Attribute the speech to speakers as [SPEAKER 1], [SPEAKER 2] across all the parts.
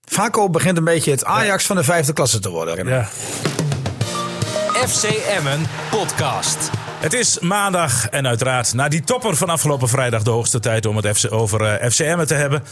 [SPEAKER 1] Vaco begint een beetje het Ajax van de vijfde klasse te worden.
[SPEAKER 2] Ja.
[SPEAKER 3] FC Emmen podcast.
[SPEAKER 2] Het is maandag en uiteraard na die topper van afgelopen vrijdag de hoogste tijd om het FC over eh, FC Emmen te hebben.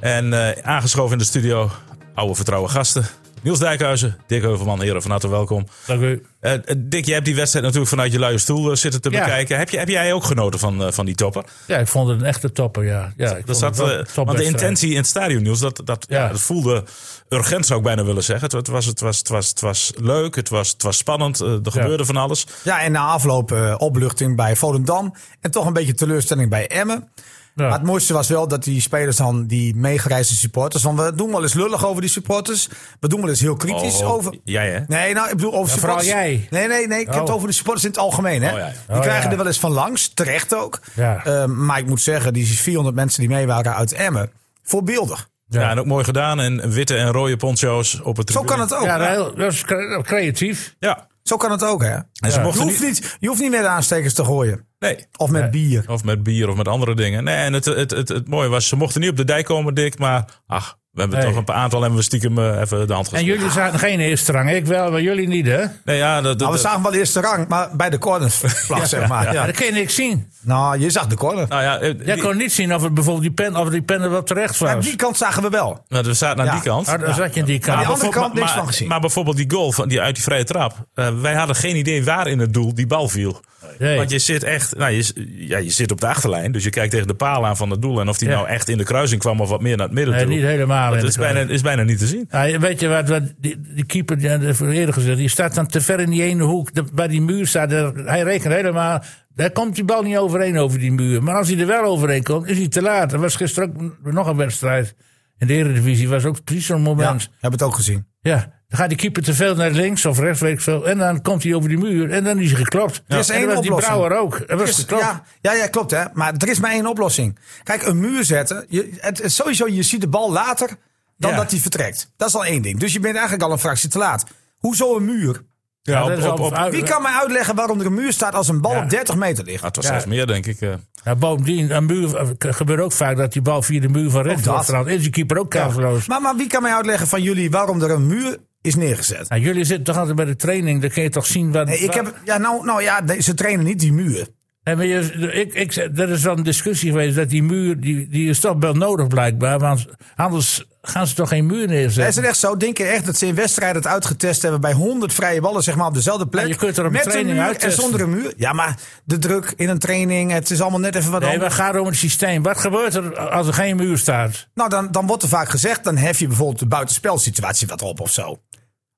[SPEAKER 2] En eh, aangeschoven in de studio, oude vertrouwen gasten. Niels Dijkhuizen, Dick Heuvelman, heren van harte welkom.
[SPEAKER 4] Dank u.
[SPEAKER 2] Eh, eh, Dick, jij hebt die wedstrijd natuurlijk vanuit je luie stoel eh, zitten te
[SPEAKER 4] Ja.
[SPEAKER 2] bekijken. Heb, je, heb jij ook genoten van, eh, van die topper?
[SPEAKER 4] Ja, ik vond het een echte topper, ja. ja ik
[SPEAKER 2] Dat
[SPEAKER 4] vond
[SPEAKER 2] zat,
[SPEAKER 4] het wel
[SPEAKER 2] eh,
[SPEAKER 4] een
[SPEAKER 2] want de
[SPEAKER 4] topwedstrijd.
[SPEAKER 2] intentie in het stadion, Niels, dat, dat, ja.
[SPEAKER 4] Ja.
[SPEAKER 2] dat voelde urgent, zou ik bijna willen zeggen. Het, het, was, het, was, het, was, het was leuk, het was, het was spannend, eh, er gebeurde van alles.
[SPEAKER 1] Ja, en na afloop eh, opluchting bij Volendam. En toch een beetje teleurstelling bij Emmen.
[SPEAKER 4] Ja.
[SPEAKER 1] Maar het mooiste was wel dat die spelers dan, die meegereisde supporters... van we doen wel eens lullig over die supporters. We doen wel eens heel kritisch
[SPEAKER 2] Oh,
[SPEAKER 1] over...
[SPEAKER 2] Jij hè?
[SPEAKER 1] Nee, nou, ik bedoel over
[SPEAKER 4] Ja, vooral
[SPEAKER 1] supporters.
[SPEAKER 4] jij.
[SPEAKER 1] Nee, nee, nee. Ik heb het
[SPEAKER 4] Oh.
[SPEAKER 1] over de supporters in het algemeen. Hè?
[SPEAKER 2] Oh, ja, ja.
[SPEAKER 1] Die
[SPEAKER 4] Oh,
[SPEAKER 1] krijgen
[SPEAKER 4] ja.
[SPEAKER 1] er wel eens van langs, terecht ook.
[SPEAKER 4] Ja.
[SPEAKER 1] Eh, maar ik moet zeggen, die 400 mensen die mee waren uit Emmen, voorbeeldig.
[SPEAKER 2] Ja. en ook mooi gedaan. En witte en rode poncho's op het
[SPEAKER 1] Zo
[SPEAKER 2] tribune.
[SPEAKER 1] kan het ook.
[SPEAKER 4] Ja, heel- dat is cre- creatief.
[SPEAKER 2] Ja.
[SPEAKER 1] Zo kan het ook, hè?
[SPEAKER 2] En ze
[SPEAKER 4] Ja.
[SPEAKER 1] Je
[SPEAKER 2] mochten
[SPEAKER 1] hoeft
[SPEAKER 2] niet...
[SPEAKER 1] niet, je hoeft niet met de aanstekers te gooien.
[SPEAKER 2] Nee.
[SPEAKER 1] Of met bier.
[SPEAKER 2] Of met bier of met andere dingen. Nee, en het, het, het, het mooie was, ze mochten niet op de dijk komen, Dick. Maar ach, we hebben
[SPEAKER 4] Nee.
[SPEAKER 2] toch een paar aantal hebben we stiekem eh, even de hand
[SPEAKER 4] En
[SPEAKER 2] gegeven.
[SPEAKER 4] jullie zaten geen eerste rang. Ik wel, maar jullie niet, hè?
[SPEAKER 2] Nee, ja, dat, dat,
[SPEAKER 1] Nou, we
[SPEAKER 2] dat-
[SPEAKER 1] zagen wel de eerste rang, maar bij de cornervlag, zeg maar. Ja.
[SPEAKER 4] Maar dat kon je niks zien.
[SPEAKER 1] Nou, je zag de corner.
[SPEAKER 2] nou ja, eh,
[SPEAKER 4] Jij
[SPEAKER 2] die-
[SPEAKER 4] kon niet zien of het bijvoorbeeld die pen, of die pen er wel terecht
[SPEAKER 1] Aan
[SPEAKER 4] was.
[SPEAKER 1] die kant zagen we wel.
[SPEAKER 2] nou, we zaten aan
[SPEAKER 1] Ja.
[SPEAKER 2] die kant.
[SPEAKER 4] Ah, dan zat je in die
[SPEAKER 1] Aan de
[SPEAKER 4] kamer.
[SPEAKER 1] andere
[SPEAKER 2] Bijvoorbeeld-
[SPEAKER 1] kant niks
[SPEAKER 2] maar-
[SPEAKER 1] van gezien.
[SPEAKER 2] Maar bijvoorbeeld die goal van, die uit die vrije trap. eh, wij hadden geen idee waar in het doel die bal viel.
[SPEAKER 4] Nee.
[SPEAKER 2] Want je zit echt, nou, je, z- ja, je zit op de achterlijn. Dus je kijkt tegen de paal aan van het doel. En of die
[SPEAKER 4] Ja.
[SPEAKER 2] nou echt in de kruising kwam of wat meer naar het midden
[SPEAKER 4] Nee,
[SPEAKER 2] toe.
[SPEAKER 4] niet helemaal.
[SPEAKER 2] dat
[SPEAKER 4] in de
[SPEAKER 2] is bijna,
[SPEAKER 4] kamer.
[SPEAKER 2] is bijna niet te zien.
[SPEAKER 4] Ja, weet je wat, wat die, die keeper, die, dat heb ik eerder gezegd, die staat dan te ver in die ene hoek, de- bij die muur staat. er- hij rekent helemaal, daar komt die bal niet overheen over die muur. Maar als hij er wel overheen komt, is hij te laat. Er was gisteren ook n- nog een wedstrijd in de Eredivisie, was ook precies zo'n
[SPEAKER 1] Ja,
[SPEAKER 4] moment.
[SPEAKER 1] hebben het ook gezien.
[SPEAKER 4] Ja. dan gaat die keeper te veel naar links of rechts, weet ik veel. En dan komt hij over die muur en dan is hij geklopt.
[SPEAKER 1] Er is
[SPEAKER 4] en
[SPEAKER 1] één
[SPEAKER 4] dan was die
[SPEAKER 1] oplossing.
[SPEAKER 4] Brouwer ook. Er was
[SPEAKER 1] Dus,
[SPEAKER 4] geklopt.
[SPEAKER 1] ja, ja, ja, klopt hè. Maar er is maar één oplossing. Kijk, een muur zetten. Je, het, is sowieso, je ziet de bal later dan
[SPEAKER 4] Ja.
[SPEAKER 1] dat hij vertrekt. Dat is al één ding. Dus je bent eigenlijk al een fractie te laat. Hoezo een muur?
[SPEAKER 4] Ja,
[SPEAKER 2] op-
[SPEAKER 4] dat is
[SPEAKER 2] op-
[SPEAKER 4] al-
[SPEAKER 2] op-
[SPEAKER 4] uit-
[SPEAKER 1] Wie kan mij uitleggen waarom er een muur staat als een bal
[SPEAKER 4] Ja.
[SPEAKER 1] op 30 meter ligt?
[SPEAKER 2] Ah, het was
[SPEAKER 4] Ja.
[SPEAKER 2] zelfs meer, denk ik. eh.
[SPEAKER 4] Nou, bovendien, aan muur, eh, gebeurt ook vaak dat die bal via de muur van rechts
[SPEAKER 1] dat.
[SPEAKER 4] wordt gehaald. Is die keeper ook kansloos.
[SPEAKER 1] Maar, maar wie kan mij uitleggen van jullie waarom er een muur is neergezet?
[SPEAKER 4] Nou, jullie zitten toch altijd bij de training, dan kun je toch zien wat.
[SPEAKER 1] Nee, ik heb, ja, nou, nou ja, nee, ze trainen niet die muur.
[SPEAKER 4] Nee, maar je- ik, ik, er is wel een discussie geweest dat die muur, die, die is toch wel nodig blijkbaar, want anders gaan ze toch geen muur
[SPEAKER 1] Ja, Is
[SPEAKER 4] neerzetten.
[SPEAKER 1] het echt zo? Denk je echt dat ze in wedstrijden het uitgetest hebben bij 100 vrije ballen, zeg maar op dezelfde plek?
[SPEAKER 4] Ja, je kunt er op
[SPEAKER 1] met
[SPEAKER 4] training
[SPEAKER 1] een muur en
[SPEAKER 4] uittesten.
[SPEAKER 1] zonder een muur? Ja, maar de druk in een training, het is allemaal net even wat
[SPEAKER 4] Nee,
[SPEAKER 1] anders.
[SPEAKER 4] we gaan om het systeem. Wat gebeurt er als er geen muur staat?
[SPEAKER 1] Nou, dan, dan wordt er vaak gezegd, dan hef je bijvoorbeeld de buitenspelsituatie wat op of zo.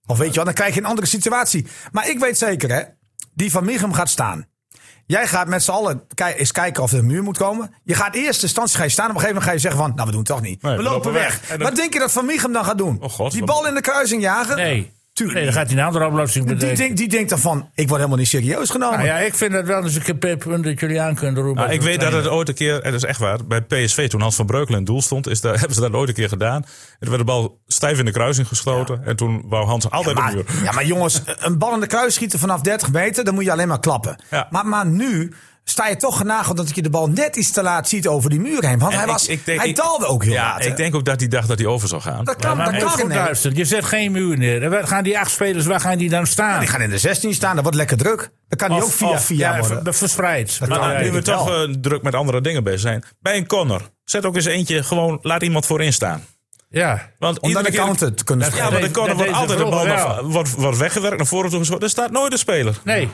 [SPEAKER 1] Of weet je wel, dan krijg je een andere situatie. Maar ik weet zeker, hè, die van Michem gaat staan. Jij gaat met z'n allen ki- eens kijken of er een muur moet komen. Je gaat in eerste instantie ga je staan. Op een gegeven moment ga je zeggen van, nou we doen het toch niet.
[SPEAKER 2] Nee,
[SPEAKER 1] we, lopen weg.
[SPEAKER 2] En dan-
[SPEAKER 1] Wat denk je dat Van Michem dan gaat doen?
[SPEAKER 2] Oh, God,
[SPEAKER 1] die
[SPEAKER 2] wat-
[SPEAKER 1] bal in de kruising jagen?
[SPEAKER 4] Nee.
[SPEAKER 1] Tuurlijk
[SPEAKER 4] Nee, dan gaat hij een andere oplossing
[SPEAKER 1] Die,
[SPEAKER 4] bedenken.
[SPEAKER 1] denkt, die denkt dan van, ik word helemaal niet serieus genomen.
[SPEAKER 4] Nou ja, ik vind dat wel eens een keer punt dat jullie aan kunnen roepen.
[SPEAKER 2] Nou, ik weet dat het ooit een keer, en dat is echt waar, bij PSV toen Hans van Breukelen in het doel stond, is daar, hebben ze dat ooit een keer gedaan. En toen werd de bal stijf in de kruising geschoten en toen wou Hans altijd de
[SPEAKER 1] maar,
[SPEAKER 2] muur.
[SPEAKER 1] ja, maar jongens, een bal in de kruis schieten vanaf 30 meter, dan moet je alleen maar klappen.
[SPEAKER 2] Ja.
[SPEAKER 1] Maar, maar nu sta je toch genageld dat ik je de bal net iets te laat ziet over die muur heen. Want
[SPEAKER 2] En
[SPEAKER 1] hij,
[SPEAKER 2] ik-
[SPEAKER 1] was,
[SPEAKER 2] ik denk-
[SPEAKER 1] hij
[SPEAKER 2] ik-
[SPEAKER 1] daalde ook heel
[SPEAKER 2] ja,
[SPEAKER 1] laat. hè?
[SPEAKER 2] ik denk ook dat hij dacht dat hij over zou gaan.
[SPEAKER 1] dat kan,
[SPEAKER 4] Maar moet
[SPEAKER 1] dat
[SPEAKER 4] je
[SPEAKER 1] kan.
[SPEAKER 4] goed
[SPEAKER 1] hè.
[SPEAKER 4] luisteren. Je zet geen muur neer. En waar gaan die acht spelers, waar gaan die dan staan?
[SPEAKER 1] Die gaan in de 16 staan, dat wordt lekker druk. Dan kan hij ook via via
[SPEAKER 4] ja,
[SPEAKER 1] worden.
[SPEAKER 4] ver- verspreid.
[SPEAKER 1] Dat kan
[SPEAKER 2] Maar
[SPEAKER 1] Ja,
[SPEAKER 2] nu
[SPEAKER 1] ik
[SPEAKER 2] we
[SPEAKER 1] denk
[SPEAKER 2] toch
[SPEAKER 1] wel.
[SPEAKER 2] eh, druk met andere dingen bezig zijn. Bij een corner, zet ook eens eentje gewoon, laat iemand voorin staan.
[SPEAKER 4] Ja.
[SPEAKER 2] Want
[SPEAKER 1] Om dan
[SPEAKER 2] iedere
[SPEAKER 1] de
[SPEAKER 2] keer-
[SPEAKER 1] counter te kunnen
[SPEAKER 2] Ja,
[SPEAKER 1] spelen.
[SPEAKER 2] maar de
[SPEAKER 4] Dat
[SPEAKER 2] corner
[SPEAKER 4] deed
[SPEAKER 2] wordt
[SPEAKER 4] ze
[SPEAKER 2] altijd de bal
[SPEAKER 4] vroeger
[SPEAKER 2] naar-
[SPEAKER 4] wel.
[SPEAKER 2] wordt, wordt weggewerkt, naar voren toe geschoten. Er staat nooit een speler.
[SPEAKER 4] Nee.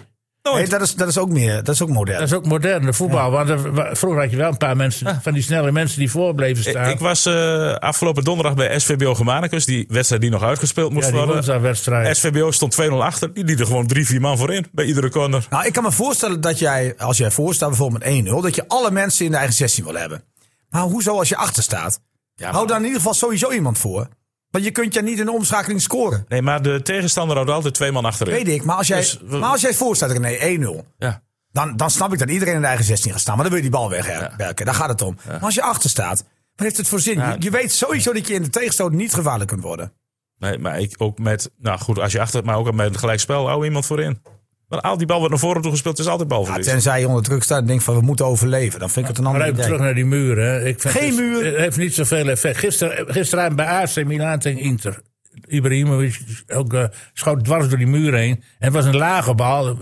[SPEAKER 1] Nee, dat, is, dat is ook meer, dat is ook modern.
[SPEAKER 4] Dat is ook moderne voetbal. Want er- wa- vroeger had je wel een paar mensen, van die snelle mensen die voor bleven
[SPEAKER 2] Ik,
[SPEAKER 4] staan.
[SPEAKER 2] ik was eh, afgelopen donderdag bij SVBO Germanicus. Die wedstrijd die nog uitgespeeld moest
[SPEAKER 4] ja, die
[SPEAKER 2] worden.
[SPEAKER 4] woensdagwedstrijd.
[SPEAKER 2] SVBO stond 2-0 achter. Die liet er gewoon 3-4 man voor in. Bij iedere corner.
[SPEAKER 1] Nou, ik kan me voorstellen dat jij, als jij voor staat bijvoorbeeld met 1-0, dat je alle mensen in de eigen 16 wil hebben. Maar hoezo als je achter staat? Hou daar in ieder geval sowieso iemand voor. Want je kunt je niet in de omschakeling scoren.
[SPEAKER 2] Nee, maar de tegenstander houdt altijd twee man achterin.
[SPEAKER 1] Weet ik, maar als jij,
[SPEAKER 2] Dus we-
[SPEAKER 1] maar als jij voor staat, René, 1-0.
[SPEAKER 2] Ja.
[SPEAKER 1] Dan, dan snap ik dat iedereen in de eigen 16 gaat staan. Maar dan wil je die bal wegwerken. Daar gaat het om. Maar als je achter staat, wat heeft het voor zin? Je, je weet sowieso dat je in de tegenstoot niet gevaarlijk kunt worden.
[SPEAKER 2] Nee, maar ik ook met... Nou goed, als je achter... Maar ook met een gelijkspel. Hou iemand voor in. Maar al die bal wordt naar voren toe gespeeld, het is altijd
[SPEAKER 1] Ja,
[SPEAKER 2] balverlies.
[SPEAKER 1] Ah, tenzij je onder druk staat en denkt van we moeten overleven. Dan vind ik het een
[SPEAKER 4] Maar
[SPEAKER 1] ander
[SPEAKER 4] even
[SPEAKER 1] idee.
[SPEAKER 4] terug naar die muur. Hè. Ik vind
[SPEAKER 1] Geen
[SPEAKER 4] het-
[SPEAKER 1] muur.
[SPEAKER 4] Het heeft niet zoveel effect. Gisteren, gisteravond bij AC Milan tegen Inter. Ibrahimovic ook, eh, schoot dwars door die muur heen. En het was een lage bal.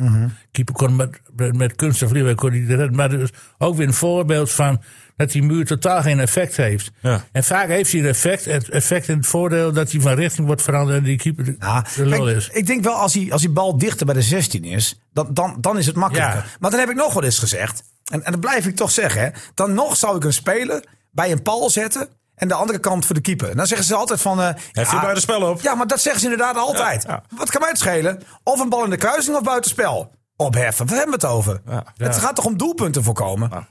[SPEAKER 4] Keeper kon met, met, met kunststof liever kon hij redden. Maar dus ook weer een voorbeeld van dat die muur totaal geen effect heeft.
[SPEAKER 2] Ja.
[SPEAKER 4] En vaak heeft hij een effect. Het effect en het voordeel dat hij van richting wordt veranderd en die keeper de,
[SPEAKER 1] Ja,
[SPEAKER 4] de lul
[SPEAKER 1] kijk,
[SPEAKER 4] is.
[SPEAKER 1] ik denk wel als die, als die bal dichter bij de 16 is, dan, dan, dan is het makkelijker.
[SPEAKER 4] Ja.
[SPEAKER 1] Maar dan heb ik nog wel eens gezegd, en, en dat blijf ik toch zeggen, hè, dan nog zou ik een speler bij een paal zetten en de andere kant voor de keeper. En dan zeggen ze altijd van... eh,
[SPEAKER 2] Heeft hij buitenspel op?
[SPEAKER 1] Ja, maar dat zeggen ze inderdaad altijd.
[SPEAKER 2] Ja, ja.
[SPEAKER 1] Wat kan mij het schelen? Of een bal in de kruising of buitenspel. Opheffen, waar hebben we het over?
[SPEAKER 2] Ja.
[SPEAKER 1] Het gaat toch om doelpunten voorkomen?
[SPEAKER 2] Ja.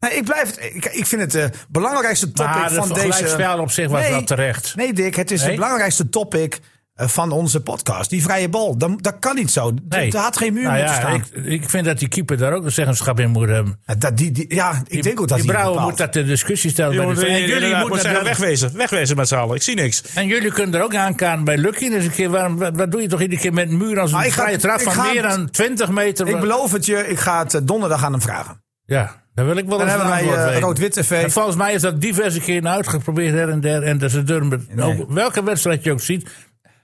[SPEAKER 1] Nee, ik, blijf, het- ik, ik vind het de belangrijkste topic
[SPEAKER 4] Maar
[SPEAKER 1] van
[SPEAKER 4] het
[SPEAKER 1] deze...
[SPEAKER 4] gelijkspel op zich was
[SPEAKER 1] Nee.
[SPEAKER 4] wel terecht.
[SPEAKER 1] Nee, Dick, het is
[SPEAKER 4] Nee?
[SPEAKER 1] het belangrijkste topic eh, van onze podcast. Die vrije bal, Dan- dat kan niet zo. D-
[SPEAKER 4] Nee.
[SPEAKER 1] Er had geen muur
[SPEAKER 4] Nou
[SPEAKER 1] moeten
[SPEAKER 4] ja,
[SPEAKER 1] staan.
[SPEAKER 4] ik, ik vind dat die keeper daar ook een zeggenschap in moet hebben.
[SPEAKER 1] Eh, dat, die, die, ja, ik denk ook dat
[SPEAKER 4] die
[SPEAKER 1] hij
[SPEAKER 4] Brouwer
[SPEAKER 1] bepaalt.
[SPEAKER 4] moet dat de discussie stellen. bij de
[SPEAKER 2] Jongen,
[SPEAKER 4] vereniging. en, jullie
[SPEAKER 2] inderdaad, moet
[SPEAKER 4] moeten
[SPEAKER 2] zeggen,
[SPEAKER 4] dat-
[SPEAKER 2] wegwezen. Wegwezen met z'n allen. Ik zie niks.
[SPEAKER 4] en jullie kunnen er ook aankaan bij Lucky. Dus een keer, waarom, wat, wat doe je toch iedere keer met een muur als een
[SPEAKER 1] Ah, ik ga-
[SPEAKER 4] vrije trap
[SPEAKER 1] ik
[SPEAKER 4] van
[SPEAKER 1] ga-
[SPEAKER 4] meer dan 20 meter?
[SPEAKER 1] Ik beloof het je, ik ga het eh, donderdag aan hem vragen.
[SPEAKER 4] ja, daar wil ik wel
[SPEAKER 1] Dan
[SPEAKER 4] eens een
[SPEAKER 1] hebben wij
[SPEAKER 4] antwoord
[SPEAKER 1] eh,
[SPEAKER 4] weten.
[SPEAKER 1] Rood-Wit TV.
[SPEAKER 4] En volgens mij is dat diverse keren uitgeprobeerd her en der. En dat ze durven,
[SPEAKER 1] Nee.
[SPEAKER 4] ook, welke wedstrijd je ook ziet.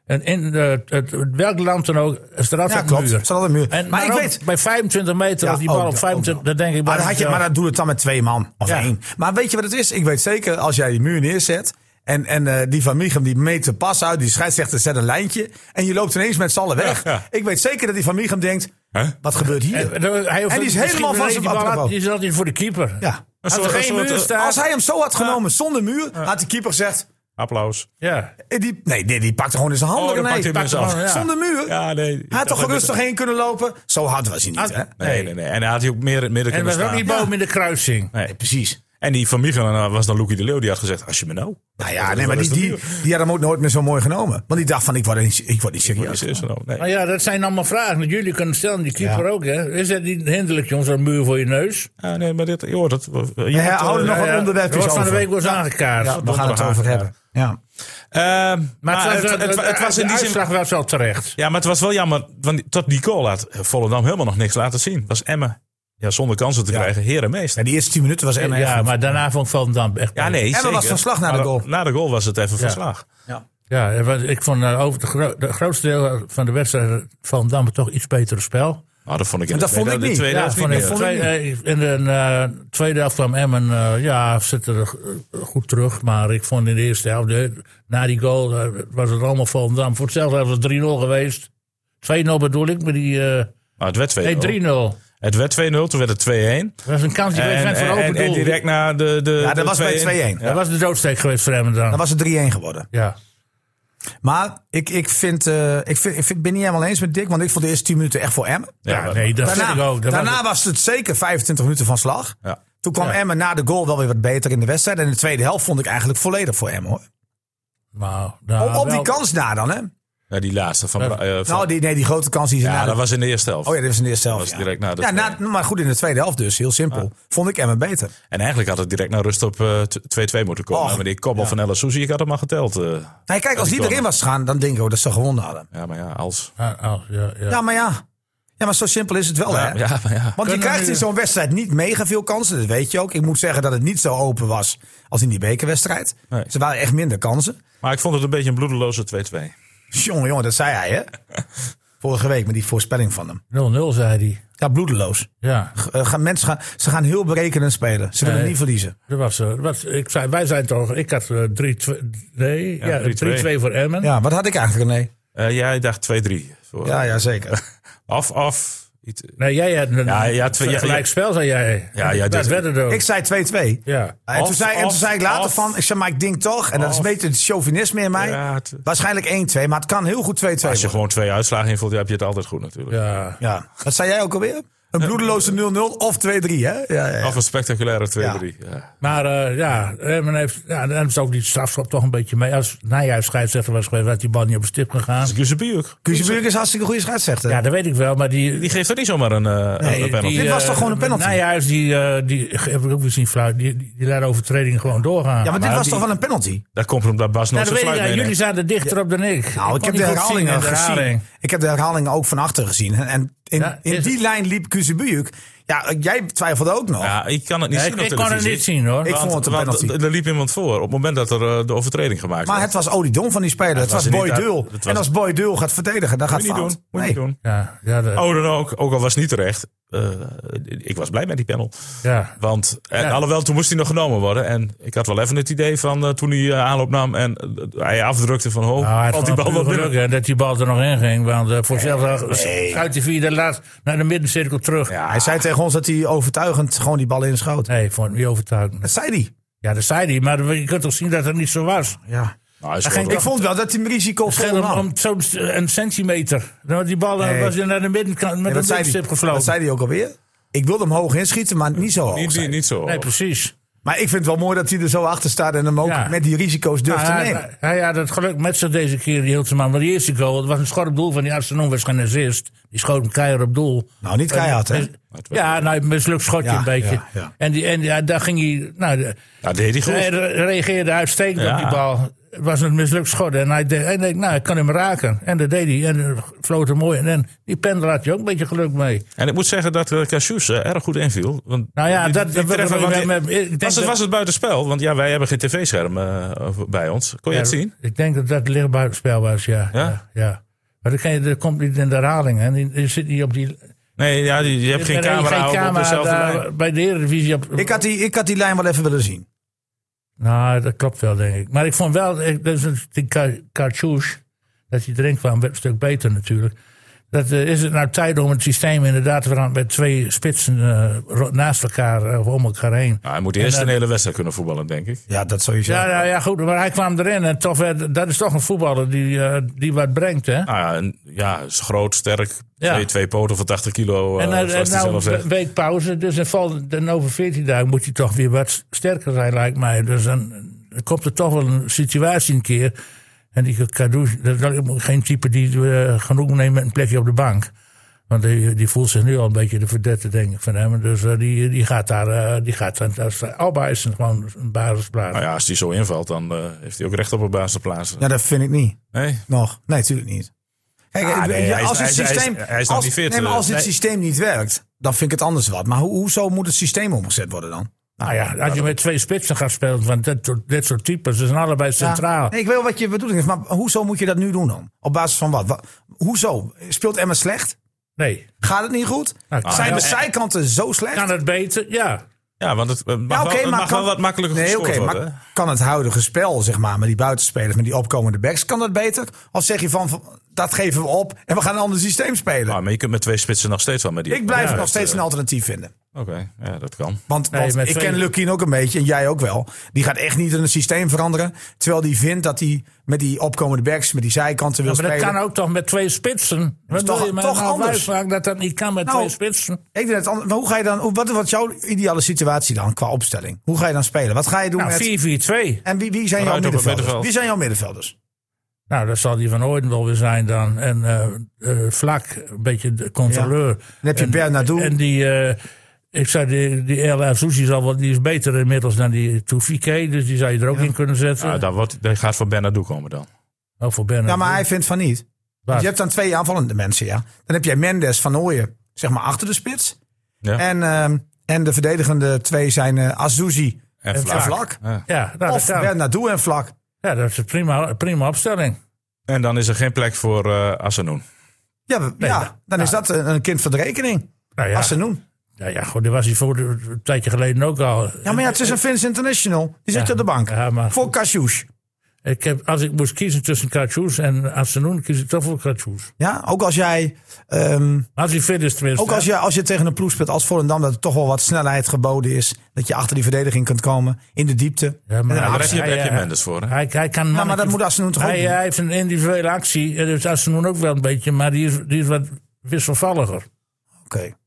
[SPEAKER 4] En in eh, het, het- welk land dan ook, is er altijd
[SPEAKER 1] Ja,
[SPEAKER 4] een
[SPEAKER 1] klopt.
[SPEAKER 4] muur.
[SPEAKER 1] Er is altijd een muur.
[SPEAKER 4] En,
[SPEAKER 1] Maar
[SPEAKER 4] maar
[SPEAKER 1] ik
[SPEAKER 4] ook
[SPEAKER 1] weet-
[SPEAKER 4] bij 25 meter,
[SPEAKER 1] Ja,
[SPEAKER 4] als die bal
[SPEAKER 1] ook
[SPEAKER 4] op
[SPEAKER 1] dat,
[SPEAKER 4] 25, dan denk ik... bij
[SPEAKER 1] Maar dan, had je,
[SPEAKER 4] mezelf,
[SPEAKER 1] maar dan doe het dan met twee man of
[SPEAKER 4] Ja.
[SPEAKER 1] één. Maar weet je wat het is? Ik weet zeker, als jij die muur neerzet... en, en eh, die van Michem die meet de pas uit... die scheidsrechter zet een lijntje... en je loopt ineens met z'n allen weg.
[SPEAKER 2] Ja, ja.
[SPEAKER 1] Ik weet zeker dat die van Michem denkt...
[SPEAKER 2] Hè?
[SPEAKER 1] wat gebeurt hier?
[SPEAKER 4] En, dan- hij hoeft
[SPEAKER 1] En die is
[SPEAKER 4] misschien
[SPEAKER 1] helemaal
[SPEAKER 4] alleen
[SPEAKER 1] vast
[SPEAKER 4] die
[SPEAKER 1] op
[SPEAKER 4] bal
[SPEAKER 1] apropos.
[SPEAKER 4] Die is altijd voor de keeper.
[SPEAKER 1] Ja.
[SPEAKER 2] Een
[SPEAKER 4] Als er
[SPEAKER 2] soort- een
[SPEAKER 4] geen
[SPEAKER 2] soort-
[SPEAKER 4] muur
[SPEAKER 2] eh,
[SPEAKER 4] staat...
[SPEAKER 1] Als hij hem zo had genomen zonder muur... had de keeper gezegd...
[SPEAKER 2] Applaus.
[SPEAKER 4] Ja.
[SPEAKER 1] Eh, Die, nee, die, die pakte gewoon in zijn handen.
[SPEAKER 2] Oh, dan
[SPEAKER 1] René.
[SPEAKER 2] pakt hij hem in zijn
[SPEAKER 1] Pakte
[SPEAKER 2] handen,
[SPEAKER 1] gewoon,
[SPEAKER 2] ja.
[SPEAKER 1] Zonder muur.
[SPEAKER 2] Ja, nee.
[SPEAKER 1] Hij had toch
[SPEAKER 2] Dat-
[SPEAKER 1] rustig heen kunnen lopen. Zo hard was hij niet,
[SPEAKER 4] Ah,
[SPEAKER 1] hè?
[SPEAKER 2] Nee, nee, nee. En hij had hij ook meer in het midden
[SPEAKER 4] En er
[SPEAKER 2] kunnen
[SPEAKER 4] was ook
[SPEAKER 2] staan.
[SPEAKER 4] die boom in de kruising.
[SPEAKER 2] Nee.
[SPEAKER 1] Precies.
[SPEAKER 2] En die van Michel eh, was dan Loekie de Leeuw. Die had gezegd, als je me nou...
[SPEAKER 1] Nou
[SPEAKER 2] Dat
[SPEAKER 1] ja,
[SPEAKER 2] is
[SPEAKER 1] nee, maar
[SPEAKER 2] wel
[SPEAKER 1] die,
[SPEAKER 2] eens
[SPEAKER 1] die,
[SPEAKER 2] de
[SPEAKER 1] die had hem ook nooit meer zo mooi genomen. Want die dacht van, ik word niet, ik word niet serieus.
[SPEAKER 2] Is is er nou? Nee.
[SPEAKER 4] Maar ja, dat zijn allemaal vragen die jullie kunnen stellen. Die keeper
[SPEAKER 1] Ja.
[SPEAKER 4] ook, hè. Is dat niet hinderlijk, jongens, zo'n muur voor je neus?
[SPEAKER 2] Ah, nee, maar dit... Je hoort het. Je
[SPEAKER 1] Ja,
[SPEAKER 2] hoort,
[SPEAKER 1] houden
[SPEAKER 2] eh,
[SPEAKER 1] Oh, nog wat
[SPEAKER 4] Er
[SPEAKER 1] onderwerpjes
[SPEAKER 4] wordt van de
[SPEAKER 1] over.
[SPEAKER 4] week was aangekaart.
[SPEAKER 1] Ja, we gaan het over hebben. Ja.
[SPEAKER 2] Ehm,
[SPEAKER 4] Maar,
[SPEAKER 2] maar
[SPEAKER 4] het, was,
[SPEAKER 2] het- het- het was in die zin...
[SPEAKER 4] uitslag was wel terecht.
[SPEAKER 2] Ja, maar het was wel jammer. Want tot die goal had Volendam helemaal nog niks laten zien. Was Emmen. Ja, zonder kansen te krijgen. Heer en meester.
[SPEAKER 1] En die eerste 10 minuten was Emma echt
[SPEAKER 4] Ja,
[SPEAKER 1] goed.
[SPEAKER 4] maar daarna vond ik Volendam echt...
[SPEAKER 2] Ja, nee,
[SPEAKER 1] Emmen was
[SPEAKER 2] zeker.
[SPEAKER 1] van slag na de
[SPEAKER 2] Maar
[SPEAKER 1] goal.
[SPEAKER 2] Na de goal was het even van
[SPEAKER 4] Ja.
[SPEAKER 2] slag.
[SPEAKER 4] Ja, en wat- ik vond eh, over de, gro- de grootste deel van de wedstrijd Volendam toch iets betere spel.
[SPEAKER 2] Oh, dat vond ik in
[SPEAKER 1] Dat
[SPEAKER 2] de
[SPEAKER 1] vond
[SPEAKER 2] tweede-
[SPEAKER 1] ik
[SPEAKER 2] de
[SPEAKER 1] niet.
[SPEAKER 2] tweede
[SPEAKER 1] Ja,
[SPEAKER 2] helft
[SPEAKER 1] vond
[SPEAKER 2] niet
[SPEAKER 1] ik-
[SPEAKER 2] meer.
[SPEAKER 1] vond
[SPEAKER 4] Twee- eh, in de eh, tweede helft kwam Emmen, eh, ja, zitten er eh, goed terug. Maar ik vond in de eerste helft, eh, na die goal, eh, was het allemaal Volendam. Voor hetzelfde was het 3-0 geweest. 2-0 bedoel ik, maar die... eh,
[SPEAKER 2] Ah, het werd 2-0.
[SPEAKER 4] nee, 3-0. Dat
[SPEAKER 2] Het werd 2-0, toen werd het 2-1. En,
[SPEAKER 4] was een kans die wij
[SPEAKER 2] en,
[SPEAKER 4] van
[SPEAKER 2] en,
[SPEAKER 4] open
[SPEAKER 2] en
[SPEAKER 4] doel.
[SPEAKER 2] direct na de, de
[SPEAKER 1] Ja,
[SPEAKER 2] de
[SPEAKER 1] dat was bij 2-1.
[SPEAKER 4] Dat was de doodsteek geweest voor Emmen
[SPEAKER 1] Dan
[SPEAKER 4] dan.
[SPEAKER 1] was het 3-1 geworden.
[SPEAKER 4] Ja.
[SPEAKER 1] Maar ik, ik, vind, eh, ik, vind, ik vind, ik ben niet helemaal eens met Dick. Want ik vond de eerste 10 minuten echt voor Emmen.
[SPEAKER 2] Ja,
[SPEAKER 4] Ja, nee, dat vind ik
[SPEAKER 1] Daarna,
[SPEAKER 4] ook. Dat was-
[SPEAKER 1] daarna was het zeker 25 minuten van slag.
[SPEAKER 2] Ja.
[SPEAKER 1] Toen kwam Emmen na de goal wel weer wat beter in de wedstrijd. En de tweede helft vond ik eigenlijk volledig voor Emmen. Hoor.
[SPEAKER 4] maar, nou,
[SPEAKER 1] op, op die
[SPEAKER 4] wel-
[SPEAKER 1] kans na dan, hè?
[SPEAKER 2] Ja, die laatste van...
[SPEAKER 4] Dat-
[SPEAKER 2] eh, van-
[SPEAKER 1] Nou, die, nee, die grote kans die ze
[SPEAKER 2] ja,
[SPEAKER 1] na
[SPEAKER 2] dat was in de eerste helft.
[SPEAKER 1] Oh ja, dit was in de eerste
[SPEAKER 2] was
[SPEAKER 1] helft. ja.
[SPEAKER 2] direct na de
[SPEAKER 1] ja, na,
[SPEAKER 2] tweede.
[SPEAKER 1] maar goed, in de tweede helft dus. Heel simpel. Vond ik Emmen beter.
[SPEAKER 2] En eigenlijk had het direct naar rust op eh, t- 2-2 moeten komen.
[SPEAKER 1] Och.
[SPEAKER 2] maar die koppel van El Sousi, ik had hem al geteld. eh.
[SPEAKER 1] Nee, kijk, als
[SPEAKER 2] die
[SPEAKER 1] die erin
[SPEAKER 2] corner.
[SPEAKER 1] was gegaan, dan denk ik ook dat ze gewonnen hadden.
[SPEAKER 2] ja, maar ja, als...
[SPEAKER 4] Ah, oh, ja, ja.
[SPEAKER 1] Ja, maar ja. Ja, maar zo simpel is het wel, hè?
[SPEAKER 2] Ja, ja, maar ja.
[SPEAKER 1] Want je
[SPEAKER 4] Kunnen
[SPEAKER 1] krijgt in
[SPEAKER 4] nu-
[SPEAKER 1] zo'n wedstrijd niet mega veel kansen. Dat weet je ook. Ik moet zeggen dat het niet zo open was als in die bekerwedstrijd.
[SPEAKER 2] Nee.
[SPEAKER 1] Ze waren echt minder kansen.
[SPEAKER 2] Maar ik vond het een beetje een bloedeloze 2-2.
[SPEAKER 1] Jongen, jongen, dat zei hij, hè? Vorige week met die voorspelling van hem.
[SPEAKER 4] 0-0 zei hij.
[SPEAKER 1] Ja, bloedeloos.
[SPEAKER 4] Ja,
[SPEAKER 1] Eh, gaan, mensen gaan, ze gaan heel berekenend spelen. Ze willen
[SPEAKER 4] Nee.
[SPEAKER 1] niet verliezen.
[SPEAKER 4] dat was, eh, wat, ik zei, wij zijn toch... Ik had eh, 3-2 nee, ja,
[SPEAKER 2] 3-2.
[SPEAKER 4] 3-2 voor Emmen.
[SPEAKER 1] Ja, wat had ik eigenlijk, René?
[SPEAKER 2] Eh jij dacht 2-3. Voor-
[SPEAKER 1] Ja, ja, zeker.
[SPEAKER 2] Af, af. Iets,
[SPEAKER 4] Nee, jij had een
[SPEAKER 2] Ja,
[SPEAKER 4] ja,
[SPEAKER 2] ja,
[SPEAKER 4] ja,
[SPEAKER 2] twee- ja,
[SPEAKER 4] gelijkspel, zei jij.
[SPEAKER 2] Ja, ja,
[SPEAKER 4] dat
[SPEAKER 2] dit-
[SPEAKER 4] werd het ook.
[SPEAKER 1] Ik zei 2-2.
[SPEAKER 4] ja.
[SPEAKER 1] En toen,
[SPEAKER 2] Of,
[SPEAKER 1] zei, en
[SPEAKER 2] of,
[SPEAKER 1] toen zei ik later
[SPEAKER 2] of.
[SPEAKER 1] van, ik zei, maar ik denk toch. En dat is een
[SPEAKER 2] Of.
[SPEAKER 1] beetje het chauvinisme in mij.
[SPEAKER 2] Ja, het-
[SPEAKER 1] Waarschijnlijk 1-2, maar het kan heel goed 2-2
[SPEAKER 2] als je
[SPEAKER 1] worden.
[SPEAKER 2] gewoon twee uitslagen invult, dan heb je het altijd goed natuurlijk.
[SPEAKER 4] ja.
[SPEAKER 1] Ja. Wat zei jij ook alweer? Een bloedeloze 0-0 of 2-3, hè? Ja, ja, ja.
[SPEAKER 2] Of een spectaculaire 2-3. Ja.
[SPEAKER 4] Maar eh, ja, Emmen heeft, ja, dan hebben ze ook die strafschop toch een beetje mee. Als Nijhuis scheidsrechter was geweest, had die bal niet op de stip gegaan.
[SPEAKER 2] Giuseppe ook.
[SPEAKER 1] Kuzenburg is hartstikke goede scheidsrechter.
[SPEAKER 4] Ja, dat weet ik wel, maar die...
[SPEAKER 2] Die geeft er niet zomaar een, eh,
[SPEAKER 1] Nee,
[SPEAKER 2] een penalty.
[SPEAKER 1] Dit was
[SPEAKER 4] eh,
[SPEAKER 1] toch gewoon een penalty?
[SPEAKER 4] Nijhuis, die, eh, die heb ik ook weer zien fluiten. Die, die, die laat overtredingen gewoon doorgaan.
[SPEAKER 1] Ja, maar dit
[SPEAKER 2] maar
[SPEAKER 1] was
[SPEAKER 2] die-
[SPEAKER 1] toch wel een penalty?
[SPEAKER 2] Daar komt omdat Bas
[SPEAKER 4] Nou,
[SPEAKER 2] nog zijn
[SPEAKER 4] dat weet ik,
[SPEAKER 2] fluit
[SPEAKER 4] ja,
[SPEAKER 2] meeneemt.
[SPEAKER 4] jullie zaten dichter op dan ik.
[SPEAKER 1] Nou, ik heb
[SPEAKER 4] kon
[SPEAKER 1] de
[SPEAKER 4] niet goed zien in
[SPEAKER 1] herhalingen
[SPEAKER 4] de herhaling. eh,
[SPEAKER 1] gezien. Ik heb de herhalingen ook van achter gezien. En, en In,
[SPEAKER 4] Ja,
[SPEAKER 1] in
[SPEAKER 4] is
[SPEAKER 1] die
[SPEAKER 4] het-
[SPEAKER 1] lijn liep Kuzebujuk. Ja, jij twijfelde ook nog.
[SPEAKER 2] Ja, ik kan het niet
[SPEAKER 4] Ja,
[SPEAKER 2] zien
[SPEAKER 4] ik-
[SPEAKER 2] op
[SPEAKER 4] ik kon het
[SPEAKER 2] televisie.
[SPEAKER 4] niet zien, hoor.
[SPEAKER 1] Ik vond het een
[SPEAKER 2] want
[SPEAKER 1] penalty.
[SPEAKER 2] d- d- Er liep iemand voor op het moment dat er eh, de overtreding gemaakt
[SPEAKER 1] maar
[SPEAKER 2] werd.
[SPEAKER 1] het was Odidon van die speler. het was,
[SPEAKER 2] was
[SPEAKER 1] Boy
[SPEAKER 2] niet-
[SPEAKER 1] Deul.
[SPEAKER 2] dat- dat
[SPEAKER 1] En
[SPEAKER 2] was-
[SPEAKER 1] als Boy Deul gaat verdedigen, dan gaat
[SPEAKER 2] moet je niet
[SPEAKER 1] fout.
[SPEAKER 2] doen. Moet je
[SPEAKER 1] Nee.
[SPEAKER 2] niet doen.
[SPEAKER 4] Ja, ja, dat-
[SPEAKER 2] Oh, dan ook. Ook al was het niet terecht. Eh, ik was blij met die panel.
[SPEAKER 4] ja.
[SPEAKER 2] Want, en
[SPEAKER 4] Ja.
[SPEAKER 2] alhoewel, toen moest hij nog genomen worden. En ik had wel even het idee van eh, toen hij eh, aanloop nam en eh, hij afdrukte van, oh,
[SPEAKER 4] Nou, hij had
[SPEAKER 2] valt die bal wel binnen.
[SPEAKER 4] geluk hè, dat die bal er nog in ging. Want eh voor zelfs schuift hij via de laat naar de middencirkel terug.
[SPEAKER 1] Hij zei tegen ons dat hij overtuigend gewoon die bal inschoot.
[SPEAKER 4] Nee, ik vond het niet overtuigend.
[SPEAKER 1] Dat zei hij.
[SPEAKER 4] Ja, dat zei hij. Maar je kunt toch zien dat het niet zo was.
[SPEAKER 1] Ja.
[SPEAKER 2] Nou, hij
[SPEAKER 4] Hij
[SPEAKER 2] schoot
[SPEAKER 4] ging-
[SPEAKER 2] wel.
[SPEAKER 1] Ik vond wel dat hij hem risico
[SPEAKER 4] Het ging
[SPEAKER 1] vol
[SPEAKER 4] om,
[SPEAKER 1] nam.
[SPEAKER 4] om zo'n st- een centimeter. Nou, die bal eh,
[SPEAKER 1] Nee.
[SPEAKER 4] was naar de middenkant met
[SPEAKER 1] En dat,
[SPEAKER 4] een
[SPEAKER 1] zei hij,
[SPEAKER 4] middenstip gevlogen.
[SPEAKER 1] dat zei hij ook alweer. Ik wilde hem hoog inschieten, maar niet zo hoog.
[SPEAKER 2] niet,
[SPEAKER 1] zei
[SPEAKER 2] niet,
[SPEAKER 1] hij.
[SPEAKER 2] niet zo.
[SPEAKER 4] nee, precies.
[SPEAKER 1] Maar ik vind het wel mooi dat hij er zo achter staat en hem ook
[SPEAKER 4] Ja. Nou,
[SPEAKER 1] met die risico's durft
[SPEAKER 4] Ah, Ja,
[SPEAKER 1] te
[SPEAKER 4] hij,
[SPEAKER 1] nemen.
[SPEAKER 4] hij, hij had het geluk met zich deze keer, die Hilteman. Maar die eerste goal, het was een schorp doel van die Arsenon, was geen assist. Die schoot hem keihard op doel.
[SPEAKER 1] Nou, niet keihard, hè?
[SPEAKER 4] Ja, nou, een mislukt schotje
[SPEAKER 1] Ja,
[SPEAKER 4] een beetje.
[SPEAKER 1] ja, ja.
[SPEAKER 4] En, die, en die- ja, daar ging hij... Nou, de-
[SPEAKER 2] Ja, deed hij
[SPEAKER 4] hij
[SPEAKER 2] goed.
[SPEAKER 4] re- reageerde uitstekend
[SPEAKER 2] Ja.
[SPEAKER 4] op die bal. Het was een mislukt schot. En hij deed, hij denkt, nou, ik kan hem raken. En dat deed hij. En eh, floot hem mooi. En, en die pendel had je ook een beetje geluk mee.
[SPEAKER 2] En ik moet zeggen dat eh Cassius eh, erg goed inviel. Want
[SPEAKER 4] Nou ja,
[SPEAKER 2] die-
[SPEAKER 4] dat-
[SPEAKER 2] die
[SPEAKER 4] dat- dat-
[SPEAKER 2] treffer, want die-
[SPEAKER 4] dat- ik denk
[SPEAKER 2] was, het,
[SPEAKER 4] dat-
[SPEAKER 2] was het buitenspel? Want ja, wij hebben geen tv-scherm eh, bij ons. Kon je het zien?
[SPEAKER 4] Ik denk dat dat licht buitenspel was, ja.
[SPEAKER 2] Ja?
[SPEAKER 4] ja? ja. Maar dat, kan je, dat komt niet in de herhaling. Hè. Die- die zit niet op die...
[SPEAKER 2] Nee, ja, die- je hebt geen
[SPEAKER 4] er is
[SPEAKER 2] camera, op- op dezelfde
[SPEAKER 4] daar
[SPEAKER 2] lijn.
[SPEAKER 4] Bij de Eredivisie op...
[SPEAKER 1] Ik had, die, ik had die lijn wel even willen zien.
[SPEAKER 4] Nou, dat klopt wel, denk ik. Maar ik vond wel, ik- dat is die Kartjoes, dat hij erin kwam, werd een stuk beter natuurlijk. Dat, eh, is het nou tijd om het systeem inderdaad te veranderen met twee spitsen eh, ro- naast elkaar eh, of om elkaar heen?
[SPEAKER 2] Nou, hij moet eerst
[SPEAKER 4] En, eh,
[SPEAKER 2] een hele wedstrijd kunnen voetballen, denk ik.
[SPEAKER 1] Ja, dat sowieso.
[SPEAKER 4] Ja, ja, ja, goed, maar hij kwam erin en toch werd, dat is toch een voetballer die, eh, die wat brengt, hè?
[SPEAKER 2] Nou ja, en- ja, is groot, sterk.
[SPEAKER 4] Ja.
[SPEAKER 2] Twee, twee poten van 80 kilo, eh,
[SPEAKER 4] En eh,
[SPEAKER 2] zoals hij
[SPEAKER 4] nou,
[SPEAKER 2] zelf zegt.
[SPEAKER 4] een week pauze, dus dan valt dan over 14 dagen moet hij toch weer wat sterker zijn, lijkt mij. Dus dan, dan komt er toch wel een situatie een keer. En die Kadouche, dat is ook geen type die eh, genoeg neemt met een plekje op de bank. Want die, die voelt zich nu al een beetje de verdette, denk ik, van hem. Dus eh, die, die gaat daar, eh, die gaat daar. Als, Alba is een- gewoon een basisplaats.
[SPEAKER 2] Nou ja, als hij zo invalt, dan eh, heeft hij ook recht op een basisplaats.
[SPEAKER 1] Ja, dat vind ik niet.
[SPEAKER 2] Nee?
[SPEAKER 1] Nog. Nee, natuurlijk niet. Kijk,
[SPEAKER 2] Ah,
[SPEAKER 1] ik-
[SPEAKER 2] nee,
[SPEAKER 1] ja,
[SPEAKER 2] hij is-
[SPEAKER 1] als het
[SPEAKER 2] hij is- hij is-
[SPEAKER 1] systeem-
[SPEAKER 2] hij is nog
[SPEAKER 1] als-
[SPEAKER 2] niet fit,
[SPEAKER 1] nee, maar
[SPEAKER 2] eh,
[SPEAKER 1] als het
[SPEAKER 2] nee.
[SPEAKER 1] systeem niet werkt, dan vind ik het anders wat. Maar ho- hoezo moet het systeem omgezet worden dan?
[SPEAKER 4] nou ja, als je met twee spitsen gaat spelen, van dit, soort- dit soort types, ze zijn allebei centraal.
[SPEAKER 1] Nee, ik weet wel wat je bedoeling is, maar hoezo moet je dat nu doen dan? Op basis van wat? Wa- hoezo? Speelt Emma slecht?
[SPEAKER 4] Nee.
[SPEAKER 1] Gaat het niet goed?
[SPEAKER 4] Nou, kan
[SPEAKER 1] Zijn de
[SPEAKER 4] wel.
[SPEAKER 1] zijkanten zo slecht?
[SPEAKER 4] Kan het beter? Ja.
[SPEAKER 2] Ja, want het eh, mag,
[SPEAKER 1] Ja, oké,
[SPEAKER 2] wel, het mag
[SPEAKER 1] kan-
[SPEAKER 2] wel wat makkelijker
[SPEAKER 1] nee,
[SPEAKER 2] gescoord
[SPEAKER 1] oké,
[SPEAKER 2] worden. hè?
[SPEAKER 1] Maar kan het huidige spel, zeg maar, met die buitenspelers, met die opkomende backs, kan dat beter? Of zeg je van, van, dat geven we op en we gaan een ander systeem spelen?
[SPEAKER 2] Ah, maar je kunt met twee spitsen nog steeds wel met die...
[SPEAKER 1] ik blijf
[SPEAKER 2] Ja,
[SPEAKER 1] het nog
[SPEAKER 2] dat,
[SPEAKER 1] steeds
[SPEAKER 2] eh,
[SPEAKER 1] een alternatief vinden.
[SPEAKER 2] Oké, ja, dat kan.
[SPEAKER 1] Want,
[SPEAKER 4] Nee,
[SPEAKER 1] want
[SPEAKER 4] met
[SPEAKER 1] ik
[SPEAKER 4] twee-
[SPEAKER 1] ken Lukien ook een beetje, en jij ook wel. Die gaat echt niet in het systeem veranderen. Terwijl die vindt dat hij met die opkomende backs, met die zijkanten wil
[SPEAKER 4] Ja, maar dat
[SPEAKER 1] spelen.
[SPEAKER 4] kan ook toch met twee spitsen? Wat
[SPEAKER 1] toch-
[SPEAKER 4] wil je mij
[SPEAKER 1] toch
[SPEAKER 4] nou
[SPEAKER 1] anders.
[SPEAKER 4] wijsmaken dat dat niet kan met
[SPEAKER 1] Nou,
[SPEAKER 4] twee spitsen?
[SPEAKER 1] Ik denk dat, het ander- maar hoe ga je dan, hoe- wat wat is jouw ideale situatie dan qua opstelling? Hoe ga je dan spelen? Wat ga je doen
[SPEAKER 4] Nou,
[SPEAKER 1] met,
[SPEAKER 4] 4-4-2.
[SPEAKER 1] en wie, wie zijn jouw
[SPEAKER 2] Vooruit op het
[SPEAKER 1] middenvelders?
[SPEAKER 2] middenveld.
[SPEAKER 1] Wie zijn jouw middenvelders?
[SPEAKER 4] Nou, dat zal die van Ooyen wel weer zijn dan. En eh, eh, Vlak, een beetje de controleur.
[SPEAKER 1] Dan heb je
[SPEAKER 4] En-
[SPEAKER 1] Bernardo.
[SPEAKER 4] En die, eh, ik zei, die, die El Azouzi zal wel, die is beter inmiddels dan die Toufike. Dus die zou je er ook in kunnen zetten.
[SPEAKER 2] Ja, dan wordt, dan gaat voor Bernardo komen dan.
[SPEAKER 4] oh, voor Bernardo.
[SPEAKER 1] Ja, Nou, maar hij vindt van niet.
[SPEAKER 4] Wat?
[SPEAKER 1] Je hebt dan twee aanvallende mensen, ja. Dan heb jij Mendes van Ooyen, zeg maar achter de spits.
[SPEAKER 2] Ja.
[SPEAKER 1] En, ehm, en de verdedigende twee zijn eh Azuzi
[SPEAKER 2] En
[SPEAKER 1] en
[SPEAKER 2] Vlaak.
[SPEAKER 1] Vlak.
[SPEAKER 2] Ja.
[SPEAKER 4] ja, nou, dat
[SPEAKER 1] Of
[SPEAKER 4] kan.
[SPEAKER 1] Bernardo en Vlak.
[SPEAKER 4] ja, dat is een prima, prima opstelling.
[SPEAKER 2] En dan is er geen plek voor eh Asanoen.
[SPEAKER 1] Ja, we- ja dan is dat een een kind van de rekening.
[SPEAKER 4] Nou ja,
[SPEAKER 1] Als ze doen.
[SPEAKER 4] ja, ja goed, dat was hij voor een tijdje geleden ook al.
[SPEAKER 1] Ja, maar ja, het is een Finns International. Die zit op de bank.
[SPEAKER 4] Ja, maar
[SPEAKER 1] Voor Kasius.
[SPEAKER 4] Ik heb, als ik moest kiezen tussen Kratjoes en Asenoen, kies ik toch voor Kratjoes.
[SPEAKER 1] Ja, ook als jij, ehm,
[SPEAKER 4] Als hij fit is tenminste.
[SPEAKER 1] ook als je, als je tegen een ploeg speelt als Volendam... dat er toch wel wat snelheid geboden is. Dat je achter die verdediging kunt komen. In de diepte.
[SPEAKER 4] Ja, maar-
[SPEAKER 1] Met een
[SPEAKER 4] Ja,
[SPEAKER 2] Daar
[SPEAKER 4] maar
[SPEAKER 2] heb
[SPEAKER 1] actie.
[SPEAKER 2] je, daar heb je
[SPEAKER 4] Ja, ja.
[SPEAKER 2] Mendes voor. Hè?
[SPEAKER 4] Hij, hij kan
[SPEAKER 1] maar
[SPEAKER 4] mannetje-
[SPEAKER 1] dat moet Asenoen toch ook
[SPEAKER 4] hij, eh,
[SPEAKER 1] doen?
[SPEAKER 4] hij heeft een individuele actie, eh, dus Asenoen ook wel een beetje, maar die is, die is wat wisselvalliger.
[SPEAKER 1] Oké.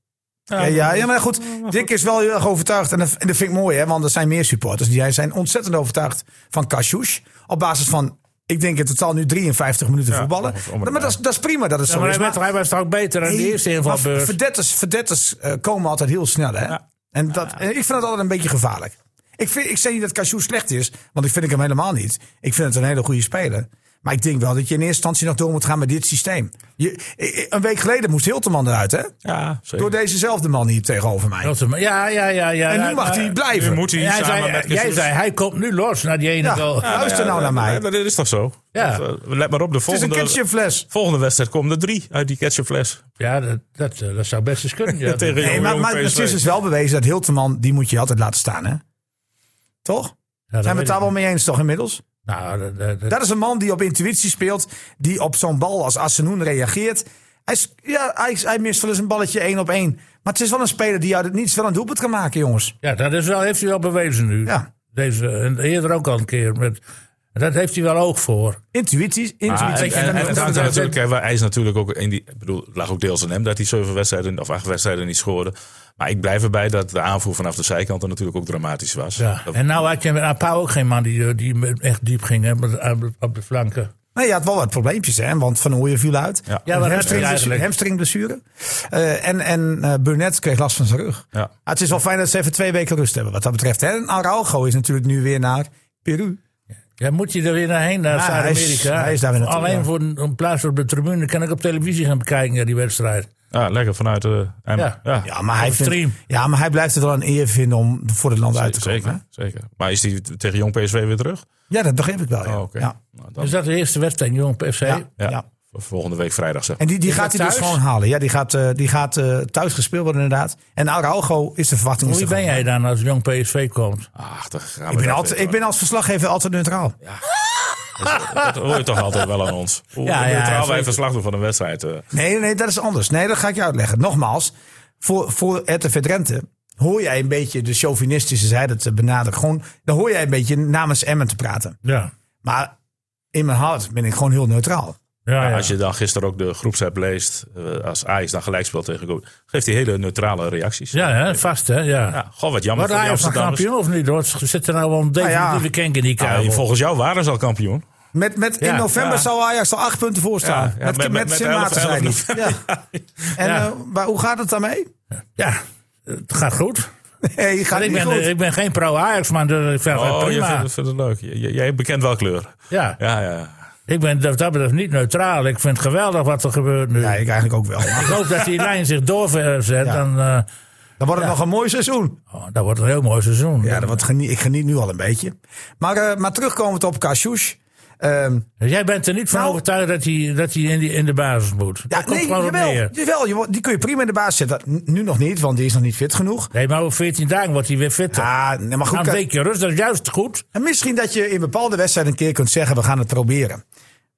[SPEAKER 1] Ja, ja, ja, maar goed. Dick is wel heel erg overtuigd. En dat, en dat vind ik mooi, hè, want er zijn meer supporters. Die zijn ontzettend overtuigd van Kasius. Op basis van, ik denk in totaal nu 53 minuten voetballen.
[SPEAKER 2] ongeveer om en
[SPEAKER 1] Maar dat is, dat is prima dat het
[SPEAKER 4] Ja,
[SPEAKER 1] zo
[SPEAKER 4] maar
[SPEAKER 1] is.
[SPEAKER 4] hij, werd,
[SPEAKER 1] Maar,
[SPEAKER 4] hij was toch ook beter aan de eerste
[SPEAKER 1] maar
[SPEAKER 4] invalbeurt.
[SPEAKER 1] verdetters, verdetters eh, komen altijd heel snel. Hè? En, dat, en ik vind dat altijd een beetje gevaarlijk. Ik, vind, ik zeg niet dat Kasius slecht is, want ik vind ik hem helemaal niet. Ik vind het een hele goede speler. Maar ik denk wel dat je in eerste instantie nog door moet gaan met dit systeem. Je, eh, eh, een week geleden moest Hilterman eruit, hè?
[SPEAKER 2] Ja, zeker.
[SPEAKER 1] Door dezezelfde man hier tegenover mij.
[SPEAKER 4] Rotterdam. Ja, ja, ja. ja
[SPEAKER 1] En nu
[SPEAKER 4] ja,
[SPEAKER 1] mag
[SPEAKER 4] maar-
[SPEAKER 1] hij
[SPEAKER 2] Nu
[SPEAKER 1] blijven.
[SPEAKER 2] moet hij
[SPEAKER 4] Jij
[SPEAKER 2] samen
[SPEAKER 4] zei,
[SPEAKER 2] met
[SPEAKER 4] jij
[SPEAKER 2] Jesus-
[SPEAKER 4] zei, hij komt nu los naar die ene
[SPEAKER 1] Ja.
[SPEAKER 4] goal.
[SPEAKER 1] Ja. Luister nou naar mij.
[SPEAKER 2] Maar dat is toch zo?
[SPEAKER 4] Ja.
[SPEAKER 2] Want, eh, Let maar op, de
[SPEAKER 1] Het is een
[SPEAKER 2] volgende,
[SPEAKER 1] ketchupfles.
[SPEAKER 2] volgende wedstrijd komen er drie uit die ketchupfles.
[SPEAKER 4] Ja, dat, dat, eh, dat zou best eens kunnen. Ja,
[SPEAKER 2] Tegen
[SPEAKER 1] Nee,
[SPEAKER 2] Jong-
[SPEAKER 1] maar,
[SPEAKER 2] Jong
[SPEAKER 1] maar
[SPEAKER 2] PSV.
[SPEAKER 1] het is dus wel bewezen dat Hilterman, die moet je altijd laten staan, hè? Toch?
[SPEAKER 4] Ja,
[SPEAKER 1] Zijn
[SPEAKER 4] dat
[SPEAKER 1] we
[SPEAKER 4] weet
[SPEAKER 1] het daar
[SPEAKER 4] ik
[SPEAKER 1] wel
[SPEAKER 4] niet.
[SPEAKER 1] mee eens toch inmiddels?
[SPEAKER 4] Nou, dat, dat, dat-
[SPEAKER 1] Dat is een man die op intuïtie speelt. Die op zo'n bal als Assenoen reageert. Hij, is- ja, hij, hij mist wel eens een balletje één op één. Maar het is wel een speler die uit het niets wel een doelpunt kan maken, jongens.
[SPEAKER 4] ja, dat is wel, heeft hij wel bewezen nu.
[SPEAKER 1] Ja.
[SPEAKER 4] Deze, en eerder ook al een keer. Met, dat heeft hij wel oog voor.
[SPEAKER 1] Intuïtie.
[SPEAKER 2] Ah, en,
[SPEAKER 1] intuïtie. Nou,
[SPEAKER 2] en- en het hangt er
[SPEAKER 4] dat-
[SPEAKER 2] natuurlijk, hè, waar- hij is natuurlijk ook in die. Ik bedoel, het lag ook deels aan hem dat hij zeven wedstrijden of acht wedstrijden niet scoorde. Maar ik blijf erbij dat de aanvoer vanaf de zijkant er natuurlijk ook dramatisch was.
[SPEAKER 4] Ja.
[SPEAKER 2] Dat-
[SPEAKER 4] En nou had je met Apau ook geen man die, eh, die echt diep ging hè, met- aan de- op de flanken.
[SPEAKER 1] nee, je had wel wat probleempjes, hè? Want Van Ooyen viel uit.
[SPEAKER 2] eh, Ja.
[SPEAKER 4] Ja, wat heb je
[SPEAKER 1] Hamstringblessure.
[SPEAKER 4] eigenlijk?
[SPEAKER 1] hamstringblessure. Eh, en en eh, Burnett kreeg last van zijn rug.
[SPEAKER 2] Ja.
[SPEAKER 1] Ah, het is wel fijn dat ze even twee weken rust hebben, wat dat betreft. Hè? En Araujo is natuurlijk nu weer naar Peru.
[SPEAKER 4] Ja, moet je er weer naarheen, naar
[SPEAKER 1] Ja, hij is-
[SPEAKER 4] Zuid-Amerika?
[SPEAKER 1] hij is daar weer naartoe,
[SPEAKER 4] Alleen
[SPEAKER 1] ja.
[SPEAKER 4] voor een, een plaats op de tribune kan ik op televisie gaan bekijken, ja, die wedstrijd.
[SPEAKER 2] Ja, lekker vanuit de.
[SPEAKER 4] Ja.
[SPEAKER 2] ja.
[SPEAKER 1] Ja, maar hij,
[SPEAKER 4] Of
[SPEAKER 1] vindt,
[SPEAKER 4] stream.
[SPEAKER 1] ja, maar hij blijft het wel een eer vinden om voor het land uit te komen.
[SPEAKER 2] zeker,
[SPEAKER 1] hè?
[SPEAKER 2] zeker. Maar is hij tegen jong PSV weer terug?
[SPEAKER 1] Ja, dat begreep ik wel. Ja.
[SPEAKER 2] Oh, oké.
[SPEAKER 1] ja.
[SPEAKER 2] Nou, dan-
[SPEAKER 4] Dus dat is de eerste wedstrijd, jong PSV.
[SPEAKER 1] Ja.
[SPEAKER 2] ja.
[SPEAKER 1] ja.
[SPEAKER 2] Voor Volgende week vrijdag zeg.
[SPEAKER 1] En die, die
[SPEAKER 4] Is
[SPEAKER 1] gaat
[SPEAKER 4] dat
[SPEAKER 1] hij dus
[SPEAKER 4] thuis?
[SPEAKER 1] gewoon halen. Ja, die gaat, eh, die gaat eh, thuis gespeeld worden inderdaad. En Araujo is de verwachting. is
[SPEAKER 4] Wie
[SPEAKER 1] er
[SPEAKER 4] ben
[SPEAKER 1] gewoon.
[SPEAKER 4] jij dan als jong PSV komt?
[SPEAKER 2] Ach, dan gaan we
[SPEAKER 1] Ik ben,
[SPEAKER 2] dat
[SPEAKER 1] altijd,
[SPEAKER 2] weer-
[SPEAKER 1] ik ben als verslaggever altijd neutraal.
[SPEAKER 2] Dat hoor je toch altijd wel aan ons. Hoe
[SPEAKER 4] Ja,
[SPEAKER 2] ja,
[SPEAKER 4] ja,
[SPEAKER 2] neutraal wij
[SPEAKER 4] zeker.
[SPEAKER 2] verslag doen van een wedstrijd. eh.
[SPEAKER 1] Nee, nee, dat is anders. Nee, dat ga ik je uitleggen. Nogmaals, voor, voor RTV Drenthe hoor jij een beetje de chauvinistische zijde te benaderen. Gewoon, dan hoor jij een beetje namens Emmen te praten.
[SPEAKER 4] Ja.
[SPEAKER 1] Maar in mijn hart ben ik gewoon heel neutraal.
[SPEAKER 4] Ja,
[SPEAKER 2] Ja,
[SPEAKER 4] ja.
[SPEAKER 2] Als je dan gisteren ook de groepsapp leest, eh, als Ajax dan gelijk speelt tegen Go geeft hij hele neutrale reacties.
[SPEAKER 4] ja, hè, vast hè, ja.
[SPEAKER 2] Ja, goh, wat jammer
[SPEAKER 4] Wordt
[SPEAKER 2] voor
[SPEAKER 4] Ajax
[SPEAKER 2] die
[SPEAKER 4] nog
[SPEAKER 2] Amsterdammers.
[SPEAKER 4] kampioen of niet? Hoor? Ze zitten nou wel een
[SPEAKER 1] Nou
[SPEAKER 4] definitieve
[SPEAKER 1] ja.
[SPEAKER 4] kink in die
[SPEAKER 2] Ja,
[SPEAKER 4] kabel.
[SPEAKER 2] volgens jou waren ze al kampioen.
[SPEAKER 1] Met, met, in
[SPEAKER 4] Ja,
[SPEAKER 1] november
[SPEAKER 2] ja.
[SPEAKER 1] zou Ajax al acht punten voor staan.
[SPEAKER 2] Ja, ja,
[SPEAKER 1] met, met,
[SPEAKER 2] met- met- met
[SPEAKER 1] Sint
[SPEAKER 2] elf-
[SPEAKER 1] Maarten, zei
[SPEAKER 2] elf
[SPEAKER 1] hij. Ja. En
[SPEAKER 4] Ja.
[SPEAKER 1] eh, maar hoe gaat het daarmee?
[SPEAKER 4] ja, het gaat goed.
[SPEAKER 1] Nee,
[SPEAKER 4] Maar
[SPEAKER 1] gaat
[SPEAKER 4] ik,
[SPEAKER 1] niet
[SPEAKER 4] ben, eh,
[SPEAKER 1] goed.
[SPEAKER 4] ik ben geen pro-Ajax-man, dus ik vind het
[SPEAKER 2] Oh, je
[SPEAKER 4] prima.
[SPEAKER 2] vindt, het- vindt het leuk. J- j- jij bekent wel kleur.
[SPEAKER 4] Ja.
[SPEAKER 2] Ja, ja.
[SPEAKER 4] Ik ben dat dat betreft niet neutraal. Ik vind het geweldig wat er gebeurt nu.
[SPEAKER 1] Ja, ik eigenlijk ook wel.
[SPEAKER 4] Ik hoop dat die lijn zich doorzet.
[SPEAKER 1] Ja.
[SPEAKER 4] Dan, eh,
[SPEAKER 1] Dan wordt het nog een mooi seizoen.
[SPEAKER 4] oh, dat wordt een heel mooi seizoen.
[SPEAKER 1] Ja, dat wordt genie- ik geniet nu al een beetje. Maar, eh maar terugkomend op Kassouche. Ehm,
[SPEAKER 4] Dus Jij bent er niet van
[SPEAKER 1] Nou-
[SPEAKER 4] overtuigd dat hij, dat hij in, die, in de basis moet.
[SPEAKER 1] ja,
[SPEAKER 4] dat komt
[SPEAKER 1] nee,
[SPEAKER 4] gewoon op
[SPEAKER 1] jawel,
[SPEAKER 4] neer.
[SPEAKER 1] jawel, je wo- die kun je prima in de baas zetten. N- Nu nog niet, want die is nog niet fit genoeg.
[SPEAKER 4] Nee, maar over 14 dagen wordt hij weer fitter.
[SPEAKER 1] Ah, nee, maar
[SPEAKER 4] Na
[SPEAKER 1] goed,
[SPEAKER 4] een
[SPEAKER 1] kijk,
[SPEAKER 4] weekje rust, dat is juist goed.
[SPEAKER 1] en misschien dat je in bepaalde wedstrijden een keer kunt zeggen... we gaan het proberen.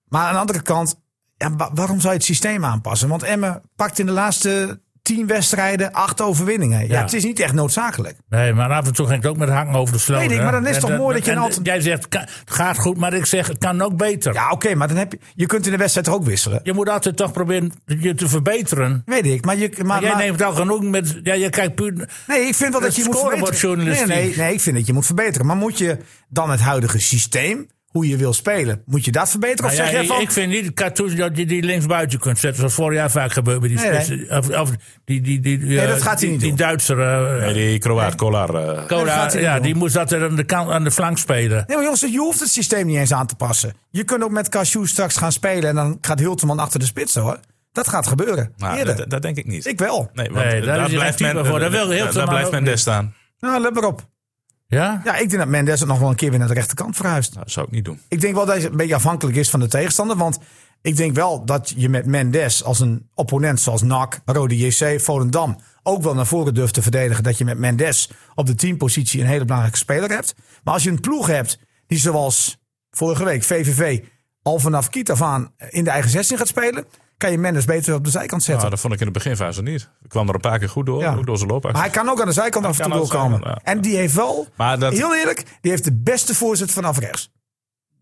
[SPEAKER 1] Maar aan de andere kant, ja, wa- waarom zou je het systeem aanpassen? Want Emmen pakt in de laatste tien wedstrijden acht overwinningen. Ja,
[SPEAKER 4] Ja.
[SPEAKER 1] Het is niet echt noodzakelijk.
[SPEAKER 4] Nee, maar af en toe ging ik ook met hangen over de sloot.
[SPEAKER 1] Weet ik,
[SPEAKER 4] hè.
[SPEAKER 1] maar dan is het
[SPEAKER 4] En
[SPEAKER 1] toch mooi dat je
[SPEAKER 4] en
[SPEAKER 1] een altijd-
[SPEAKER 4] Jij zegt, "Ka- het gaat goed, maar ik zeg, het kan ook beter.
[SPEAKER 1] Ja, oké, maar dan heb je, je kunt in de wedstrijd toch ook wisselen.
[SPEAKER 4] Je moet altijd toch proberen je te verbeteren.
[SPEAKER 1] Weet ik, maar... Je, maar,
[SPEAKER 4] Maar jij
[SPEAKER 1] maar-
[SPEAKER 4] neemt al genoeg met... Ja, je kijkt puur...
[SPEAKER 1] Nee, ik vind wel dat,
[SPEAKER 4] Het
[SPEAKER 1] je moet verbeteren. Nee,
[SPEAKER 4] scorebordjournalistiek.
[SPEAKER 1] nee, nee, ik vind dat je moet verbeteren. Maar moet je dan het huidige systeem, hoe je wil spelen, moet je dat verbeteren? Of
[SPEAKER 4] Nou ja,
[SPEAKER 1] zeg jij van,
[SPEAKER 4] Ik vind niet Cartouche dat je die linksbuiten kunt zetten. Zoals vorig jaar vaak gebeurt bij die
[SPEAKER 1] Nee,
[SPEAKER 4] spitsen. Of, of die, die, die, die, eh,
[SPEAKER 1] dat gaat hij
[SPEAKER 4] die,
[SPEAKER 1] niet
[SPEAKER 4] die
[SPEAKER 1] doen.
[SPEAKER 4] Duitser... eh,
[SPEAKER 2] Nee, die Kroaat Kolar. eh,
[SPEAKER 1] Nee,
[SPEAKER 4] Kola,
[SPEAKER 1] dat gaat hij niet
[SPEAKER 4] ja,
[SPEAKER 1] doen.
[SPEAKER 4] die moest dat er aan de, kant, aan de flank spelen.
[SPEAKER 1] nee, maar jongens, je hoeft het systeem niet eens aan te passen. Je kunt ook met Cashew straks gaan spelen en dan gaat Hulteman achter de spits hoor. Dat gaat gebeuren.
[SPEAKER 2] nou,
[SPEAKER 1] Eerder.
[SPEAKER 2] dat- dat, dat denk ik niet.
[SPEAKER 1] ik wel.
[SPEAKER 2] Nee, want
[SPEAKER 4] Nee, daar is hij geen type voor. Daar wil
[SPEAKER 2] daar-
[SPEAKER 4] Hilterman
[SPEAKER 2] daar blijft
[SPEAKER 4] ook
[SPEAKER 2] Mendes
[SPEAKER 4] niet.
[SPEAKER 2] staan.
[SPEAKER 1] Nou, let maar op.
[SPEAKER 4] Ja?
[SPEAKER 1] Ja, ik denk dat Mendes het nog wel een keer weer naar de rechterkant verhuist.
[SPEAKER 2] Dat zou ik niet doen.
[SPEAKER 1] Ik denk wel dat hij een beetje afhankelijk is van de tegenstander. Want ik denk wel dat je met Mendes als een opponent zoals NAC, Rode JC, Volendam... ook wel naar voren durft te verdedigen dat je met Mendes op de teampositie een hele belangrijke speler hebt. Maar als je een ploeg hebt die zoals vorige week VVV al vanaf kiet af aan in de eigen 16 gaat spelen... kan je Mendes beter op de zijkant zetten.
[SPEAKER 2] Nou, dat vond ik in de beginfase niet. Ik kwam er een paar keer goed door.
[SPEAKER 1] Ja.
[SPEAKER 2] Ook door zijn
[SPEAKER 1] maar
[SPEAKER 2] loopactie.
[SPEAKER 1] hij kan ook aan de zijkant af en
[SPEAKER 2] kan
[SPEAKER 1] toe
[SPEAKER 2] aan de
[SPEAKER 1] doorkomen.
[SPEAKER 2] zijkant, ja.
[SPEAKER 1] En die heeft wel,
[SPEAKER 2] Maar dat-
[SPEAKER 1] heel eerlijk, die heeft de beste voorzet vanaf rechts.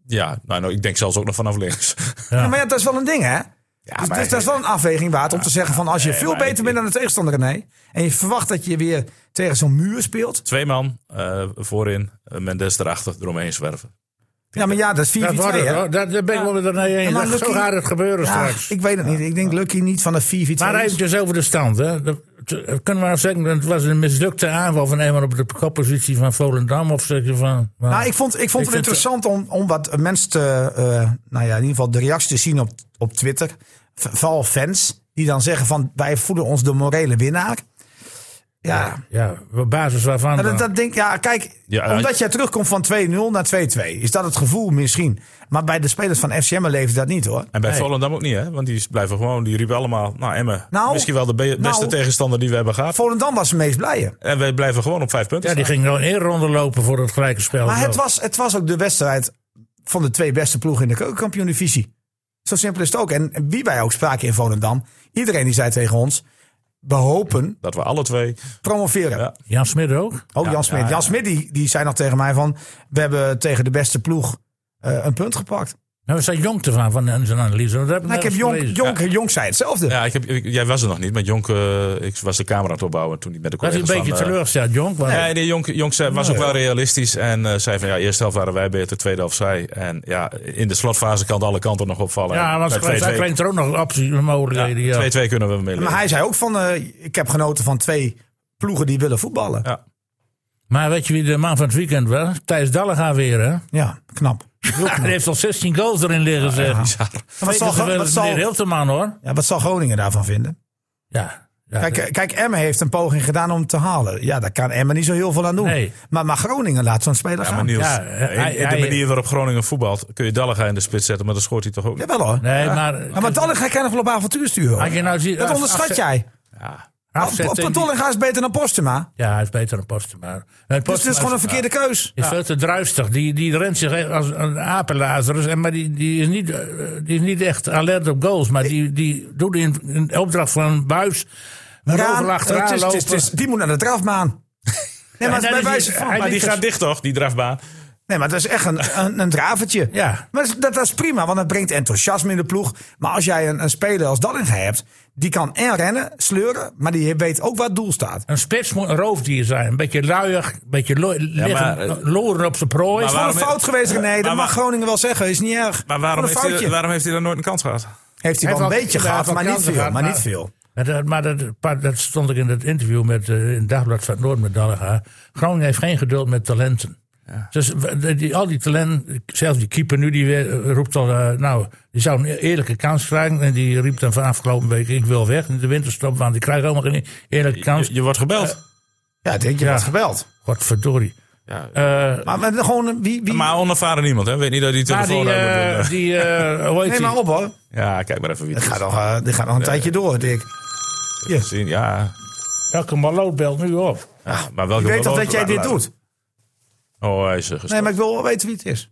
[SPEAKER 2] Ja, nou, nou, ik denk zelfs ook nog vanaf links.
[SPEAKER 1] Ja, maar ja, dat is wel een ding, hè? dus,
[SPEAKER 2] maar-
[SPEAKER 1] dus dat is wel een afweging waard om te zeggen van... als je veel
[SPEAKER 2] maar
[SPEAKER 1] beter
[SPEAKER 2] ik-
[SPEAKER 1] bent dan de tegenstander, René... en je verwacht dat je weer tegen zo'n muur speelt...
[SPEAKER 2] Twee man eh, voorin, eh, Mendes erachter, eromheen zwerven.
[SPEAKER 1] Ja, maar ja, dat is 4
[SPEAKER 4] Dat
[SPEAKER 1] 4
[SPEAKER 4] wordt
[SPEAKER 1] 2
[SPEAKER 4] het,
[SPEAKER 1] hè?
[SPEAKER 4] hoor. Dat, daar ben ik wel weer mee eens.
[SPEAKER 1] maar
[SPEAKER 4] Dat- Zo
[SPEAKER 1] Lucky-
[SPEAKER 4] gaat het gebeuren
[SPEAKER 1] Ja,
[SPEAKER 4] straks.
[SPEAKER 1] ik weet het niet. Ik denk Lucky niet van de 4 4
[SPEAKER 4] Maar
[SPEAKER 1] 2
[SPEAKER 4] eventjes over de stand. Hè. De, te- kunnen we nou zeggen, dat het was een mislukte aanval van Emmen op de koppositie van Volendam? Of zeg je van.
[SPEAKER 1] Nou, ik vond, ik vond het
[SPEAKER 4] Ik vind-
[SPEAKER 1] interessant om, om wat mensen te, eh, nou ja, in ieder geval de reacties te zien op, op Twitter. V- Vooral fans die dan zeggen van wij voelen ons de morele winnaar. Ja,
[SPEAKER 4] Ja, op basis waarvan.
[SPEAKER 1] Nou,
[SPEAKER 4] dan?
[SPEAKER 1] dat, dat denk, ja kijk,
[SPEAKER 2] Ja, ja.
[SPEAKER 1] omdat jij terugkomt van 2-0 naar 2-2, is dat het gevoel misschien. Maar bij de spelers van FCM leeft dat niet hoor.
[SPEAKER 2] En bij
[SPEAKER 4] Nee.
[SPEAKER 2] Volendam ook niet, hè? Want die blijven gewoon, die riepen allemaal, nou Emmen,
[SPEAKER 1] Nou,
[SPEAKER 2] misschien wel de be- beste
[SPEAKER 1] nou.
[SPEAKER 2] tegenstander die we hebben gehad.
[SPEAKER 1] Volendam was het meest blije.
[SPEAKER 2] En wij blijven gewoon op vijf punten.
[SPEAKER 4] ja, die
[SPEAKER 2] staan.
[SPEAKER 4] ging nog een ronde lopen voor het gelijke spel.
[SPEAKER 1] Maar het
[SPEAKER 4] geloof ik.
[SPEAKER 1] was, het was ook de wedstrijd van de twee beste ploegen in de keukenkampioen-divisie. Zo simpel is het ook. En en wie wij ook spraken in Volendam, iedereen die zei tegen ons, we hopen
[SPEAKER 2] Dat we alle twee.
[SPEAKER 1] promoveren.
[SPEAKER 2] Ja.
[SPEAKER 4] Jan Smit ook.
[SPEAKER 1] Ook Jan Smit.
[SPEAKER 2] ja,
[SPEAKER 1] Jan Smit die, die zei nog tegen mij van, we hebben tegen de beste ploeg eh, een punt gepakt.
[SPEAKER 4] Nou, we zijn jong te van, van zijn analyse. want Dat heb
[SPEAKER 1] Nou, ik heb
[SPEAKER 4] nergens
[SPEAKER 1] Jonk,
[SPEAKER 4] gelezen.
[SPEAKER 1] Jonk, Jonk zei hetzelfde.
[SPEAKER 2] Ja, ik heb, ik- jij was er nog niet, maar Jonk, eh, ik was de camera aan het opbouwen toen hij met de
[SPEAKER 4] Was hij
[SPEAKER 2] collega's
[SPEAKER 4] een beetje
[SPEAKER 2] van, eh,
[SPEAKER 4] teleurgesteld, Jonk? Want
[SPEAKER 2] Nee, nee, Jonk, Jonk zei, was
[SPEAKER 1] Nee.
[SPEAKER 2] ook wel realistisch. En eh, zei van ja, eerste helft waren wij beter, tweede helft zij. En ja, in de slotfase kan het alle kanten nog opvallen.
[SPEAKER 4] ja,
[SPEAKER 2] En
[SPEAKER 4] want
[SPEAKER 2] bij 2-2
[SPEAKER 4] hij kreeg er ook nog opties, mogelijkheden. Ja,
[SPEAKER 2] 2-2 kunnen we mee.
[SPEAKER 1] Maar hij zei ook van, eh, ik heb genoten van twee ploegen die willen voetballen. Ja,
[SPEAKER 2] Ja.
[SPEAKER 4] Maar weet je wie de man van het weekend was? Thijs Dallega weer, hè?
[SPEAKER 1] knap.
[SPEAKER 4] Hij heeft al 16 goals erin liggen, zeg.
[SPEAKER 2] Bizar.
[SPEAKER 1] Wat zal, Gro- wat, zal,
[SPEAKER 4] heel te man, hoor.
[SPEAKER 1] ja, wat zal Groningen daarvan vinden?
[SPEAKER 4] Ja. ja
[SPEAKER 1] Kijk, eh, kijk, Emmen heeft een poging gedaan om te halen. Ja, daar kan Emmen niet zo heel veel aan doen.
[SPEAKER 4] Nee.
[SPEAKER 1] Maar, maar Groningen laat zo'n speler
[SPEAKER 2] Maar
[SPEAKER 1] gaan.
[SPEAKER 2] Niels,
[SPEAKER 4] Ja,
[SPEAKER 2] in-
[SPEAKER 4] hij-
[SPEAKER 2] in de
[SPEAKER 4] hij-
[SPEAKER 2] manier waarop Groningen voetbalt, kun je Dallega in de spits zetten, maar dan scoort hij toch ook niet.
[SPEAKER 1] Jawel hoor.
[SPEAKER 4] nee, maar...
[SPEAKER 1] Ja, maar Dallinga kan nog wel op avontuur sturen. hoor.
[SPEAKER 4] Als je nou ziet-
[SPEAKER 1] dat
[SPEAKER 4] als-
[SPEAKER 1] onderschat
[SPEAKER 4] als-
[SPEAKER 1] jij.
[SPEAKER 2] Ja.
[SPEAKER 4] afzet in die-
[SPEAKER 1] Dallinga is beter dan Postuma.
[SPEAKER 4] Ja, hij is beter dan Postema. Nee,
[SPEAKER 1] Dus het is gewoon een verkeerde keus.
[SPEAKER 4] is veel te druistig. Die, die rent zich echt als een apenlazerus. En, maar die, die, is niet, eh, die is niet echt alert op goals. Maar die, die doet in, in opdracht van een buis... Een
[SPEAKER 1] Raan,
[SPEAKER 4] rover
[SPEAKER 1] het
[SPEAKER 4] achteraan
[SPEAKER 1] is- het
[SPEAKER 4] lopen.
[SPEAKER 1] is- het is- die moet naar de drafbaan. Nee, maar,
[SPEAKER 4] En dan
[SPEAKER 1] bij
[SPEAKER 4] is
[SPEAKER 1] wijze
[SPEAKER 4] hij-
[SPEAKER 1] van-
[SPEAKER 4] hij
[SPEAKER 2] Maar die
[SPEAKER 4] liet
[SPEAKER 2] gaat dicht toch, die drafbaan?
[SPEAKER 1] nee, maar dat is echt een, een, een dravertje.
[SPEAKER 4] Ja.
[SPEAKER 1] Maar dat, is- dat is prima, want dat brengt enthousiasme in de ploeg. Maar als jij een, een speler als Dallinga hebt, die kan en rennen, sleuren, maar die weet ook waar het doel staat.
[SPEAKER 4] Een spits moet een roofdier zijn. Een beetje luiig, een beetje lo- liggen,
[SPEAKER 2] maar, eh,
[SPEAKER 4] loeren op zijn prooi.
[SPEAKER 2] maar
[SPEAKER 1] Gewoon een
[SPEAKER 2] waarom- eh,
[SPEAKER 1] fout geweest, René. Dat mag
[SPEAKER 2] Maar waar-
[SPEAKER 1] Groningen wel zeggen, is niet erg.
[SPEAKER 2] Maar waarom
[SPEAKER 1] Gewoon een
[SPEAKER 2] heeft, hij,
[SPEAKER 1] foutje.
[SPEAKER 2] waarom heeft hij dan nooit een kans gehad?
[SPEAKER 1] heeft hij wel een
[SPEAKER 4] Hij heeft wel-
[SPEAKER 1] beetje
[SPEAKER 4] hij
[SPEAKER 1] gehad,
[SPEAKER 4] heeft
[SPEAKER 1] maar
[SPEAKER 4] wel
[SPEAKER 1] niet
[SPEAKER 4] kansen
[SPEAKER 1] veel.
[SPEAKER 4] gehad,
[SPEAKER 1] Maar niet
[SPEAKER 4] maar-
[SPEAKER 1] veel.
[SPEAKER 4] Maar, dat, maar dat, pa- dat stond ik in het interview met, eh, in het dagblad van het Noord met Dallega. Groningen heeft geen geduld met talenten. Dus we- de- die, al die talenten, zelfs die keeper nu, die weer, eh, roept al, eh, nou, die zou een eerlijke kans krijgen. En die riep dan van afgelopen week, ik wil weg in de winterstop, want ik krijg helemaal geen eerlijke kans. Eh,
[SPEAKER 2] Je, je wordt gebeld.
[SPEAKER 1] Ja, denk je,
[SPEAKER 4] Ja.
[SPEAKER 1] dat is geweld.
[SPEAKER 4] Godverdorie.
[SPEAKER 2] Ja.
[SPEAKER 4] Eh,
[SPEAKER 1] Maar, maar gewoon, wie, wie...
[SPEAKER 2] Maar onervaren niemand, hè? Weet niet dat hij
[SPEAKER 4] maar die,
[SPEAKER 2] telefoon uit moet
[SPEAKER 4] eh,
[SPEAKER 2] doen.
[SPEAKER 4] die eh, hoe heet
[SPEAKER 1] Nee,
[SPEAKER 4] die?
[SPEAKER 1] maar op hoor.
[SPEAKER 2] Ja, kijk maar even wie
[SPEAKER 1] Dit
[SPEAKER 2] het
[SPEAKER 1] gaat nog, eh, dit gaat nog een tijdje door, Dick.
[SPEAKER 2] is. Zien, Ja.
[SPEAKER 4] Elke maloot belt nu op.
[SPEAKER 2] Ja, maar welke
[SPEAKER 1] Ah, Ik weet toch
[SPEAKER 2] wel-
[SPEAKER 1] dat jij dit doet?
[SPEAKER 2] Oh, hij is er
[SPEAKER 1] Nee,
[SPEAKER 2] gestopt.
[SPEAKER 1] maar ik wil wel weten wie het is.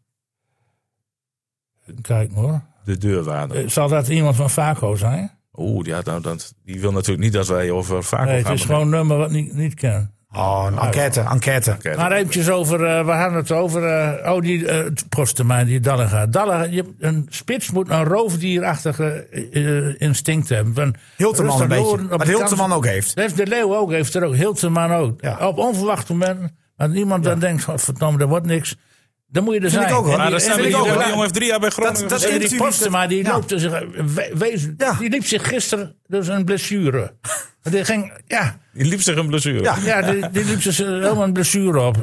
[SPEAKER 4] Kijk maar hoor.
[SPEAKER 2] De deurwaarder.
[SPEAKER 4] Eh, Zal dat iemand van Vaco zijn?
[SPEAKER 2] Oeh, die, had nou, dat, die wil natuurlijk niet dat wij over vaak
[SPEAKER 4] Nee, het
[SPEAKER 2] gaan.
[SPEAKER 4] is gewoon een nummer wat niet, niet ken.
[SPEAKER 1] Oh, een enquête, enquête.
[SPEAKER 2] beginnen.
[SPEAKER 4] Maar eventjes over, eh, we hadden het over, eh, oh die eh, t- Postema, die Dallega. Dallega, je, hebt- een spits moet een roofdierachtige eh, eh, instinct hebben. Van,
[SPEAKER 1] Hilterman
[SPEAKER 4] rustig
[SPEAKER 1] een beetje.
[SPEAKER 4] loeren op
[SPEAKER 1] Wat
[SPEAKER 4] de
[SPEAKER 1] Hilterman
[SPEAKER 4] kant.
[SPEAKER 1] ook heeft.
[SPEAKER 4] Dat heeft de Leeuw ook, heeft er ook. Hilterman ook.
[SPEAKER 1] Ja.
[SPEAKER 4] Op onverwachte momenten, dat niemand dan denkt, van, verdomme, dat wordt niks. Dan moet je er
[SPEAKER 1] ik
[SPEAKER 4] zijn.
[SPEAKER 1] ook, hoor. Maar
[SPEAKER 4] En
[SPEAKER 2] Maar
[SPEAKER 4] die-
[SPEAKER 1] dat
[SPEAKER 4] en
[SPEAKER 2] daar staan we
[SPEAKER 1] vind ik
[SPEAKER 2] niet op.
[SPEAKER 1] ook
[SPEAKER 2] Die
[SPEAKER 1] wel-
[SPEAKER 2] jongen heeft drie jaar bij Groningen.
[SPEAKER 1] Dat- dat is
[SPEAKER 2] gezeten.
[SPEAKER 4] en die
[SPEAKER 1] intuïtief,
[SPEAKER 4] Postema, die
[SPEAKER 1] ja.
[SPEAKER 4] loopt er zich, eh, we- wees,
[SPEAKER 1] Ja.
[SPEAKER 4] die liep zich gisteren dus een blessure. Die ging, ja,
[SPEAKER 2] Die liep zich een blessure.
[SPEAKER 1] Ja.
[SPEAKER 4] Ja, die, die liep dus eh, helemaal een blessure op.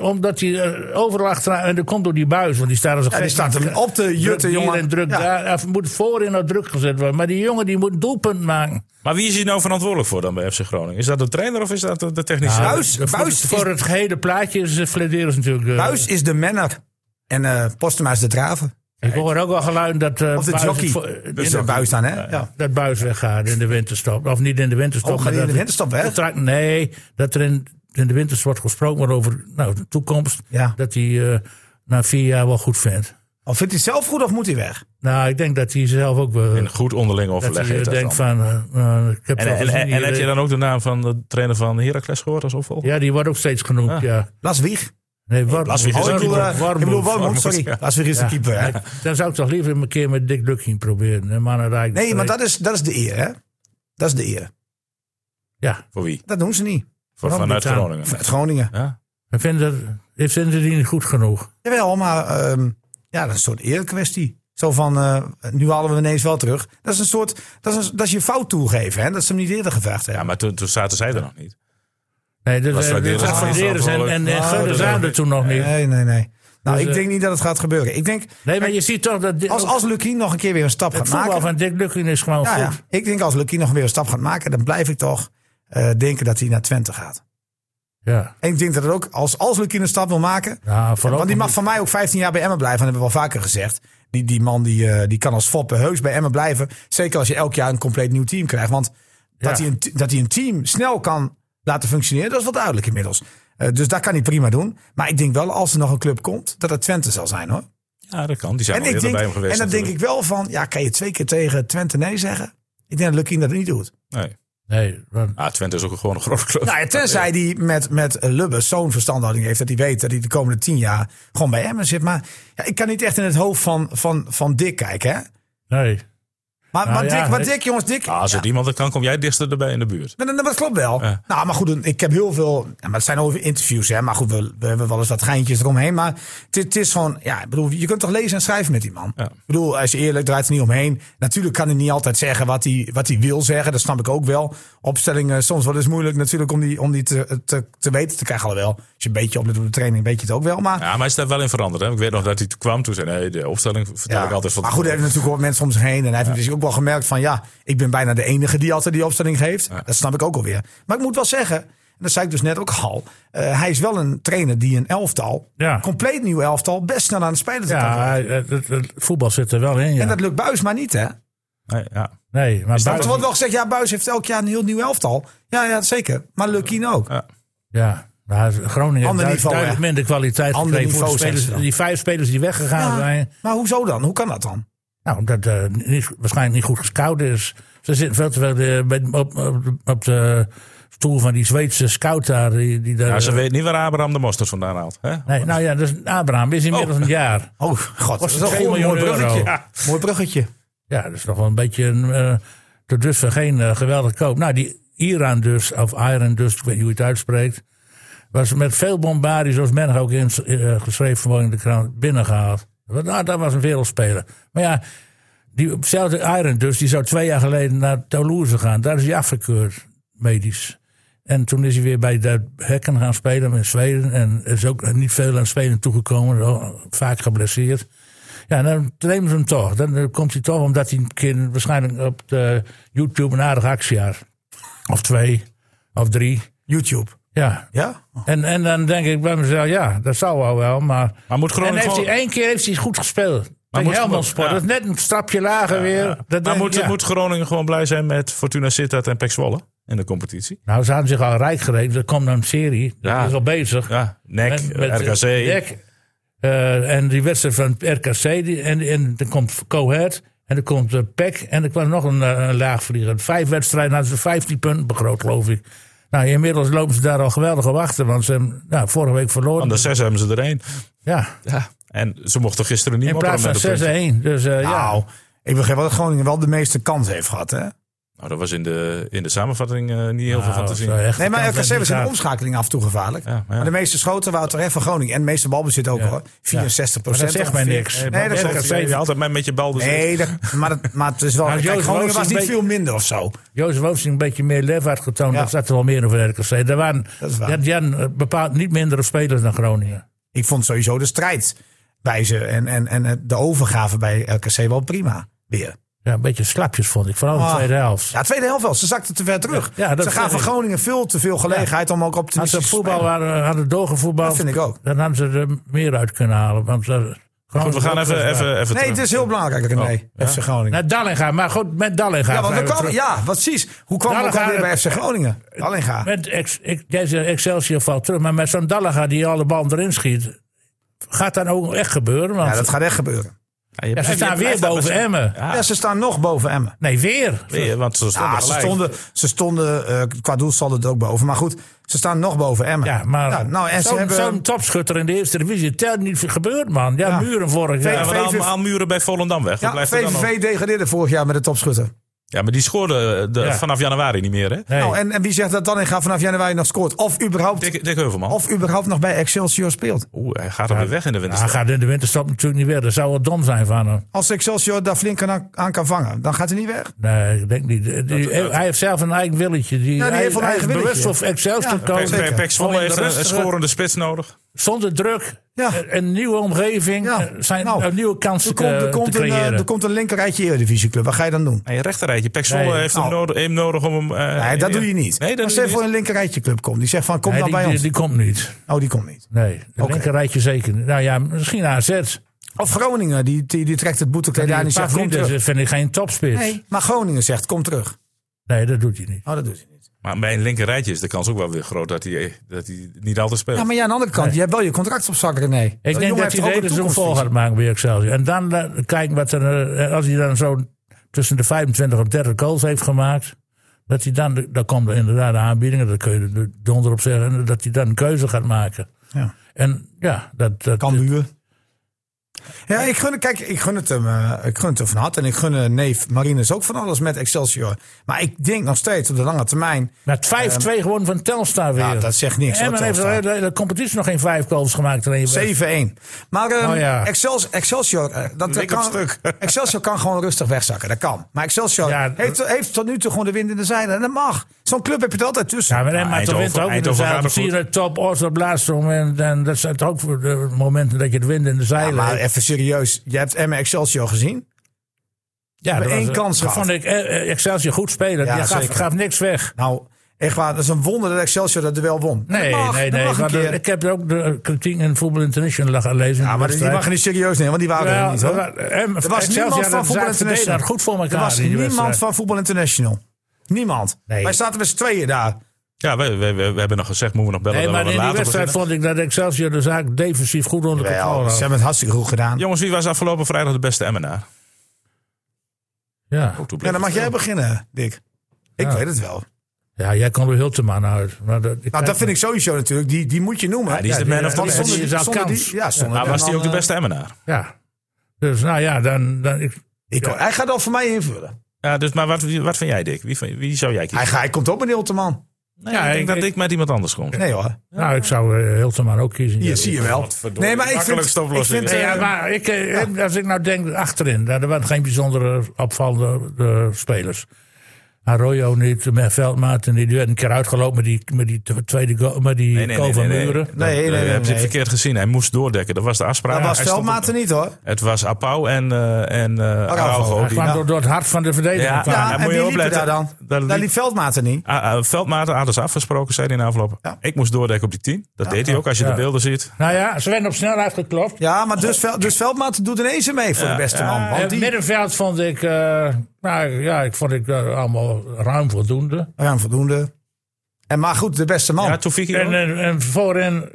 [SPEAKER 4] Omdat hij eh, overal achteraan... En dat komt door die buis, want die staat als een
[SPEAKER 1] Ja, die
[SPEAKER 4] gek.
[SPEAKER 1] staat hem op te
[SPEAKER 4] Druk
[SPEAKER 1] jutten,
[SPEAKER 4] hier
[SPEAKER 1] jongen.
[SPEAKER 4] en druk
[SPEAKER 1] Ja.
[SPEAKER 4] daar. Hij moet voorin op druk gezet worden. Maar die jongen die moet een doelpunt maken.
[SPEAKER 2] Maar wie is hier nou verantwoordelijk voor dan bij FC Groningen? Is dat de trainer of is dat de, de technische?
[SPEAKER 1] Ja.
[SPEAKER 2] Ja.
[SPEAKER 1] Buis-
[SPEAKER 4] Eh, voor,
[SPEAKER 1] Buis
[SPEAKER 4] voor
[SPEAKER 1] is-
[SPEAKER 4] het gehele plaatje is eh, Flederis natuurlijk... eh,
[SPEAKER 1] Buis is de menner. En eh Postema is de draven.
[SPEAKER 4] Ik hoor ook wel geluiden dat... eh,
[SPEAKER 1] Of de
[SPEAKER 4] Buis
[SPEAKER 1] jockey.
[SPEAKER 4] voor- eh,
[SPEAKER 1] Dus de buis dan, hè? Ja.
[SPEAKER 4] dat buis weggaat in de winterstop. Of niet in de winterstop.
[SPEAKER 1] Oh, gaat
[SPEAKER 4] maar
[SPEAKER 1] die in
[SPEAKER 4] dat
[SPEAKER 1] de
[SPEAKER 4] het-
[SPEAKER 1] winterstop weg?
[SPEAKER 4] dat er- nee, dat er in, in de winterstop wordt gesproken maar over nou, de toekomst.
[SPEAKER 1] Ja.
[SPEAKER 4] Dat hij eh, na vier jaar wel goed vindt.
[SPEAKER 1] Of vindt hij het zelf goed of moet hij weg?
[SPEAKER 4] Nou, ik denk dat hij zelf ook wel.
[SPEAKER 2] Een goed onderling
[SPEAKER 4] dat
[SPEAKER 2] overleg
[SPEAKER 4] hij
[SPEAKER 2] heet
[SPEAKER 4] eh,
[SPEAKER 2] dat
[SPEAKER 4] denkt
[SPEAKER 2] dan.
[SPEAKER 4] van. eh, nou, ik heb
[SPEAKER 2] En,
[SPEAKER 4] wel
[SPEAKER 2] en,
[SPEAKER 4] gezien
[SPEAKER 2] en,
[SPEAKER 4] hier,
[SPEAKER 2] en heb je
[SPEAKER 4] eh,
[SPEAKER 2] dan ook de naam van de trainer van Heracles gehoord als opvolger?
[SPEAKER 4] Ja, die wordt ook steeds genoemd. Ja.
[SPEAKER 1] Las Wieg.
[SPEAKER 4] Nee, Warm-
[SPEAKER 2] Blaswijk is
[SPEAKER 1] Oh, Ah. ik
[SPEAKER 2] ook
[SPEAKER 1] bedoel, eh, ik bedoel
[SPEAKER 4] Warmhoef.
[SPEAKER 1] Wormoed, sorry.
[SPEAKER 2] Ja.
[SPEAKER 1] Las Wieg is de keeper, hè?
[SPEAKER 4] Dan zou ik toch liever een keer met Dick Lucking proberen. Hè? Mannen Rijk.
[SPEAKER 1] Nee, maar dat is, dat is de eer, hè? Dat is de eer.
[SPEAKER 4] Ja,
[SPEAKER 2] Voor wie?
[SPEAKER 1] Dat doen ze niet.
[SPEAKER 2] Voor,
[SPEAKER 4] Waarom
[SPEAKER 2] vanuit
[SPEAKER 4] niet aan?
[SPEAKER 2] Groningen.
[SPEAKER 1] Vanuit Groningen.
[SPEAKER 2] Ja?
[SPEAKER 4] ik vind dat. Ik vind het niet goed genoeg.
[SPEAKER 1] Jawel, maar ehm, ja, dat is een soort eerkwestie. Zo van, eh, nu halen we ineens wel terug. Dat is een soort, dat is, een- dat is je fout toegeven. Hè? Dat ze hem niet eerder gevraagd hebben.
[SPEAKER 2] Ja, maar toen, toen zaten zij er nog niet.
[SPEAKER 4] Nee, dat
[SPEAKER 2] Was
[SPEAKER 4] was
[SPEAKER 2] Fladeres
[SPEAKER 4] Van Fladeres en, en, en Gudde
[SPEAKER 2] verantwoordelijk? Nou, dat
[SPEAKER 4] zaten
[SPEAKER 2] weet
[SPEAKER 4] er
[SPEAKER 2] ik.
[SPEAKER 4] toen nog niet.
[SPEAKER 1] Nee, nee, nee. Nou,
[SPEAKER 4] Dus,
[SPEAKER 1] ik
[SPEAKER 4] eh,
[SPEAKER 1] denk niet dat het gaat gebeuren. Ik denk,
[SPEAKER 4] Nee, maar je ziet toch dat dit,
[SPEAKER 1] als, als Lucky nog een keer weer een stap
[SPEAKER 4] het
[SPEAKER 1] gaat
[SPEAKER 4] voetbal
[SPEAKER 1] maken.
[SPEAKER 4] van Dick Lukien is gewoon
[SPEAKER 1] Ja, ja.
[SPEAKER 4] goed.
[SPEAKER 1] Ik denk als Lucky nog weer een stap gaat maken, dan blijf ik toch eh, denken dat hij naar Twente gaat.
[SPEAKER 4] Ja.
[SPEAKER 1] En ik denk dat het ook, als, als Lucky een stap wil maken.
[SPEAKER 4] Nou, vooral
[SPEAKER 1] want die mag van mij ook 15 jaar bij Emmen blijven. Dat hebben we wel vaker gezegd. Die, die man die, eh, die kan als foppen heus bij Emmen blijven. Zeker als je elk jaar een compleet nieuw team krijgt. Want dat,
[SPEAKER 4] Ja.
[SPEAKER 1] hij, een, t- dat hij een team snel kan laten functioneren, dat is wel duidelijk inmiddels. Eh, dus dat kan hij prima doen. Maar ik denk wel, als er nog een club komt, dat het Twente zal zijn hoor.
[SPEAKER 2] Ja, dat kan. Die zijn
[SPEAKER 1] En,
[SPEAKER 2] al
[SPEAKER 1] ik
[SPEAKER 2] eerder
[SPEAKER 1] denk,
[SPEAKER 2] bij hem geweest.
[SPEAKER 1] en dan denk ik wel van, ja, kan je twee keer tegen Twente nee zeggen? Ik denk dat Lucky dat niet doet.
[SPEAKER 2] natuurlijk. Nee.
[SPEAKER 4] Nee, want-
[SPEAKER 2] Ah, Twente is ook gewoon een grote club.
[SPEAKER 1] Nou ja, tenzij die met, met Lubbers zo'n verstandhouding heeft dat hij weet dat hij de komende tien jaar gewoon bij Emmen zit. Maar ja, ik kan niet echt in het hoofd van, van, van Dick kijken. Hè?
[SPEAKER 4] nee.
[SPEAKER 1] Maar, maar,
[SPEAKER 4] ja,
[SPEAKER 1] Dick, maar
[SPEAKER 4] het-
[SPEAKER 1] Dick, jongens, Dick.
[SPEAKER 2] Ah, als het iemand dat kan, kom jij dichter erbij in de buurt.
[SPEAKER 1] Nou, dat- dat klopt wel.
[SPEAKER 2] Ja.
[SPEAKER 1] Nou, maar goed, ik heb heel veel. ja, Maar het zijn over interviews, hè? Maar goed, we, we hebben wel eens wat geintjes eromheen. Maar het, het is gewoon. Ja, ik bedoel, je kunt toch lezen en schrijven met die man.
[SPEAKER 2] Ja.
[SPEAKER 1] Ik bedoel, als je eerlijk draait, er niet omheen. Natuurlijk kan hij niet altijd zeggen wat hij, wat hij wil zeggen. Dat snap ik ook wel. Opstellingen, soms wel eens moeilijk natuurlijk om die, om die te, te, te weten te krijgen. Alhoewel, als je een beetje oplet op de training, weet je het ook wel. Maar
[SPEAKER 2] Ja, maar hij is daar wel in veranderd. Hè? Ik weet nog dat hij toen kwam. Toen zei nee, de opstelling vertel ik altijd van
[SPEAKER 1] maar goed, hij heeft
[SPEAKER 2] tevoren.
[SPEAKER 1] natuurlijk ook mensen om zich heen. En hij heeft natuurlijk ook wel gemerkt van ja, ik ben bijna de enige die altijd die opstelling geeft. Dat snap ik ook alweer. Maar ik moet wel zeggen, en dat zei ik dus net ook al. eh, hij is wel een trainer die een elftal,
[SPEAKER 4] Ja.
[SPEAKER 1] compleet nieuw elftal, best snel aan het spelen kan
[SPEAKER 4] Ja,
[SPEAKER 1] krijgen.
[SPEAKER 4] hij- het, het- het voetbal zit er wel in. Ja.
[SPEAKER 1] En dat lukt Buis maar niet, hè?
[SPEAKER 2] Nee, ja.
[SPEAKER 4] nee, maar
[SPEAKER 1] Er
[SPEAKER 4] buiten-
[SPEAKER 1] wordt wel gezegd, ja, Buis heeft elk jaar een heel nieuw elftal. Ja, ja zeker. Maar Lukien ook.
[SPEAKER 4] Ja, maar Groningen heeft
[SPEAKER 1] Ander
[SPEAKER 4] duid-
[SPEAKER 1] niveau,
[SPEAKER 4] duidelijk
[SPEAKER 1] hè?
[SPEAKER 4] minder kwaliteit
[SPEAKER 1] Ander
[SPEAKER 4] gekregen voor de
[SPEAKER 1] niveau zijn
[SPEAKER 4] spelers,
[SPEAKER 1] ze dan.
[SPEAKER 4] die vijf spelers die weggegaan
[SPEAKER 1] Ja,
[SPEAKER 4] zijn.
[SPEAKER 1] maar hoezo dan? Hoe kan dat dan?
[SPEAKER 4] Nou, omdat eh, niet, waarschijnlijk niet goed gescout is. Ze zitten veel te veel eh, bij- op, op, op de stoel van die Zweedse scout daar. Die, die daar
[SPEAKER 2] Ja, ze
[SPEAKER 4] eh,
[SPEAKER 2] weet niet waar Abraham de mosterd vandaan haalt. Hè?
[SPEAKER 4] nee, nou ja, dus Abraham is inmiddels een jaar.
[SPEAKER 1] Oh, god. Dat is wel
[SPEAKER 4] 2
[SPEAKER 1] gewoon een mooi
[SPEAKER 4] miljoen
[SPEAKER 1] bruggetje.
[SPEAKER 4] euro.
[SPEAKER 1] Ja, Mooi bruggetje.
[SPEAKER 4] Ja, dat is nog wel een beetje een, eh, tot dusver geen eh, geweldig koop. Nou, die Iran dus, of Iran dus, ik weet niet hoe je het uitspreekt. Was met veel bombardie, zoals men ook in, eh, geschreven voor in de krant, binnengehaald. Want, Nou, dat was een wereldspeler. Maar ja, diezelfde Iron dus, die zou twee jaar geleden naar Toulouse gaan. Daar is hij afgekeurd, medisch. En toen is hij weer bij de Hekken gaan spelen in Zweden. En is ook niet veel aan het spelen toegekomen. wel Vaak geblesseerd. Ja, dan nemen ze hem toch. Dan eh, komt hij toch, omdat hij een keer waarschijnlijk op de YouTube een aardige actie had. Of twee, of drie.
[SPEAKER 1] YouTube.
[SPEAKER 4] Ja.
[SPEAKER 1] Ja?
[SPEAKER 4] En, en dan denk ik bij mezelf, ja, dat zou wel wel, maar...
[SPEAKER 2] Maar moet
[SPEAKER 4] En
[SPEAKER 2] Groningen
[SPEAKER 4] heeft
[SPEAKER 2] gewoon-
[SPEAKER 4] hij één keer heeft hij goed gespeeld. Maar
[SPEAKER 2] moet-
[SPEAKER 4] moet Helmond Sport,
[SPEAKER 2] ja.
[SPEAKER 4] dat is net een stapje lager weer. Dat
[SPEAKER 2] Maar
[SPEAKER 4] denk
[SPEAKER 2] moet,
[SPEAKER 4] ik, ja.
[SPEAKER 2] moet Groningen gewoon blij zijn met Fortuna Sittard en Pek Zwolle in de competitie?
[SPEAKER 4] Nou, ze hadden zich al rijk gereden. Er komt dan een serie, die
[SPEAKER 2] Ja.
[SPEAKER 4] is al bezig.
[SPEAKER 2] Ja, NEC, RKC.
[SPEAKER 4] Dek, eh, en die wedstrijd van RKC. Die, en, en dan komt Cohet. En dan komt eh, PEC. En er kwam nog een, eh, een laagvlieger. Vijf wedstrijden hadden ze 15 punten begroot, geloof ik. Nou, inmiddels lopen ze daar al geweldig op achter. Want ze hebben nou, vorige week verloren.
[SPEAKER 2] Van de zes hebben ze er één.
[SPEAKER 4] ja,
[SPEAKER 2] En ze mochten gisteren niet
[SPEAKER 4] in
[SPEAKER 2] mopperen
[SPEAKER 4] plaats van
[SPEAKER 2] met de punten.
[SPEAKER 4] 6-1. Dus eh, ja.
[SPEAKER 1] Nou, ik begrijp wel dat Groningen wel de meeste kans heeft gehad, hè?
[SPEAKER 2] Nou, dat was in de, in de samenvatting eh, niet heel veel van te zien.
[SPEAKER 4] Nou, echt,
[SPEAKER 1] Nee, maar
[SPEAKER 4] dat
[SPEAKER 1] RKC was in
[SPEAKER 4] kan-
[SPEAKER 1] de omschakeling af en toe gevaarlijk.
[SPEAKER 2] Ja, maar ja.
[SPEAKER 1] Maar de meeste schoten waren terecht van Groningen. En de meeste balbezit ook hoor. 64
[SPEAKER 4] Maar
[SPEAKER 1] procent.
[SPEAKER 4] dat zegt mij niks.
[SPEAKER 1] Nee, dat
[SPEAKER 4] RKC
[SPEAKER 1] klopt.
[SPEAKER 2] Je hebt altijd met je bal bezit.
[SPEAKER 1] Nee, dat- maar, dat- maar het is wel.
[SPEAKER 4] Nou,
[SPEAKER 1] kijk,
[SPEAKER 4] Joost
[SPEAKER 1] Groningen
[SPEAKER 4] Roos
[SPEAKER 1] was
[SPEAKER 4] een
[SPEAKER 1] niet
[SPEAKER 4] beetje-
[SPEAKER 1] veel minder of zo.
[SPEAKER 4] Jozef Oosting een beetje meer lef had getoond.
[SPEAKER 1] Ja.
[SPEAKER 4] Dat zat er wel meer over RKC. Er waren,
[SPEAKER 1] Dat is waar.
[SPEAKER 4] die hadden, eh, bepaald niet mindere spelers dan Groningen.
[SPEAKER 1] Ik vond sowieso de strijd bij ze en, en, en de overgave bij RKC wel prima. Weer.
[SPEAKER 4] Ja, een beetje slapjes vond ik. Vooral in de
[SPEAKER 1] Ah.
[SPEAKER 4] tweede helft.
[SPEAKER 1] Ja, tweede helft wel. Ze zakten te ver terug.
[SPEAKER 4] Ja, ja, dat
[SPEAKER 1] ze
[SPEAKER 4] zeg
[SPEAKER 1] gaven
[SPEAKER 4] ik.
[SPEAKER 1] Groningen veel te veel gelegenheid om ook op te
[SPEAKER 4] Als ze op voetbal waren, hadden doorgevoetbal.
[SPEAKER 1] Dat vind ik ook.
[SPEAKER 4] Dan hadden ze er meer uit kunnen halen. Want ze,
[SPEAKER 2] Goed, we gaan even, even, even
[SPEAKER 1] Nee,
[SPEAKER 2] terug.
[SPEAKER 1] het is heel belangrijk,
[SPEAKER 4] Oh,
[SPEAKER 1] René. FC Groningen.
[SPEAKER 4] Naar Dallinga. Maar goed, met Dallinga.
[SPEAKER 1] Ja, want
[SPEAKER 4] zijn
[SPEAKER 1] dan
[SPEAKER 4] we
[SPEAKER 1] kwam,
[SPEAKER 4] terug.
[SPEAKER 1] ja, precies. Hoe kwam
[SPEAKER 4] Ja,
[SPEAKER 1] het
[SPEAKER 4] dan
[SPEAKER 1] ook weer
[SPEAKER 4] gaan
[SPEAKER 1] bij
[SPEAKER 4] we-
[SPEAKER 1] FC Groningen? Alleen ga.
[SPEAKER 4] Met ex, ik, deze Excelsior valt terug. Maar met zo'n Dallinga die alle bal erin schiet. Gaat dat ook echt gebeuren? Want
[SPEAKER 1] Ja, dat gaat echt gebeuren.
[SPEAKER 2] Ja, je
[SPEAKER 4] ja,
[SPEAKER 2] blijft-
[SPEAKER 4] ze
[SPEAKER 2] je
[SPEAKER 4] staan weer
[SPEAKER 2] blijft daar
[SPEAKER 4] boven
[SPEAKER 2] best-
[SPEAKER 4] Emmen.
[SPEAKER 1] Ja, ze staan nog boven Emmen.
[SPEAKER 4] Nee, weer.
[SPEAKER 2] Nee, want ze stonden
[SPEAKER 1] Ja, ze
[SPEAKER 2] Ah, gelijk.
[SPEAKER 1] stonden, ze stonden eh, qua doelsaldo er ook boven. Maar goed, ze staan nog boven Emmen.
[SPEAKER 4] Ja, maar
[SPEAKER 1] Ja, nou, en ze
[SPEAKER 4] zo'n
[SPEAKER 1] hebben-
[SPEAKER 4] zo'n topschutter in de eerste divisie. Telt niet gebeurd, man. Ja,
[SPEAKER 1] Ja.
[SPEAKER 4] muren vorig
[SPEAKER 2] Ja,
[SPEAKER 4] jaar.
[SPEAKER 2] want
[SPEAKER 1] VVV
[SPEAKER 2] haal- haal muren bij Volendam weg. Wat
[SPEAKER 1] Ja,
[SPEAKER 2] blijft er dan nog?
[SPEAKER 1] VVV degradeerde vorig jaar met de topschutter.
[SPEAKER 2] Ja, maar die scoorde eh, de-
[SPEAKER 4] Ja.
[SPEAKER 2] vanaf januari niet meer, hè?
[SPEAKER 4] Nee.
[SPEAKER 1] Nou, en, en wie zegt dat dan in gaat vanaf januari nog scoort? Of überhaupt,
[SPEAKER 2] Dick, Dick Heuvelman.
[SPEAKER 1] of überhaupt nog bij Excelsior speelt.
[SPEAKER 2] Oeh, hij gaat op de weg in de
[SPEAKER 4] Nou, hij
[SPEAKER 2] winterstop.
[SPEAKER 4] gaat in de winterstop natuurlijk niet weg. Dat zou wel dom zijn van hem.
[SPEAKER 1] Als Excelsior daar flink aan, aan kan vangen, dan gaat hij niet weg.
[SPEAKER 4] Nee, ik denk niet. Die- hij heeft zelf een eigen willetje. Die,
[SPEAKER 1] heeft
[SPEAKER 4] hij,
[SPEAKER 1] wel een
[SPEAKER 4] hij
[SPEAKER 1] eigen
[SPEAKER 4] is bewust
[SPEAKER 1] willetje.
[SPEAKER 4] of Excelsior
[SPEAKER 1] Ja,
[SPEAKER 4] gekozen.
[SPEAKER 1] zeker.
[SPEAKER 2] Pek Zwolle
[SPEAKER 4] Alleen
[SPEAKER 2] heeft een, een
[SPEAKER 4] rustige-
[SPEAKER 2] scorende spits nodig.
[SPEAKER 4] Zonder druk.
[SPEAKER 1] Ja.
[SPEAKER 4] Een nieuwe omgeving.
[SPEAKER 1] Ja.
[SPEAKER 4] eh, Zijn
[SPEAKER 1] Nou,
[SPEAKER 4] een nieuwe kansen
[SPEAKER 1] Er komt, er
[SPEAKER 4] te-
[SPEAKER 1] komt,
[SPEAKER 4] te
[SPEAKER 1] een, eh,
[SPEAKER 4] creëren.
[SPEAKER 1] er komt een linkerrijtje Eredivisieclub. Wat ga je dan doen?
[SPEAKER 2] En je rechterrijtje. Pek Zwolle
[SPEAKER 4] Nee,
[SPEAKER 2] heeft hem,
[SPEAKER 1] nou.
[SPEAKER 2] nodig, hem nodig om hem... eh,
[SPEAKER 1] Nee, dat doe je niet.
[SPEAKER 2] Nee, dat
[SPEAKER 1] Als
[SPEAKER 2] doe
[SPEAKER 1] je
[SPEAKER 2] je
[SPEAKER 1] voor
[SPEAKER 2] niet.
[SPEAKER 1] een linkerrijtje-club komt, die zegt van kom
[SPEAKER 4] Nee,
[SPEAKER 1] dan
[SPEAKER 4] die,
[SPEAKER 1] bij
[SPEAKER 4] die-
[SPEAKER 1] ons.
[SPEAKER 4] die komt niet.
[SPEAKER 1] Oh, die komt niet.
[SPEAKER 4] Nee, de
[SPEAKER 1] Oké.
[SPEAKER 4] linkerrijtje zeker niet. Nou ja, misschien AZ.
[SPEAKER 1] Of Oh, Groningen, die, die, die trekt het boetekleed aan en die dus, eh, zegt kom
[SPEAKER 4] Pavlidis
[SPEAKER 1] terug.
[SPEAKER 4] vind ik geen topspits. Nee.
[SPEAKER 1] Nee, maar Groningen zegt kom terug.
[SPEAKER 4] dat doet hij niet.
[SPEAKER 1] Oh, dat doet hij niet.
[SPEAKER 2] Maar bij een linkerrijtje is de kans ook wel weer groot dat hij, dat hij niet altijd speelt.
[SPEAKER 1] Ja, maar ja, aan de andere kant, je hebt wel je contract op zak, René. Dat
[SPEAKER 4] Ik
[SPEAKER 1] dus
[SPEAKER 4] denk
[SPEAKER 1] jongen
[SPEAKER 4] dat
[SPEAKER 1] heeft
[SPEAKER 4] hij de
[SPEAKER 1] ook
[SPEAKER 4] hele
[SPEAKER 1] een
[SPEAKER 4] seizoen vol
[SPEAKER 1] toekomstvisie.
[SPEAKER 4] gaat maken bij Excelsior. En dan eh, kijken wat er... eh, Als hij dan zo tussen de 25 en 30 goals heeft gemaakt... Dat hij dan, de- dan komen er inderdaad de aanbiedingen, dat kun je er donder op zeggen, en dat hij dan een keuze gaat maken.
[SPEAKER 1] Ja.
[SPEAKER 4] En ja, dat, dat
[SPEAKER 1] Cambuur. Ja, ik gun, kijk, ik gun het hem, eh, ik gun het hem van harte. En ik gun eh, neef Marinus ook van alles met Excelsior. Maar ik denk nog steeds op de lange termijn.
[SPEAKER 4] met 5-2 gewonnen van Telstar weer.
[SPEAKER 1] Ehm, Ja, dat zegt niks.
[SPEAKER 4] en
[SPEAKER 1] hoor,
[SPEAKER 4] men heeft de
[SPEAKER 1] Telstar.
[SPEAKER 4] hele- hele competitie nog geen vijf goals gemaakt. in één wedstrijd.
[SPEAKER 1] 7-1. Maar ehm,
[SPEAKER 4] Oh ja.
[SPEAKER 1] Excels- Excelsior, eh, dat, dat
[SPEAKER 2] Lik op
[SPEAKER 1] kan,
[SPEAKER 2] stuk.
[SPEAKER 1] Excelsior kan gewoon rustig wegzakken. Dat kan. Maar Excelsior
[SPEAKER 4] Ja,
[SPEAKER 1] heeft, heeft tot nu toe gewoon de wind in de zijde. En dat mag. Zo'n club heb je er altijd tussen.
[SPEAKER 4] Ja, maar
[SPEAKER 2] Nou,
[SPEAKER 4] dan maar de
[SPEAKER 2] Eindhoven-
[SPEAKER 4] wint ook in de
[SPEAKER 2] Eindhoven gaat
[SPEAKER 4] zeilen.
[SPEAKER 2] er goed.
[SPEAKER 4] Zie je top, Oslo, Blaastrom. En, en dat zijn toch ook voor de momenten dat je het wint in de
[SPEAKER 1] Ja,
[SPEAKER 4] zeilen.
[SPEAKER 1] maar even serieus. Je hebt Emma Excelsior gezien.
[SPEAKER 4] Ja, dat
[SPEAKER 1] één
[SPEAKER 4] was-
[SPEAKER 1] kans
[SPEAKER 4] dat
[SPEAKER 1] gehad.
[SPEAKER 4] vond ik eh, eh, Excelsior goed spelen.
[SPEAKER 1] Ja,
[SPEAKER 4] Die gaf,
[SPEAKER 1] zeker.
[SPEAKER 4] gaf niks weg.
[SPEAKER 1] Nou, echt waar. Dat is een wonder dat Excelsior dat duel won.
[SPEAKER 4] Nee,
[SPEAKER 1] Dat mag,
[SPEAKER 4] nee,
[SPEAKER 1] dat
[SPEAKER 4] nee.
[SPEAKER 1] mag een
[SPEAKER 4] want, eh,
[SPEAKER 1] keer.
[SPEAKER 4] ik heb ook de kritiek in Voetbal International gelezen.
[SPEAKER 1] Ja, maar die mag je niet serieus nemen, want die waren er
[SPEAKER 4] Ja,
[SPEAKER 1] niet. Hoor.
[SPEAKER 4] maar, eh, em,
[SPEAKER 1] Er was
[SPEAKER 4] Excelsior
[SPEAKER 1] niemand van
[SPEAKER 4] had
[SPEAKER 1] Voetbal
[SPEAKER 4] zaak
[SPEAKER 1] International.
[SPEAKER 4] verdedigd, Goed voor elkaar.
[SPEAKER 1] Er was
[SPEAKER 4] in die
[SPEAKER 1] niemand
[SPEAKER 4] wedstrijd.
[SPEAKER 1] van Voetbal International. Niemand.
[SPEAKER 4] Nee.
[SPEAKER 1] Wij zaten met z'n tweeën daar.
[SPEAKER 2] Ja, we, we, we, we hebben nog gezegd, moeten we nog bellen.
[SPEAKER 4] Nee,
[SPEAKER 2] dat
[SPEAKER 4] maar
[SPEAKER 2] we
[SPEAKER 4] in die
[SPEAKER 2] later
[SPEAKER 4] wedstrijd
[SPEAKER 2] beginnen.
[SPEAKER 4] vond ik dat Excelsior de zaak defensief goed onder
[SPEAKER 1] Wel,
[SPEAKER 4] controle
[SPEAKER 1] ze
[SPEAKER 4] had.
[SPEAKER 1] hebben het hartstikke goed gedaan.
[SPEAKER 2] Jongens, wie was afgelopen vrijdag de beste Emmenaar?
[SPEAKER 4] Ja.
[SPEAKER 2] Oh, toen bleef
[SPEAKER 1] Ja, dan mag
[SPEAKER 2] het
[SPEAKER 1] jij
[SPEAKER 2] stil.
[SPEAKER 1] beginnen, Dick. Ik
[SPEAKER 4] Ja.
[SPEAKER 1] weet het wel.
[SPEAKER 4] ja, jij kon er heel te man uit. Maar dat,
[SPEAKER 1] Nou, dat vind ik sowieso natuurlijk. Die, die moet je noemen.
[SPEAKER 2] Ja, die is
[SPEAKER 1] Ja,
[SPEAKER 2] de man
[SPEAKER 4] die-
[SPEAKER 2] of the
[SPEAKER 1] want
[SPEAKER 4] die-
[SPEAKER 2] match.
[SPEAKER 4] die- is aan
[SPEAKER 1] zonder
[SPEAKER 4] kans.
[SPEAKER 1] die, ja, zonder
[SPEAKER 2] Maar
[SPEAKER 1] hem
[SPEAKER 2] was die
[SPEAKER 1] dan,
[SPEAKER 2] ook de
[SPEAKER 1] eh,
[SPEAKER 2] beste Emmenaar?
[SPEAKER 4] Ja. Dus nou ja, dan. dan ik,
[SPEAKER 1] Ik, Hij gaat dat voor mij invullen.
[SPEAKER 2] Ja, dus, maar wat, wie- wat vind jij, Dick? Wie, van- wie zou jij kiezen?
[SPEAKER 1] Hij, gaat, hij komt op met Hilteman.
[SPEAKER 2] Nee,
[SPEAKER 4] Ja,
[SPEAKER 2] ik denk
[SPEAKER 4] ik-
[SPEAKER 2] dat
[SPEAKER 4] ik-
[SPEAKER 2] Dick met iemand anders komt.
[SPEAKER 1] Nee hoor.
[SPEAKER 4] nou, ik zou eh, Hilterman ook kiezen.
[SPEAKER 1] Hier
[SPEAKER 4] Ja.
[SPEAKER 1] zie je wel.
[SPEAKER 2] Godverdomme.
[SPEAKER 1] Nee, maar ik vind.
[SPEAKER 2] Makkelijkste
[SPEAKER 1] Ik
[SPEAKER 2] oplossing.
[SPEAKER 1] vind
[SPEAKER 4] Nee,
[SPEAKER 1] eh,
[SPEAKER 4] ja, maar ik, eh, eh, als ik nou denk achterin, daar er waren geen bijzondere opvallende eh, spelers. Arroyo niet, met Veldmaat niet. Die werd een keer uitgelopen met die, met die tw- tweede goal, met die
[SPEAKER 2] Nee, nee,
[SPEAKER 4] goal
[SPEAKER 2] nee,
[SPEAKER 4] van
[SPEAKER 2] nee, nee.
[SPEAKER 4] Muren.
[SPEAKER 2] Dat,
[SPEAKER 1] Nee, nee,
[SPEAKER 2] eh,
[SPEAKER 1] nee,
[SPEAKER 2] Heb je
[SPEAKER 1] nee.
[SPEAKER 2] het verkeerd gezien? Hij moest doordekken. Dat was de afspraak.
[SPEAKER 1] dat was
[SPEAKER 2] Hij stond
[SPEAKER 1] Veldmaten
[SPEAKER 2] op-
[SPEAKER 1] niet hoor.
[SPEAKER 2] Het was Apau en, eh en eh, Araujo.
[SPEAKER 4] Hij
[SPEAKER 2] die-
[SPEAKER 4] kwam
[SPEAKER 1] ja.
[SPEAKER 4] door, door het hart van de verdediging.
[SPEAKER 2] Ja,
[SPEAKER 4] kwam.
[SPEAKER 2] nou,
[SPEAKER 1] Ja,
[SPEAKER 2] dan
[SPEAKER 1] en
[SPEAKER 2] moet je
[SPEAKER 1] wie liep
[SPEAKER 2] opletten.
[SPEAKER 1] daar dan?
[SPEAKER 2] Daar liep-
[SPEAKER 1] Daar liep Veldmaten niet.
[SPEAKER 2] Ah, eh, Veldmaten hadden ze afgesproken, zei hij in de afloop.
[SPEAKER 1] Ja.
[SPEAKER 2] Ik moest doordekken op die 10. Dat deed hij ook als je de beelden ziet.
[SPEAKER 4] Nou ja, ze werden op snelheid geklopt.
[SPEAKER 1] Ja, maar dus, Vel- dus Veldmaten doet ineens mee voor de beste man.
[SPEAKER 4] Eh,
[SPEAKER 1] Want die
[SPEAKER 4] middenveld vond ik, eh, nou ja, ik vond ik eh, allemaal ruim voldoende.
[SPEAKER 1] ruim voldoende. En maar goed, de beste man.
[SPEAKER 2] Ja, Toefiki
[SPEAKER 4] En, eh,
[SPEAKER 2] ook.
[SPEAKER 4] en, en voorin,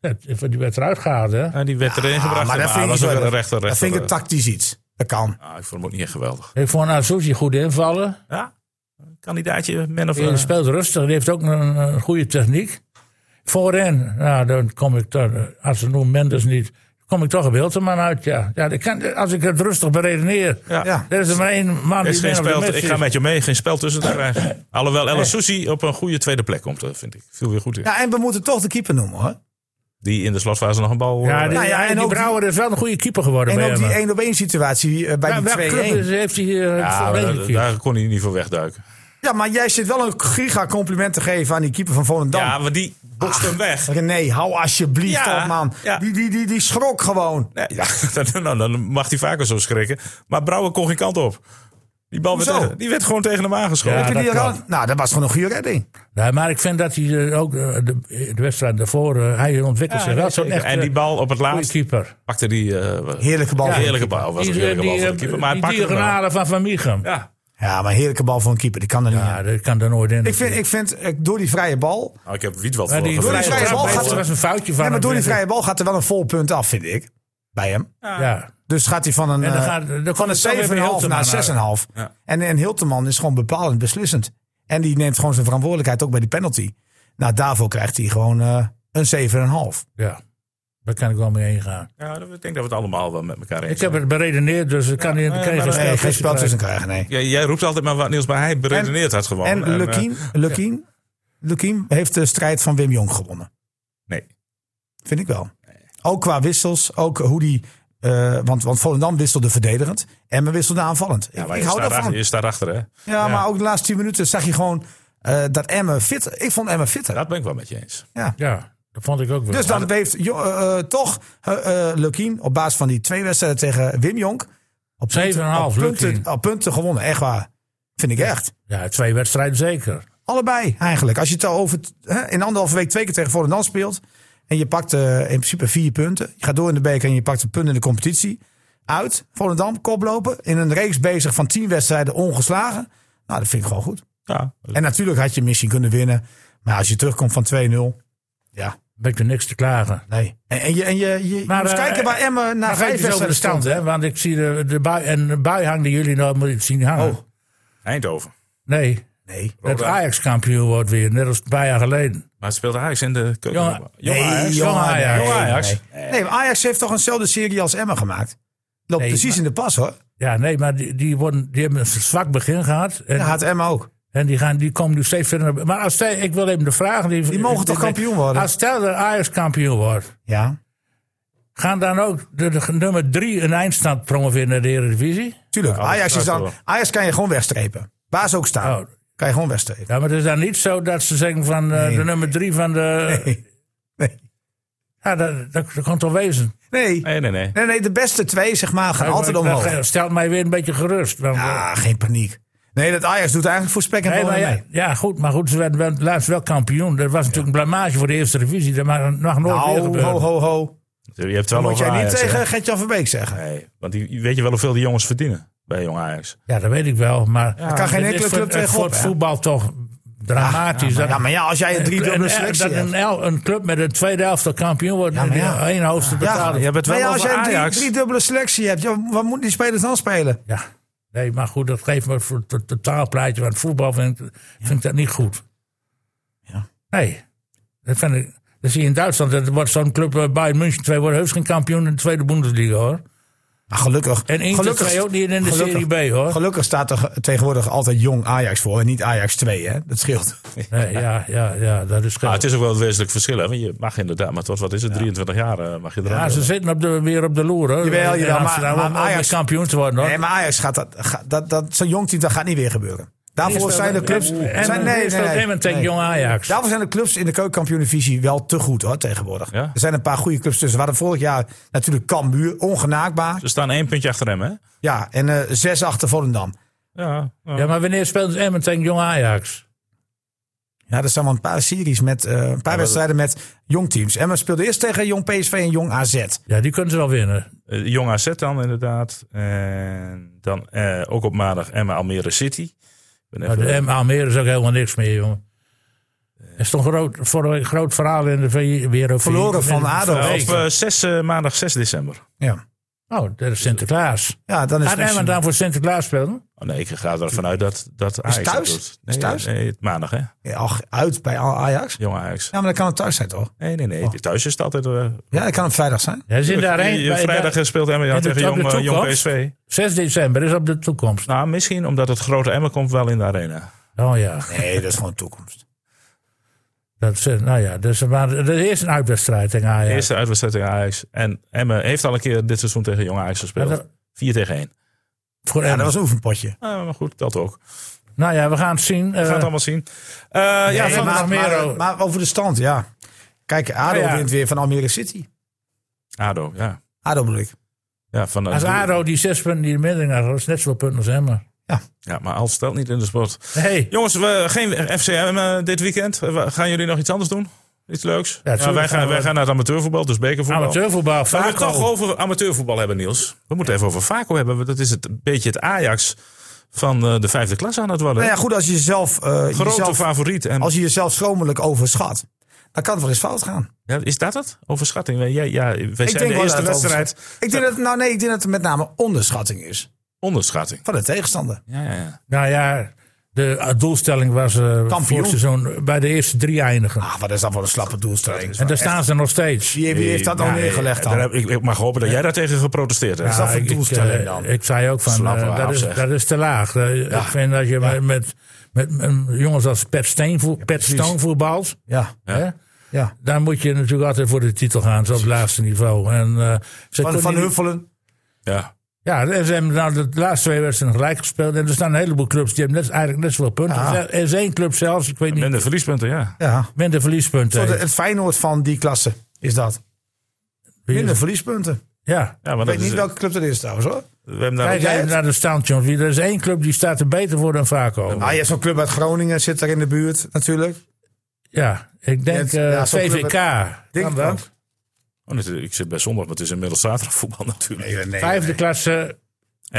[SPEAKER 4] ja, die werd eruit gehaald, hè?
[SPEAKER 2] En die werd erin
[SPEAKER 1] Ah,
[SPEAKER 2] gebracht.
[SPEAKER 1] maar dat vind
[SPEAKER 2] was
[SPEAKER 1] ik
[SPEAKER 2] ook
[SPEAKER 1] wel-
[SPEAKER 2] weer een rechter.
[SPEAKER 1] dat vind ik
[SPEAKER 2] rechter-
[SPEAKER 1] tactisch iets. Dat kan.
[SPEAKER 2] Ah, ik vond hem ook niet echt geweldig.
[SPEAKER 4] Ik vond Azuzi goed invallen.
[SPEAKER 2] Ja, kandidaatje, man of...
[SPEAKER 4] Die
[SPEAKER 2] eh,
[SPEAKER 4] speelt rustig, die heeft ook een, een goede techniek. Voorin, nou, dan kom ik toch, als ze noemen Mendes niet, kom ik toch op Hilterman uit. Ja. Ja, dat kan, als ik het rustig beredeneer,
[SPEAKER 2] ja.
[SPEAKER 1] Ja.
[SPEAKER 4] er is er maar één man
[SPEAKER 2] Er
[SPEAKER 4] die
[SPEAKER 2] is geen
[SPEAKER 4] man op de
[SPEAKER 2] spel,
[SPEAKER 4] match
[SPEAKER 2] ik ga
[SPEAKER 4] is.
[SPEAKER 2] met je mee, geen spel tussen te krijgen. Alhoewel El Sousi op een goede tweede plek komt, eh, vind ik. Viel weer goed in.
[SPEAKER 1] Ja, en we moeten toch de keeper noemen hoor.
[SPEAKER 2] Die in de slotfase nog een bal... eh,
[SPEAKER 4] Ja, die,
[SPEAKER 1] Nou ja, en
[SPEAKER 4] en die
[SPEAKER 1] ook die-
[SPEAKER 4] Brouwer is wel een goede keeper geworden
[SPEAKER 1] En
[SPEAKER 4] bij
[SPEAKER 1] ook
[SPEAKER 4] hem.
[SPEAKER 1] die 1 op 1 situatie eh, bij
[SPEAKER 4] Ja, welke club
[SPEAKER 1] die 2-1.
[SPEAKER 4] is- heeft hij eh,
[SPEAKER 2] ja,
[SPEAKER 4] voorheen
[SPEAKER 2] maar daar,
[SPEAKER 4] gekipt?
[SPEAKER 2] daar kon hij niet voor wegduiken.
[SPEAKER 1] Ja, maar jij zit wel een giga compliment te geven aan die keeper van Volendam.
[SPEAKER 2] Ja, maar die bokst
[SPEAKER 4] Ah.
[SPEAKER 2] hem weg.
[SPEAKER 1] René, hou alsjeblieft
[SPEAKER 2] Ja,
[SPEAKER 1] op man.
[SPEAKER 2] ja.
[SPEAKER 1] Die, die, die, die schrok gewoon.
[SPEAKER 2] Nee, ja, dan, dan- dan mag hij vaker zo schrikken. Maar Brouwer kon geen kant op. Die bal werd,
[SPEAKER 1] Hoezo?
[SPEAKER 2] tegen- die werd gewoon tegen hem aangeschoten.
[SPEAKER 4] Ja,
[SPEAKER 1] Heb je
[SPEAKER 4] dat
[SPEAKER 1] die
[SPEAKER 4] kan.
[SPEAKER 1] eraan- Nou, dat was gewoon een goede redding.
[SPEAKER 4] Nee, maar ik vind dat hij eh, ook eh, de, de wedstrijd daarvoor, eh, hij ontwikkelt zich wel zo'n echt
[SPEAKER 2] en die bal op het
[SPEAKER 4] goede
[SPEAKER 2] laatst
[SPEAKER 4] keeper.
[SPEAKER 2] pakte die... eh,
[SPEAKER 1] Heerlijke bal. van
[SPEAKER 2] heerlijke
[SPEAKER 1] een
[SPEAKER 2] bal. Was
[SPEAKER 4] Die,
[SPEAKER 2] een heerlijke bal
[SPEAKER 4] die,
[SPEAKER 2] van
[SPEAKER 4] eh,
[SPEAKER 2] de keeper. Maar hij
[SPEAKER 4] die
[SPEAKER 2] pakte hem wel.
[SPEAKER 4] diagonale van Van Mieghem. Ja.
[SPEAKER 2] Ja.
[SPEAKER 1] keeper. Ja, maar heerlijke bal van een keeper. Die kan er niet aan.
[SPEAKER 4] dat kan er nooit in.
[SPEAKER 1] Ik vind, ik vind eh, door die vrije bal...
[SPEAKER 2] Nou, ik heb Wiet wel
[SPEAKER 4] Maar
[SPEAKER 2] voor
[SPEAKER 4] die
[SPEAKER 1] vrije
[SPEAKER 2] gevraagd.
[SPEAKER 1] vrije bal
[SPEAKER 4] bal
[SPEAKER 1] gaat-
[SPEAKER 4] gaat was een foutje van
[SPEAKER 1] Ja, maar
[SPEAKER 4] hem,
[SPEAKER 1] door die
[SPEAKER 4] vind ik.
[SPEAKER 1] vrije bal gaat er wel een vol punt af, vind ik. Bij hem.
[SPEAKER 4] Ja.
[SPEAKER 1] Dus gaat hij van een,
[SPEAKER 4] En dan
[SPEAKER 1] eh,
[SPEAKER 4] gaat- dan komt
[SPEAKER 1] van
[SPEAKER 4] het zo weer bij
[SPEAKER 1] een 7,5
[SPEAKER 4] Hilterman
[SPEAKER 1] naar een 6,5.
[SPEAKER 2] Ja.
[SPEAKER 1] En, en Hilterman is gewoon bepalend, beslissend. En die neemt gewoon zijn verantwoordelijkheid ook bij die penalty. Nou, daarvoor krijgt hij gewoon eh, een 7,5.
[SPEAKER 4] Ja. Daar kan ik wel mee heen gaan.
[SPEAKER 2] Ja, ik denk dat we het allemaal wel met elkaar eens
[SPEAKER 4] Ik heb het beredeneerd, dus ik kan, niet- ik kan je
[SPEAKER 2] maar
[SPEAKER 4] geen
[SPEAKER 2] dat-
[SPEAKER 1] Nee,
[SPEAKER 4] spel
[SPEAKER 1] geen
[SPEAKER 4] tussen
[SPEAKER 1] spel
[SPEAKER 4] krijgen.
[SPEAKER 1] tussen krijgen, nee.
[SPEAKER 2] zijn. Ja, jij roept altijd maar wat nieuws, maar hij beredeneert het gewoon.
[SPEAKER 1] En
[SPEAKER 2] eh,
[SPEAKER 1] Lukien, Lukien, Lukien heeft de strijd van Wim Jong gewonnen.
[SPEAKER 2] nee.
[SPEAKER 1] Vind ik wel. Ook qua wissels, ook hoe die... eh, want, want Volendam wisselde verdedigend. Emmen wisselde aanvallend.
[SPEAKER 2] Ja,
[SPEAKER 1] ik
[SPEAKER 2] maar
[SPEAKER 1] ik
[SPEAKER 2] je,
[SPEAKER 1] hou
[SPEAKER 2] staat
[SPEAKER 1] daarvan.
[SPEAKER 2] achter, je staat achter, hè?
[SPEAKER 1] Ja, maar ook de laatste 10 minuten zag je gewoon eh, dat Emmen fit. Ik vond Emmen fitter.
[SPEAKER 2] Dat ben ik wel met je eens.
[SPEAKER 1] Ja.
[SPEAKER 4] Ja, dat vond ik ook wel.
[SPEAKER 1] Dus dan heeft jo- eh, eh, toch eh eh, Lukien op basis van die twee wedstrijden tegen Wim Jonk op punten,
[SPEAKER 4] 7,5
[SPEAKER 1] op punten,
[SPEAKER 4] Nou, Lukien.
[SPEAKER 1] op punten gewonnen. Echt waar. Vind ik echt.
[SPEAKER 4] Ja, twee wedstrijden zeker.
[SPEAKER 1] Allebei eigenlijk. Als je het al over t- hè, in anderhalve week twee keer tegen Volendam speelt. En je pakt eh, in principe vier punten. Je gaat door in de beker en je pakt een punt in de competitie. Uit, Volendam, koplopen. In een reeks bezig van tien wedstrijden ongeslagen. Nou, dat vind ik gewoon goed.
[SPEAKER 2] Ja,
[SPEAKER 1] En natuurlijk had je misschien kunnen winnen. Maar als je terugkomt van 2-0. Ja,
[SPEAKER 4] Ben ik er niks te klagen.
[SPEAKER 1] nee. En, en je, en je, je, je
[SPEAKER 4] Maar,
[SPEAKER 1] moet
[SPEAKER 4] eh,
[SPEAKER 1] kijken waar Emmen na
[SPEAKER 4] Maar
[SPEAKER 1] vijf
[SPEAKER 4] geef eens over de
[SPEAKER 1] wedstrijden
[SPEAKER 4] stand,
[SPEAKER 1] stond.
[SPEAKER 4] hè? Want ik zie de, de bui, en de bui hang die jullie nou moeten zien hangen.
[SPEAKER 1] Oh.
[SPEAKER 2] Eindhoven.
[SPEAKER 4] Nee,
[SPEAKER 1] Nee.
[SPEAKER 4] dat
[SPEAKER 2] Roda.
[SPEAKER 4] Ajax kampioen wordt weer, net als een paar jaar geleden.
[SPEAKER 2] Maar speelde Ajax in de keuken.
[SPEAKER 4] Jongen,
[SPEAKER 2] Jonge
[SPEAKER 1] nee, jonge
[SPEAKER 2] Ajax. Jonge
[SPEAKER 1] Ajax.
[SPEAKER 2] Jonge
[SPEAKER 1] Nee,
[SPEAKER 2] Ajax.
[SPEAKER 1] Nee, maar Ajax heeft toch eenzelfde serie als Emmen gemaakt. Loopt
[SPEAKER 4] Nee,
[SPEAKER 1] precies
[SPEAKER 4] maar-
[SPEAKER 1] in de pas hoor.
[SPEAKER 4] Ja, nee, maar die, die, worden, die hebben een zwak begin gehad. En,
[SPEAKER 1] Dat had Emmen ook.
[SPEAKER 4] en die, gaan, die komen nu steeds verder. naar- Maar als zij, ik wil even de vraag. Die,
[SPEAKER 1] Die mogen toch kampioen worden?
[SPEAKER 4] Als stel dat Ajax kampioen wordt,
[SPEAKER 1] Ja,
[SPEAKER 4] gaan dan ook de, de nummer drie een eindstand promoveren naar de Eredivisie?
[SPEAKER 1] tuurlijk.
[SPEAKER 2] Ja,
[SPEAKER 1] Ajax, is
[SPEAKER 2] dat
[SPEAKER 1] dan,
[SPEAKER 2] wel.
[SPEAKER 1] Ajax kan je gewoon wegstrepen. Waar ze ook staan,
[SPEAKER 4] Oh.
[SPEAKER 1] kan je gewoon wegstrepen.
[SPEAKER 4] Ja, maar het is dan niet zo dat ze zeggen van eh, de nummer drie van de.
[SPEAKER 1] Nee.
[SPEAKER 4] Ja, dat, dat, dat kan toch wezen.
[SPEAKER 1] Nee.
[SPEAKER 2] Nee, nee, nee.
[SPEAKER 1] nee, nee, de beste twee zeg maar gaan altijd
[SPEAKER 4] Dat-
[SPEAKER 1] omhoog.
[SPEAKER 4] Dat stelt mij weer een beetje gerust. Want, eh,
[SPEAKER 1] Ah, geen paniek. Nee, dat Ajax doet eigenlijk voor spek en
[SPEAKER 4] Nee,
[SPEAKER 1] bonen
[SPEAKER 4] maar ja,
[SPEAKER 1] mee.
[SPEAKER 4] ja, goed, maar goed, ze werden wel- laatst wel kampioen. Dat was natuurlijk een blamage voor de eerste divisie. Dat mag, mag nooit weer
[SPEAKER 1] Nou,
[SPEAKER 4] gebeuren.
[SPEAKER 1] ho, ho, ho.
[SPEAKER 2] Je hebt wel
[SPEAKER 1] Moet
[SPEAKER 2] over
[SPEAKER 1] jij niet
[SPEAKER 2] Ajax, hè?
[SPEAKER 1] tegen Gertjan Verbeek zeggen.
[SPEAKER 2] Nee, want die, weet je wel hoeveel die jongens verdienen bij Jong Ajax?
[SPEAKER 4] Ja, dat weet ik wel, maar...
[SPEAKER 1] Daar kan geen
[SPEAKER 4] het
[SPEAKER 1] enkele
[SPEAKER 4] is voor-
[SPEAKER 1] club
[SPEAKER 4] het is voor
[SPEAKER 1] tegenop.
[SPEAKER 4] het
[SPEAKER 1] hè?
[SPEAKER 4] voetbal toch dramatisch. dat-
[SPEAKER 1] Ja, maar ja, als jij een
[SPEAKER 4] en-
[SPEAKER 1] driedubbele
[SPEAKER 4] en-
[SPEAKER 1] selectie
[SPEAKER 4] dat een,
[SPEAKER 1] hebt.
[SPEAKER 4] el- een club met een tweede helft kampioen wordt
[SPEAKER 1] Ja,
[SPEAKER 4] en
[SPEAKER 1] maar
[SPEAKER 4] die
[SPEAKER 1] ja.
[SPEAKER 4] één hoogste
[SPEAKER 1] Ja,
[SPEAKER 4] betalen.
[SPEAKER 2] je hebt het wel
[SPEAKER 1] maar ja, als
[SPEAKER 2] over
[SPEAKER 1] jij een drie,
[SPEAKER 2] Ajax.
[SPEAKER 1] driedubbele selectie hebt, ja, wat moeten die spelers dan spelen?
[SPEAKER 4] Ja. Nee, maar goed, dat geeft me voor het to- totaalplaatje. Want voetbal vind ik, vind ik dat niet goed.
[SPEAKER 1] Ja.
[SPEAKER 4] Nee. Dat vind ik... Dat zie je in Duitsland. Dat wordt zo'n club bij Bayern München 2 wordt heus geen kampioen in de tweede Bundesliga, hoor.
[SPEAKER 1] Maar Ah, gelukkig.
[SPEAKER 4] En Inter
[SPEAKER 1] gelukkig,
[SPEAKER 4] twee ook niet in de
[SPEAKER 1] gelukkig-
[SPEAKER 4] Serie B, hoor.
[SPEAKER 1] Gelukkig staat er ge- tegenwoordig altijd jong Ajax voor en niet Ajax 2, hè? Dat scheelt.
[SPEAKER 4] Nee, ja, ja, ja, dat is
[SPEAKER 2] Ah,
[SPEAKER 4] geld.
[SPEAKER 2] het is ook wel een wezenlijk verschil. Hè? Want je mag inderdaad, maar tot wat is het, 23 jaar eh, mag je eraan.
[SPEAKER 4] Ja, ze zitten op de, weer op de loer, hoor.
[SPEAKER 1] Jawel, jawel,
[SPEAKER 4] In
[SPEAKER 1] maar-
[SPEAKER 4] Amsterdam,
[SPEAKER 1] maar
[SPEAKER 4] om- om weer
[SPEAKER 1] Ajax-
[SPEAKER 4] kampioen te worden, hoor.
[SPEAKER 1] Nee, maar Ajax gaat dat, gaat- dat, dat zo'n jong team, dat gaat niet weer gebeuren. Daarvoor zijn de clubs.
[SPEAKER 4] En, en,
[SPEAKER 1] zijn, nee, nee, nee,
[SPEAKER 4] tegen
[SPEAKER 1] nee.
[SPEAKER 4] Jong Ajax.
[SPEAKER 1] Daarvoor zijn de clubs in de keukenkampioen-divisie wel te goed hoor, tegenwoordig.
[SPEAKER 2] Ja?
[SPEAKER 1] Er zijn een paar goede clubs tussen. We hadden vorig jaar natuurlijk Cambuur, ongenaakbaar.
[SPEAKER 2] Ze staan één puntje achter hem, hè?
[SPEAKER 1] Ja, en eh, zes achter Volendam.
[SPEAKER 2] Ja, ja.
[SPEAKER 4] Ja, maar wanneer speelt Emmen tegen Jong Ajax?
[SPEAKER 1] Ja, er zijn wel een paar series met eh, een paar wedstrijden met jong teams. Emma speelde eerst tegen jong PSV en jong AZ.
[SPEAKER 4] Ja, die kunnen ze wel winnen.
[SPEAKER 2] Eh, Jong AZ dan inderdaad. En dan eh, ook op maandag Emma Almere City. Ik ben
[SPEAKER 4] Maar
[SPEAKER 2] even-
[SPEAKER 4] de M- Almere is ook helemaal niks meer, jongen. Er stond een groot, voor een groot verhaal in de VI weer over...
[SPEAKER 1] Verloren van
[SPEAKER 4] in-
[SPEAKER 1] ADO.
[SPEAKER 2] Eh,
[SPEAKER 4] week.
[SPEAKER 2] op eh, 6, eh, maandag 6 december.
[SPEAKER 1] Ja,
[SPEAKER 2] eh,
[SPEAKER 4] Oh, dat is Sinterklaas.
[SPEAKER 1] ja dan is
[SPEAKER 4] Gaat Emmen
[SPEAKER 1] het
[SPEAKER 4] dan voor Sinterklaas spelen?
[SPEAKER 2] Oh, nee, ik ga ervan uit dat, dat Ajax dat
[SPEAKER 1] thuis?
[SPEAKER 2] doet. Nee, eh,
[SPEAKER 1] Is thuis?
[SPEAKER 2] nee, maandag, hè?
[SPEAKER 1] Ja, ach, uit bij Ajax.
[SPEAKER 2] Jong Ajax.
[SPEAKER 1] Ja, maar dan kan het thuis zijn toch?
[SPEAKER 2] Nee, nee,
[SPEAKER 4] Oh.
[SPEAKER 2] nee. Thuis is het altijd... eh,
[SPEAKER 1] Ja, dat kan het vrijdag zijn.
[SPEAKER 4] Hij zit daarheen.
[SPEAKER 2] eh,
[SPEAKER 4] bij-
[SPEAKER 2] Vrijdag
[SPEAKER 4] bij-
[SPEAKER 2] speelt Emma
[SPEAKER 4] in de-
[SPEAKER 2] tegen
[SPEAKER 4] op de
[SPEAKER 2] jong, eh, jong
[SPEAKER 4] toekomst?
[SPEAKER 2] PSV.
[SPEAKER 4] 6 december is op de toekomst.
[SPEAKER 2] Nou, misschien omdat het grote Emma komt wel in de arena.
[SPEAKER 4] Oh ja.
[SPEAKER 1] Nee, dat is gewoon toekomst.
[SPEAKER 4] Dat, is, eh, nou ja, dus, maar er is een uitwedstrijd tegen Ajax.
[SPEAKER 2] Eerste uitwedstrijd tegen Ajax. En Emma heeft al een keer dit seizoen tegen jong Ajax
[SPEAKER 4] Ja,
[SPEAKER 2] gespeeld.
[SPEAKER 4] dat-
[SPEAKER 2] 4 tegen 1.
[SPEAKER 4] voor
[SPEAKER 1] Ja,
[SPEAKER 4] Emmen.
[SPEAKER 1] dat was een oefenpotje.
[SPEAKER 2] Ah, maar goed, dat ook.
[SPEAKER 4] Nou ja, we gaan het zien.
[SPEAKER 2] We
[SPEAKER 4] eh,
[SPEAKER 2] gaan het allemaal zien. Eh, ja,
[SPEAKER 4] Nee,
[SPEAKER 2] van,
[SPEAKER 1] maar,
[SPEAKER 4] nog meer
[SPEAKER 1] maar,
[SPEAKER 4] over.
[SPEAKER 1] maar over de stand, ja. Kijk, ADO
[SPEAKER 4] Ah, ja.
[SPEAKER 1] wint weer van Almere City.
[SPEAKER 2] ADO, ja.
[SPEAKER 1] ADO bedoel ik.
[SPEAKER 2] ja van, eh,
[SPEAKER 4] als
[SPEAKER 2] doe-
[SPEAKER 4] ADO die zes punten in de middeling had, dat is net zoveel punten als Emmen.
[SPEAKER 2] Ja, maar als stelt niet in de sport.
[SPEAKER 4] Hey,
[SPEAKER 2] Jongens, we, geen FCM eh, dit weekend. Eh, wa- Gaan jullie nog iets anders doen? Iets leuks? Ja,
[SPEAKER 4] tuurlijk gaan
[SPEAKER 2] wij, gaan,
[SPEAKER 4] we-
[SPEAKER 2] wij gaan naar het amateurvoetbal, dus bekervoetbal.
[SPEAKER 4] amateurvoetbal.
[SPEAKER 2] Gaan we
[SPEAKER 4] Vaak
[SPEAKER 2] het toch over amateurvoetbal hebben, Niels? We moeten even over Vaco hebben. want Dat is het, een beetje het Ajax van eh, de vijfde klas aan het worden.
[SPEAKER 1] Nou ja, goed, als je jezelf, eh,
[SPEAKER 2] Grote
[SPEAKER 1] jezelf,
[SPEAKER 2] favoriet. En,
[SPEAKER 1] als je jezelf schromelijk overschat, dan kan het wel eens fout gaan.
[SPEAKER 2] Ja, is dat het? Overschatting. Wij- Ja, ja, wij
[SPEAKER 1] Ik
[SPEAKER 2] zijn
[SPEAKER 1] denk
[SPEAKER 2] de
[SPEAKER 1] wel dat
[SPEAKER 2] eerste
[SPEAKER 1] het
[SPEAKER 2] wedstrijd.
[SPEAKER 1] overschat- Ik denk dat, nou nee, ik denk dat het met name onderschatting is
[SPEAKER 2] Onderschatting.
[SPEAKER 1] van de tegenstander.
[SPEAKER 2] Ja, ja, ja.
[SPEAKER 4] Nou ja, De eh, doelstelling was eh
[SPEAKER 1] Kampioen.
[SPEAKER 4] vorig seizoen bij de eerste drie eindigen.
[SPEAKER 1] Ah, wat is dat voor een slappe doelstelling?
[SPEAKER 4] en daar staan ze nog steeds.
[SPEAKER 1] Wie, wie heeft dat nou
[SPEAKER 2] Nee,
[SPEAKER 1] neergelegd dan?
[SPEAKER 2] eh, daar heb ik, ik mag hopen dat jij daar tegen geprotesteerd hebt.
[SPEAKER 1] Is dat voor
[SPEAKER 4] ik,
[SPEAKER 1] doelstelling
[SPEAKER 4] eh,
[SPEAKER 1] dan?
[SPEAKER 4] Ik zei ook van,
[SPEAKER 2] Slap
[SPEAKER 4] eh,
[SPEAKER 2] af,
[SPEAKER 4] dat, is,
[SPEAKER 2] zeg.
[SPEAKER 4] dat is te laag. Eh, Ik vind dat je met, met, met, met jongens als Pet, Steen, voet- Pet Stone voetbalt...
[SPEAKER 1] Ja,
[SPEAKER 4] Hè?
[SPEAKER 1] ja.
[SPEAKER 4] Dan moet je natuurlijk altijd voor de titel gaan, zo op het laagste niveau. En, eh, ze
[SPEAKER 1] Van,
[SPEAKER 4] kon
[SPEAKER 1] van
[SPEAKER 4] niet-
[SPEAKER 1] Huffelen.
[SPEAKER 2] Ja.
[SPEAKER 4] Ja, en ze hebben nou de laatste twee wedstrijden gelijk gespeeld. En er staan een heleboel clubs die hebben net, eigenlijk net zoveel punten.
[SPEAKER 1] Ja.
[SPEAKER 4] Er is één club zelfs, ik weet niet,
[SPEAKER 2] En de verliespunten, ja.
[SPEAKER 1] Ja.
[SPEAKER 4] minder verliespunten.
[SPEAKER 1] Zo de-
[SPEAKER 4] heeft.
[SPEAKER 1] het Feyenoord van die klasse is dat. Minder verliespunten.
[SPEAKER 4] Ja.
[SPEAKER 2] ja maar
[SPEAKER 1] Ik
[SPEAKER 2] dat
[SPEAKER 1] weet
[SPEAKER 2] is,
[SPEAKER 1] niet welke club dat is trouwens hoor.
[SPEAKER 2] We hebben daar
[SPEAKER 4] Kijk
[SPEAKER 1] jij
[SPEAKER 4] even
[SPEAKER 1] het?
[SPEAKER 4] naar de stand, jongens. Wie- Er is één club die staat er beter voor dan Vaco.
[SPEAKER 2] Oh.
[SPEAKER 1] Nou, je hebt zo'n club uit Groningen, zit daar in de buurt natuurlijk.
[SPEAKER 4] Ja, ik denk
[SPEAKER 1] Ja,
[SPEAKER 4] eh,
[SPEAKER 1] ja, zo'n club-
[SPEAKER 4] VVK.
[SPEAKER 1] Denk
[SPEAKER 4] Kan
[SPEAKER 1] ik
[SPEAKER 4] dat?
[SPEAKER 1] ook.
[SPEAKER 2] Oh, dit- ik zit bij zondag, maar het is inmiddels zaterdag voetbal natuurlijk.
[SPEAKER 4] Vijfde klasse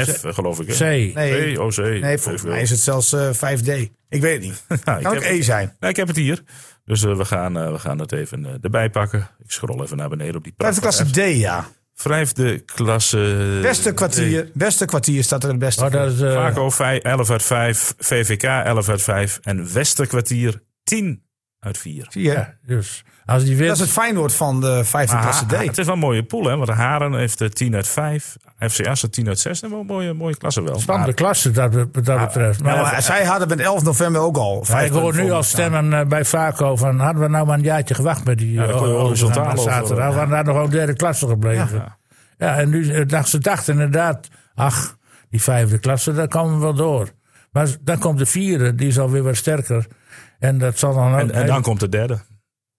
[SPEAKER 2] F, eh, geloof ik.
[SPEAKER 4] C.
[SPEAKER 2] hè? oh,
[SPEAKER 1] Nee.
[SPEAKER 2] B, OC.
[SPEAKER 1] Nee, volgens mij is
[SPEAKER 2] het...
[SPEAKER 1] het zelfs eh, 5D. Ik weet het niet.
[SPEAKER 2] ik
[SPEAKER 1] kan ook
[SPEAKER 2] heb-
[SPEAKER 1] E zijn.
[SPEAKER 2] ik heb het hier. Dus eh, we, gaan, eh, we gaan het even eh, erbij pakken. Ik scroll even naar beneden op die
[SPEAKER 1] Vijfde
[SPEAKER 2] prachtige
[SPEAKER 1] klasse D, ja.
[SPEAKER 2] app. Vijfde klasse...
[SPEAKER 1] Beste kwartier, beste kwartier staat er het beste.
[SPEAKER 2] Oh,
[SPEAKER 4] Maar
[SPEAKER 1] voor.
[SPEAKER 4] dat is, eh,
[SPEAKER 2] Vaco vij- 11 uit 5. VVK 11 uit 5. En Westerkwartier 10 uit 4.
[SPEAKER 1] Zie je?
[SPEAKER 4] ja, dus als die
[SPEAKER 1] Dat is
[SPEAKER 4] wint,
[SPEAKER 1] het Feyenoord van de vijfde
[SPEAKER 2] Maar
[SPEAKER 1] klasse
[SPEAKER 2] Ha- Ha-
[SPEAKER 1] D.
[SPEAKER 2] Ah, het is wel een mooie pool, hè? Want Haren heeft eh, 10 uit 5. FC Assen 10 uit 6. En wel een mooie, mooie klasse wel.
[SPEAKER 4] spannende klasse dat, wat dat betreft. Maar,
[SPEAKER 1] Ja, maar zij hadden met 11 november ook al.
[SPEAKER 4] Maar
[SPEAKER 1] vijf
[SPEAKER 4] ik hoor
[SPEAKER 1] punten
[SPEAKER 4] nu
[SPEAKER 1] voor
[SPEAKER 4] al
[SPEAKER 1] elkaar.
[SPEAKER 4] stemmen eh, bij Vaco van hadden we nou maar een jaartje gewacht met die
[SPEAKER 2] dan kon je
[SPEAKER 4] eh,
[SPEAKER 2] horizontaal
[SPEAKER 4] overgang naar
[SPEAKER 2] over-
[SPEAKER 4] zaterdag. We waren daar nog gewoon derde klasse gebleven. Ja, en nu eh, dacht, ze dachten inderdaad, ach, die vijfde klasse, daar komen we wel door. Maar s- dan komt de vierde, die is alweer wat sterker. En dat zal dan ook...
[SPEAKER 2] En, en dan komt de derde.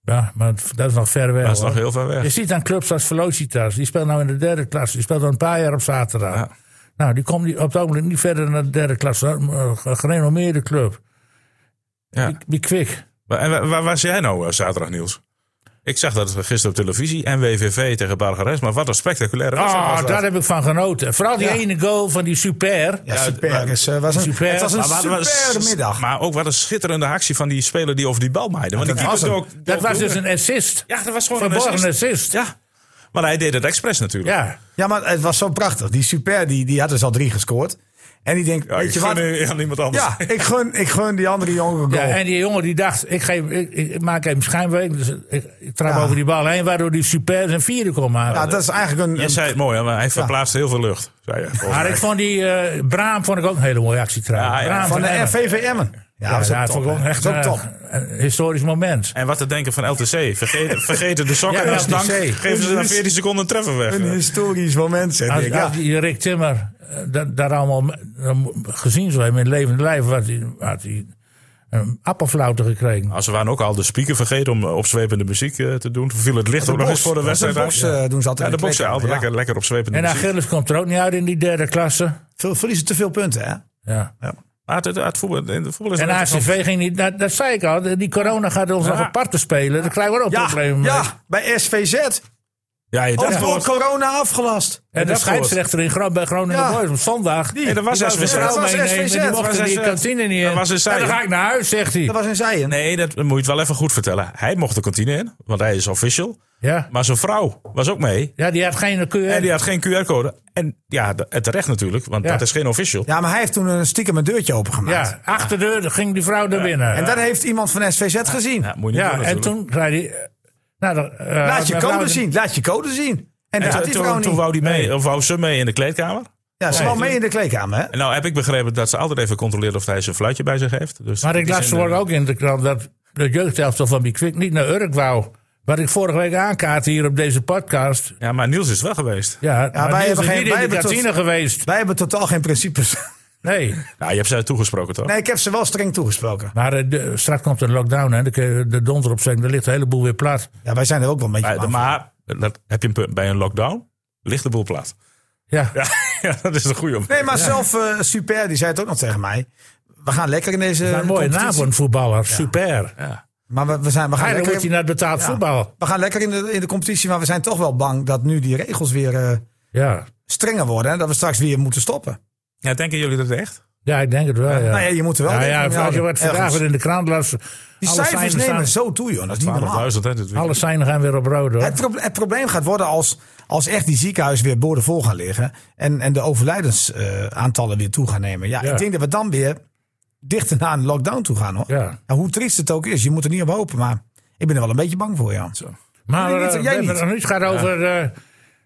[SPEAKER 4] Ja, maar dat is nog ver weg.
[SPEAKER 2] Dat is
[SPEAKER 4] hoor.
[SPEAKER 2] nog heel ver weg.
[SPEAKER 4] Je ziet aan clubs als Velocitas, die speelt nou in de derde klasse. Die speelt al een paar jaar op zaterdag.
[SPEAKER 2] Ja.
[SPEAKER 4] Nou, die komt niet- op het ogenblik niet verder naar de derde klasse. Dat is een, eh, Gerenommeerde club.
[SPEAKER 2] Ja.
[SPEAKER 4] Die, die kwik.
[SPEAKER 2] Wa- En wa- waar, was jij nou eh, zaterdag, Niels? Ik zag dat gisteren op televisie. NWVV tegen Bargares. Maar wat een spectaculaire wedstrijd was
[SPEAKER 4] Ah, daar heb ik van genoten. Vooral die
[SPEAKER 1] Ja.
[SPEAKER 4] ene goal van die super.
[SPEAKER 1] Ja, super. Dus, eh, was een,
[SPEAKER 4] Super.
[SPEAKER 1] Het was een
[SPEAKER 2] Maar wat- wat-
[SPEAKER 1] super middag.
[SPEAKER 2] Maar ook wat een schitterende actie van die speler die over die bal maaide. Want
[SPEAKER 1] Dat
[SPEAKER 2] die
[SPEAKER 1] was
[SPEAKER 2] keeper
[SPEAKER 1] hem.
[SPEAKER 2] dook-
[SPEAKER 4] Dat
[SPEAKER 2] dook
[SPEAKER 4] was dus
[SPEAKER 2] door.
[SPEAKER 4] een assist.
[SPEAKER 2] Ja, dat was gewoon
[SPEAKER 4] Verborgen
[SPEAKER 2] een assist.
[SPEAKER 4] assist.
[SPEAKER 2] Ja. Maar hij deed het expres natuurlijk.
[SPEAKER 4] Ja.
[SPEAKER 1] Ja, maar het was zo prachtig. Die super, die, die had dus al drie gescoord. En die denkt,
[SPEAKER 2] Ja,
[SPEAKER 1] weet je
[SPEAKER 2] ik
[SPEAKER 1] wat?
[SPEAKER 2] gun nu aan iemand anders.
[SPEAKER 1] Ja, ik gun, ik gun die andere jongen een
[SPEAKER 4] Ja,
[SPEAKER 1] goal.
[SPEAKER 4] en die jongen die dacht, ik, geef, ik, ik maak even schijnweek. Dus ik, ik trap
[SPEAKER 1] Ja.
[SPEAKER 4] over die bal heen, waardoor die super zijn vierde kon maken.
[SPEAKER 1] ja, dat is eigenlijk een...
[SPEAKER 2] Jij zei het mooi, hè, maar hij verplaatst heel veel lucht. Zei je, volgens
[SPEAKER 4] maar
[SPEAKER 2] mij.
[SPEAKER 4] ik vond die eh Braam vond ik ook een hele mooie actie trouwens.
[SPEAKER 2] Ja, ja,
[SPEAKER 4] Braam
[SPEAKER 1] van de
[SPEAKER 4] Emmen.
[SPEAKER 1] FVVM'en. Ja,
[SPEAKER 4] Ja,
[SPEAKER 1] dat is ook
[SPEAKER 4] dat
[SPEAKER 1] top.
[SPEAKER 4] vond ik ook
[SPEAKER 1] hè.
[SPEAKER 4] echt
[SPEAKER 1] Dat is
[SPEAKER 4] eh,
[SPEAKER 1] ook top.
[SPEAKER 4] een historisch moment.
[SPEAKER 2] En wat te denken van LTC. Vergeten, vergeten de sokken
[SPEAKER 4] Ja,
[SPEAKER 2] en als
[SPEAKER 4] LTC.
[SPEAKER 2] dank geven ze na 14 seconden een treffer weg.
[SPEAKER 1] Een historisch moment, zeg
[SPEAKER 4] Als,
[SPEAKER 1] ik. Ja.
[SPEAKER 4] als die Rick Timmer eh, dat, daar allemaal me- dan gezien zou hebben in levend lijf, had hij, had hij een appelflauwte gekregen.
[SPEAKER 2] Als ze waren ook al de speaker vergeten om eh, opzwepende muziek eh, te doen. Toen viel het licht ook nog
[SPEAKER 1] box.
[SPEAKER 2] eens voor de
[SPEAKER 1] Ja,
[SPEAKER 2] wedstrijd
[SPEAKER 1] de box,
[SPEAKER 2] uit.
[SPEAKER 1] eh, doen ze altijd
[SPEAKER 2] Ja,
[SPEAKER 1] in
[SPEAKER 2] de
[SPEAKER 1] de
[SPEAKER 2] boxen
[SPEAKER 1] kleedkamer,
[SPEAKER 2] altijd
[SPEAKER 1] ja.
[SPEAKER 2] lekker, lekker opzwepende
[SPEAKER 4] En
[SPEAKER 2] muziek.
[SPEAKER 4] Achilles komt er ook niet uit in die derde klasse.
[SPEAKER 1] Veel verliezen te veel punten, hè?
[SPEAKER 4] Ja.
[SPEAKER 2] Maar het, het, het voetbal, in de voetbal is
[SPEAKER 4] En
[SPEAKER 2] het wel-
[SPEAKER 4] ACV ging niet, dat, dat zei ik al, die corona gaat ons nog apart te spelen. Daar krijgen we ook
[SPEAKER 1] Ja,
[SPEAKER 4] problemen mee.
[SPEAKER 1] ja, bij SVZ.
[SPEAKER 2] Ja,
[SPEAKER 4] Oh.
[SPEAKER 2] je
[SPEAKER 1] Ook
[SPEAKER 2] dacht
[SPEAKER 1] door
[SPEAKER 2] wel.
[SPEAKER 1] corona afgelast.
[SPEAKER 4] En de
[SPEAKER 2] dat
[SPEAKER 4] scheidsrechter in Gro bij Groningen
[SPEAKER 1] Ja.
[SPEAKER 4] Boys op zondag. Die,
[SPEAKER 2] En dat was
[SPEAKER 4] die was
[SPEAKER 2] SVZ.
[SPEAKER 4] zijn vrouw
[SPEAKER 1] Dat was
[SPEAKER 4] meenemen en
[SPEAKER 1] SVZ.
[SPEAKER 4] die
[SPEAKER 1] Dat
[SPEAKER 4] mocht
[SPEAKER 2] was
[SPEAKER 4] die
[SPEAKER 2] SVZ.
[SPEAKER 4] kantine niet in.
[SPEAKER 2] Dat was een
[SPEAKER 4] en dan
[SPEAKER 2] zij.
[SPEAKER 4] ga ik naar huis, zegt hij.
[SPEAKER 1] Dat was in Zijen.
[SPEAKER 2] Nee, dat moet je het wel even goed vertellen. Hij mocht de kantine in, want hij is official.
[SPEAKER 4] Ja.
[SPEAKER 2] Maar zijn vrouw was ook mee.
[SPEAKER 4] ja, die had geen keur.
[SPEAKER 2] En die had geen QR-code. En ja, d- en terecht natuurlijk, want
[SPEAKER 4] Ja.
[SPEAKER 2] dat is geen official.
[SPEAKER 1] Ja, maar hij heeft toen een stiekem een deurtje opengemaakt.
[SPEAKER 4] Ja, achterdeur ging die vrouw naar binnen.
[SPEAKER 1] En dat heeft iemand van SVZ gezien.
[SPEAKER 2] Ja, moet je niet
[SPEAKER 4] Ja,
[SPEAKER 2] doen
[SPEAKER 4] en
[SPEAKER 2] natuurlijk.
[SPEAKER 4] toen zei hij... eh, Nou, dan, eh,
[SPEAKER 1] Laat je
[SPEAKER 4] mijn vrouw-
[SPEAKER 1] code zien. Laat je code zien. En
[SPEAKER 2] En
[SPEAKER 1] dat had
[SPEAKER 2] toen-
[SPEAKER 1] die vrouw
[SPEAKER 2] toen, toen
[SPEAKER 1] niet.
[SPEAKER 2] wou die mee, of wou ze mee in de kleedkamer.
[SPEAKER 1] Ja, ze kwam mee in de kleedkamer, hè?
[SPEAKER 2] En nou heb ik begrepen dat ze altijd even controleert of hij zijn fluitje bij zich heeft. Dus
[SPEAKER 4] Maar
[SPEAKER 2] in
[SPEAKER 4] ik
[SPEAKER 2] die
[SPEAKER 4] las
[SPEAKER 2] zin,
[SPEAKER 4] vanmorgen
[SPEAKER 2] eh,
[SPEAKER 4] ook in de krant dat de jeugdelftal van Bikwik niet naar Urk wou. Wat ik vorige week aankaart hier op deze podcast.
[SPEAKER 2] Ja, maar Niels is wel geweest.
[SPEAKER 4] Ja,
[SPEAKER 1] wij
[SPEAKER 4] maar wij
[SPEAKER 1] hebben geen-
[SPEAKER 4] hebben niet
[SPEAKER 1] wij
[SPEAKER 4] in de
[SPEAKER 1] hebben tot-
[SPEAKER 4] kantine geweest.
[SPEAKER 1] Wij hebben totaal geen principes.
[SPEAKER 4] Nee.
[SPEAKER 2] Nou, je hebt ze toegesproken toch?
[SPEAKER 1] Nee, ik heb ze wel streng toegesproken.
[SPEAKER 4] Maar eh, de, straks komt de lockdown en de, de donder op zijn. Er ligt een heleboel weer plat.
[SPEAKER 1] Ja, wij zijn er ook wel een beetje
[SPEAKER 2] Maar,
[SPEAKER 1] bang voor.
[SPEAKER 2] maar dat, heb je een punt. bij een lockdown ligt de boel plat.
[SPEAKER 4] Ja.
[SPEAKER 2] Ja, ja, dat is een goede om.
[SPEAKER 1] Nee, maar zelf eh, Super, die zei het ook nog tegen mij. We gaan lekker in deze
[SPEAKER 4] Maar een mooie naam
[SPEAKER 1] competitie.
[SPEAKER 4] voor een voetballer. Super. Ah,
[SPEAKER 2] Ja.
[SPEAKER 1] Maar we, we zijn, we, gaan
[SPEAKER 4] Eigenlijk wordt
[SPEAKER 1] lekker,
[SPEAKER 4] hij naar het betaald
[SPEAKER 1] Ja.
[SPEAKER 4] voetbal.
[SPEAKER 1] we gaan lekker in de, in de competitie, maar we zijn toch wel bang dat nu die regels weer eh,
[SPEAKER 4] Ja.
[SPEAKER 1] strenger worden. En dat we straks weer moeten stoppen.
[SPEAKER 2] ja, denken jullie dat echt?
[SPEAKER 4] ja, ik denk het wel. Ja.
[SPEAKER 1] Nou ja, je moet er wel
[SPEAKER 4] Nou ja,
[SPEAKER 1] rekening mee
[SPEAKER 4] als je wat
[SPEAKER 1] houden.
[SPEAKER 4] vandaag
[SPEAKER 1] Ergens.
[SPEAKER 4] weer in de krant las.
[SPEAKER 1] Die
[SPEAKER 4] alle
[SPEAKER 1] cijfers
[SPEAKER 4] seinen
[SPEAKER 1] nemen
[SPEAKER 4] staan-
[SPEAKER 1] zo toe, joh. Dat is niet normaal.
[SPEAKER 2] 12.000 hè, dit weekend.
[SPEAKER 4] Alle seinen gaan weer op rood hoor.
[SPEAKER 1] Het, proble- het probleem gaat worden als, als echt die ziekenhuizen weer boordevol gaan liggen. En, en de overlijdensaantallen weer toe gaan nemen. Ja,
[SPEAKER 4] Ja.
[SPEAKER 1] ik denk dat we dan weer dichter naar een lockdown toe gaan hoor.
[SPEAKER 4] Ja.
[SPEAKER 1] En hoe triest het ook is, je moet er niet op hopen, maar ik ben er wel een beetje bang voor, ja.
[SPEAKER 4] Maar
[SPEAKER 1] Nee, niet-
[SPEAKER 4] eh,
[SPEAKER 1] jij
[SPEAKER 4] we hebben
[SPEAKER 1] niet.
[SPEAKER 4] het nog niet gehad over eh,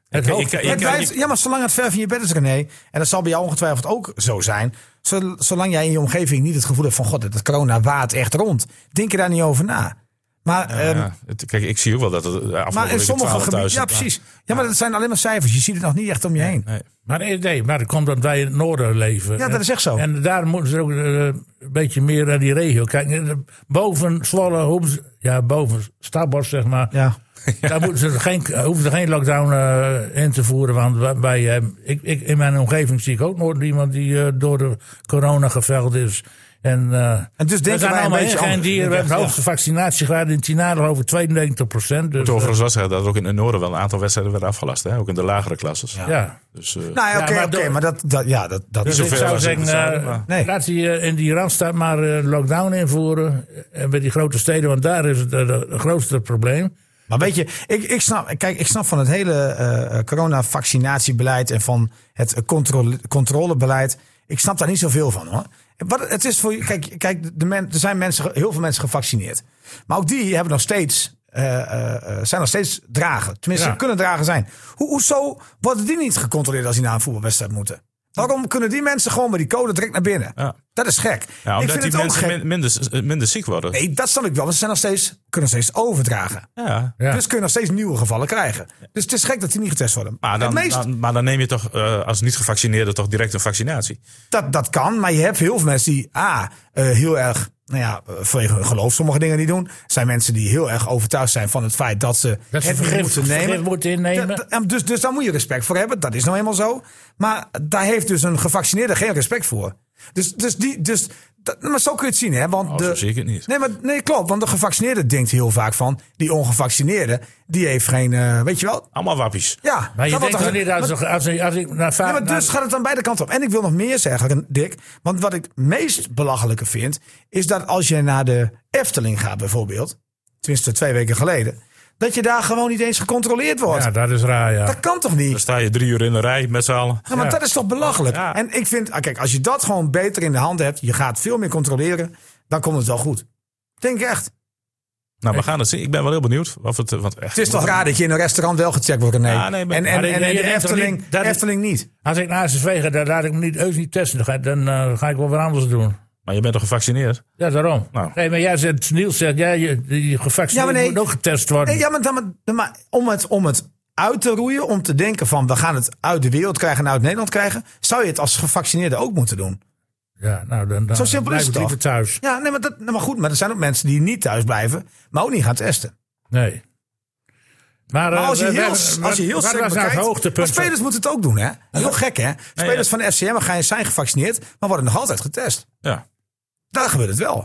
[SPEAKER 4] het hoofd.
[SPEAKER 2] ik-
[SPEAKER 1] Het blijft-
[SPEAKER 2] ik-
[SPEAKER 1] ja, maar zolang het ver van je bed is, René, en dat zal bij jou ongetwijfeld ook zo zijn, zo- zolang jij in je omgeving niet het gevoel hebt van, god, dat corona waait echt rond, denk je daar niet over na. Maar, ehm,
[SPEAKER 2] Ja, het- kijk, ik zie ook wel dat het eh, afgelopen
[SPEAKER 1] maar in
[SPEAKER 2] week
[SPEAKER 1] sommige
[SPEAKER 2] 12.000
[SPEAKER 1] gebieden, ja
[SPEAKER 2] maar-
[SPEAKER 1] precies. Ja, maar dat zijn alleen maar cijfers, je ziet het nog niet echt om je heen.
[SPEAKER 2] Nee.
[SPEAKER 4] Maar nee, nee, maar dat komt omdat wij in het noorden leven.
[SPEAKER 1] Ja, dat is echt zo.
[SPEAKER 4] En daar moeten ze ook eh, een beetje meer naar die regio kijken. Eh, Boven Zwolle, hoeven ze- ja, boven Stabos zeg maar.
[SPEAKER 1] Ja.
[SPEAKER 4] Daar moeten ze geen, hoeven ze geen lockdown eh, in te voeren. Want wa- wij, eh, ik, ik, in mijn omgeving zie ik ook nooit iemand die eh, door de corona geveld is. En, eh,
[SPEAKER 1] dus denken
[SPEAKER 4] we zijn
[SPEAKER 1] wij een
[SPEAKER 4] allemaal
[SPEAKER 1] beetje
[SPEAKER 4] ingeënt
[SPEAKER 1] anders.
[SPEAKER 4] hier. We hebben het
[SPEAKER 1] Ja.
[SPEAKER 4] hoogste vaccinatiegraad in Tinalo over 92 Dus, eh,
[SPEAKER 2] Overigens was er dat er ook in het noorden wel een aantal wedstrijden werden afgelast. Hè? Ook in de lagere klasses.
[SPEAKER 4] ja.
[SPEAKER 2] Dus, eh,
[SPEAKER 1] Nou ja,
[SPEAKER 4] Ja,
[SPEAKER 1] oké,
[SPEAKER 4] maar
[SPEAKER 1] oké,
[SPEAKER 4] door-
[SPEAKER 1] maar dat, dat, ja, dat, dat
[SPEAKER 4] Dus
[SPEAKER 1] is
[SPEAKER 4] ik
[SPEAKER 2] zoveel
[SPEAKER 4] zou
[SPEAKER 2] als in
[SPEAKER 4] zeggen,
[SPEAKER 2] het zuiden,
[SPEAKER 4] eh,
[SPEAKER 2] maar-
[SPEAKER 1] Nee.
[SPEAKER 4] laat die eh, in die Randstad maar eh, lockdown invoeren. En bij die grote steden, want daar is het eh, het grootste probleem.
[SPEAKER 1] Maar weet je, ik, ik snap, kijk, ik snap van het hele eh corona-vaccinatiebeleid en van het controle, controlebeleid. Ik snap daar niet zoveel van hoor. Wat, het is voor, je- kijk, kijk de men, er zijn mensen, ge- heel veel mensen gevaccineerd. Maar ook die hebben nog steeds, eh, eh, eh, zijn nog steeds dragen. Tenminste,
[SPEAKER 4] Ja.
[SPEAKER 1] kunnen dragen zijn. Hoe, hoezo worden die niet gecontroleerd als die naar een voetbalwedstrijd moeten? Waarom kunnen die mensen gewoon bij die code direct naar binnen?
[SPEAKER 2] Ja.
[SPEAKER 1] Dat is gek.
[SPEAKER 2] ja,
[SPEAKER 1] ik
[SPEAKER 2] omdat
[SPEAKER 1] vind het
[SPEAKER 2] die
[SPEAKER 1] ook
[SPEAKER 2] mensen
[SPEAKER 1] gek.
[SPEAKER 2] min- minder, eh, minder ziek worden.
[SPEAKER 1] Nee, dat snap ik wel. Want ze zijn nog steeds, kunnen nog steeds overdragen.
[SPEAKER 2] Ja.
[SPEAKER 4] Ja.
[SPEAKER 1] Dus kun je nog steeds nieuwe gevallen krijgen. Dus het is gek dat die niet getest worden.
[SPEAKER 2] Maar, dan,
[SPEAKER 1] het meest,
[SPEAKER 2] dan- maar dan neem je toch eh, als niet-gevaccineerde toch direct een vaccinatie.
[SPEAKER 1] dat, dat kan, maar je hebt heel veel mensen die A, eh, heel erg, nou ja, eh, vanwege hun geloof sommige dingen niet doen. Er zijn mensen die heel erg overtuigd zijn van het feit dat ze
[SPEAKER 4] Dat ze
[SPEAKER 1] het niet
[SPEAKER 4] vergif-
[SPEAKER 1] moeten
[SPEAKER 4] vergif
[SPEAKER 1] nemen.
[SPEAKER 4] moeten innemen.
[SPEAKER 1] Dat- dat- en dus, dus daar moet je respect voor hebben, dat is nou eenmaal zo. Maar daar heeft dus een gevaccineerde geen respect voor. Dus, dus die, dus, dat- maar zo kun je het zien, hè? Want
[SPEAKER 2] Oh, zo
[SPEAKER 1] de,
[SPEAKER 2] zie ik het niet.
[SPEAKER 1] Nee, maar, nee, klopt. Want de gevaccineerde denkt heel vaak van... die ongevaccineerde, die heeft geen... eh, weet je wel?
[SPEAKER 2] Allemaal wappies.
[SPEAKER 1] Ja.
[SPEAKER 4] Maar je
[SPEAKER 1] dat wordt
[SPEAKER 4] denkt
[SPEAKER 1] toch-
[SPEAKER 4] toch niet, als, als, als, als ik naar vaak...
[SPEAKER 1] Ja, maar dus gaat het dan beide kanten op. En ik wil nog meer zeggen, Dick. Want wat ik het meest belachelijke vind... is dat als je naar de Efteling gaat bijvoorbeeld... tenminste twee weken geleden... dat je daar gewoon niet eens gecontroleerd wordt.
[SPEAKER 4] ja, dat is raar, ja.
[SPEAKER 1] Dat kan toch niet?
[SPEAKER 2] Dan sta je drie uur in de rij met z'n allen.
[SPEAKER 1] Ja, maar
[SPEAKER 4] Ja.
[SPEAKER 1] dat is toch belachelijk?
[SPEAKER 2] Ja.
[SPEAKER 1] En ik vind, ah, kijk, als je dat gewoon beter in de hand hebt... je gaat veel meer controleren, dan komt het wel goed. Denk ik echt.
[SPEAKER 2] Nou, we gaan het zien. Ik ben wel heel benieuwd. Of het, eh, want echt,
[SPEAKER 1] Het is toch raar dat je in een restaurant wel gecheckt wordt, René?
[SPEAKER 2] Ja, nee, maar-
[SPEAKER 1] en en,
[SPEAKER 4] Maar
[SPEAKER 1] en,
[SPEAKER 4] je-
[SPEAKER 1] en
[SPEAKER 4] je
[SPEAKER 1] de
[SPEAKER 4] denkt toch
[SPEAKER 1] Efteling,
[SPEAKER 4] niet dat het-
[SPEAKER 1] Efteling niet.
[SPEAKER 4] Als ik naar SSV ga, dan laat ik me niet, heus niet testen. Dan ga, dan, eh, ga ik wel wat anders doen.
[SPEAKER 2] Maar je bent toch gevaccineerd?
[SPEAKER 4] Ja, daarom.
[SPEAKER 2] Nou.
[SPEAKER 4] Nee, maar jij zegt, Niels zegt, ja, je, je
[SPEAKER 1] Ja,
[SPEAKER 4] gevaccineerd
[SPEAKER 1] maar nee.
[SPEAKER 4] moet ook getest worden.
[SPEAKER 1] Nee, ja, maar, dan, maar- maar om, het, om het uit te roeien, om te denken van we gaan het uit de wereld krijgen en uit Nederland krijgen, zou je het als gevaccineerde ook moeten doen.
[SPEAKER 4] Ja, nou, dan, dan
[SPEAKER 1] Zo simpel
[SPEAKER 4] blijf
[SPEAKER 1] is het
[SPEAKER 4] ik
[SPEAKER 1] toch?
[SPEAKER 4] liever thuis.
[SPEAKER 1] Ja, nee, maar, dat, nee, maar goed, maar er zijn ook mensen die niet thuis blijven, maar ook niet gaan testen.
[SPEAKER 4] Nee. Maar,
[SPEAKER 1] Maar
[SPEAKER 4] eh,
[SPEAKER 1] als je
[SPEAKER 4] we- we-
[SPEAKER 1] heel,
[SPEAKER 4] we-
[SPEAKER 1] als je heel
[SPEAKER 4] wat was
[SPEAKER 1] strikt
[SPEAKER 4] nou het
[SPEAKER 1] bekijkt, maar
[SPEAKER 4] hoogtepunt van-
[SPEAKER 1] spelers moeten het ook doen, hè? Heel gek, hè? Spelers van de FCM gaan- zijn gevaccineerd, maar worden nog altijd getest.
[SPEAKER 2] Ja.
[SPEAKER 1] Daar gebeurt het wel.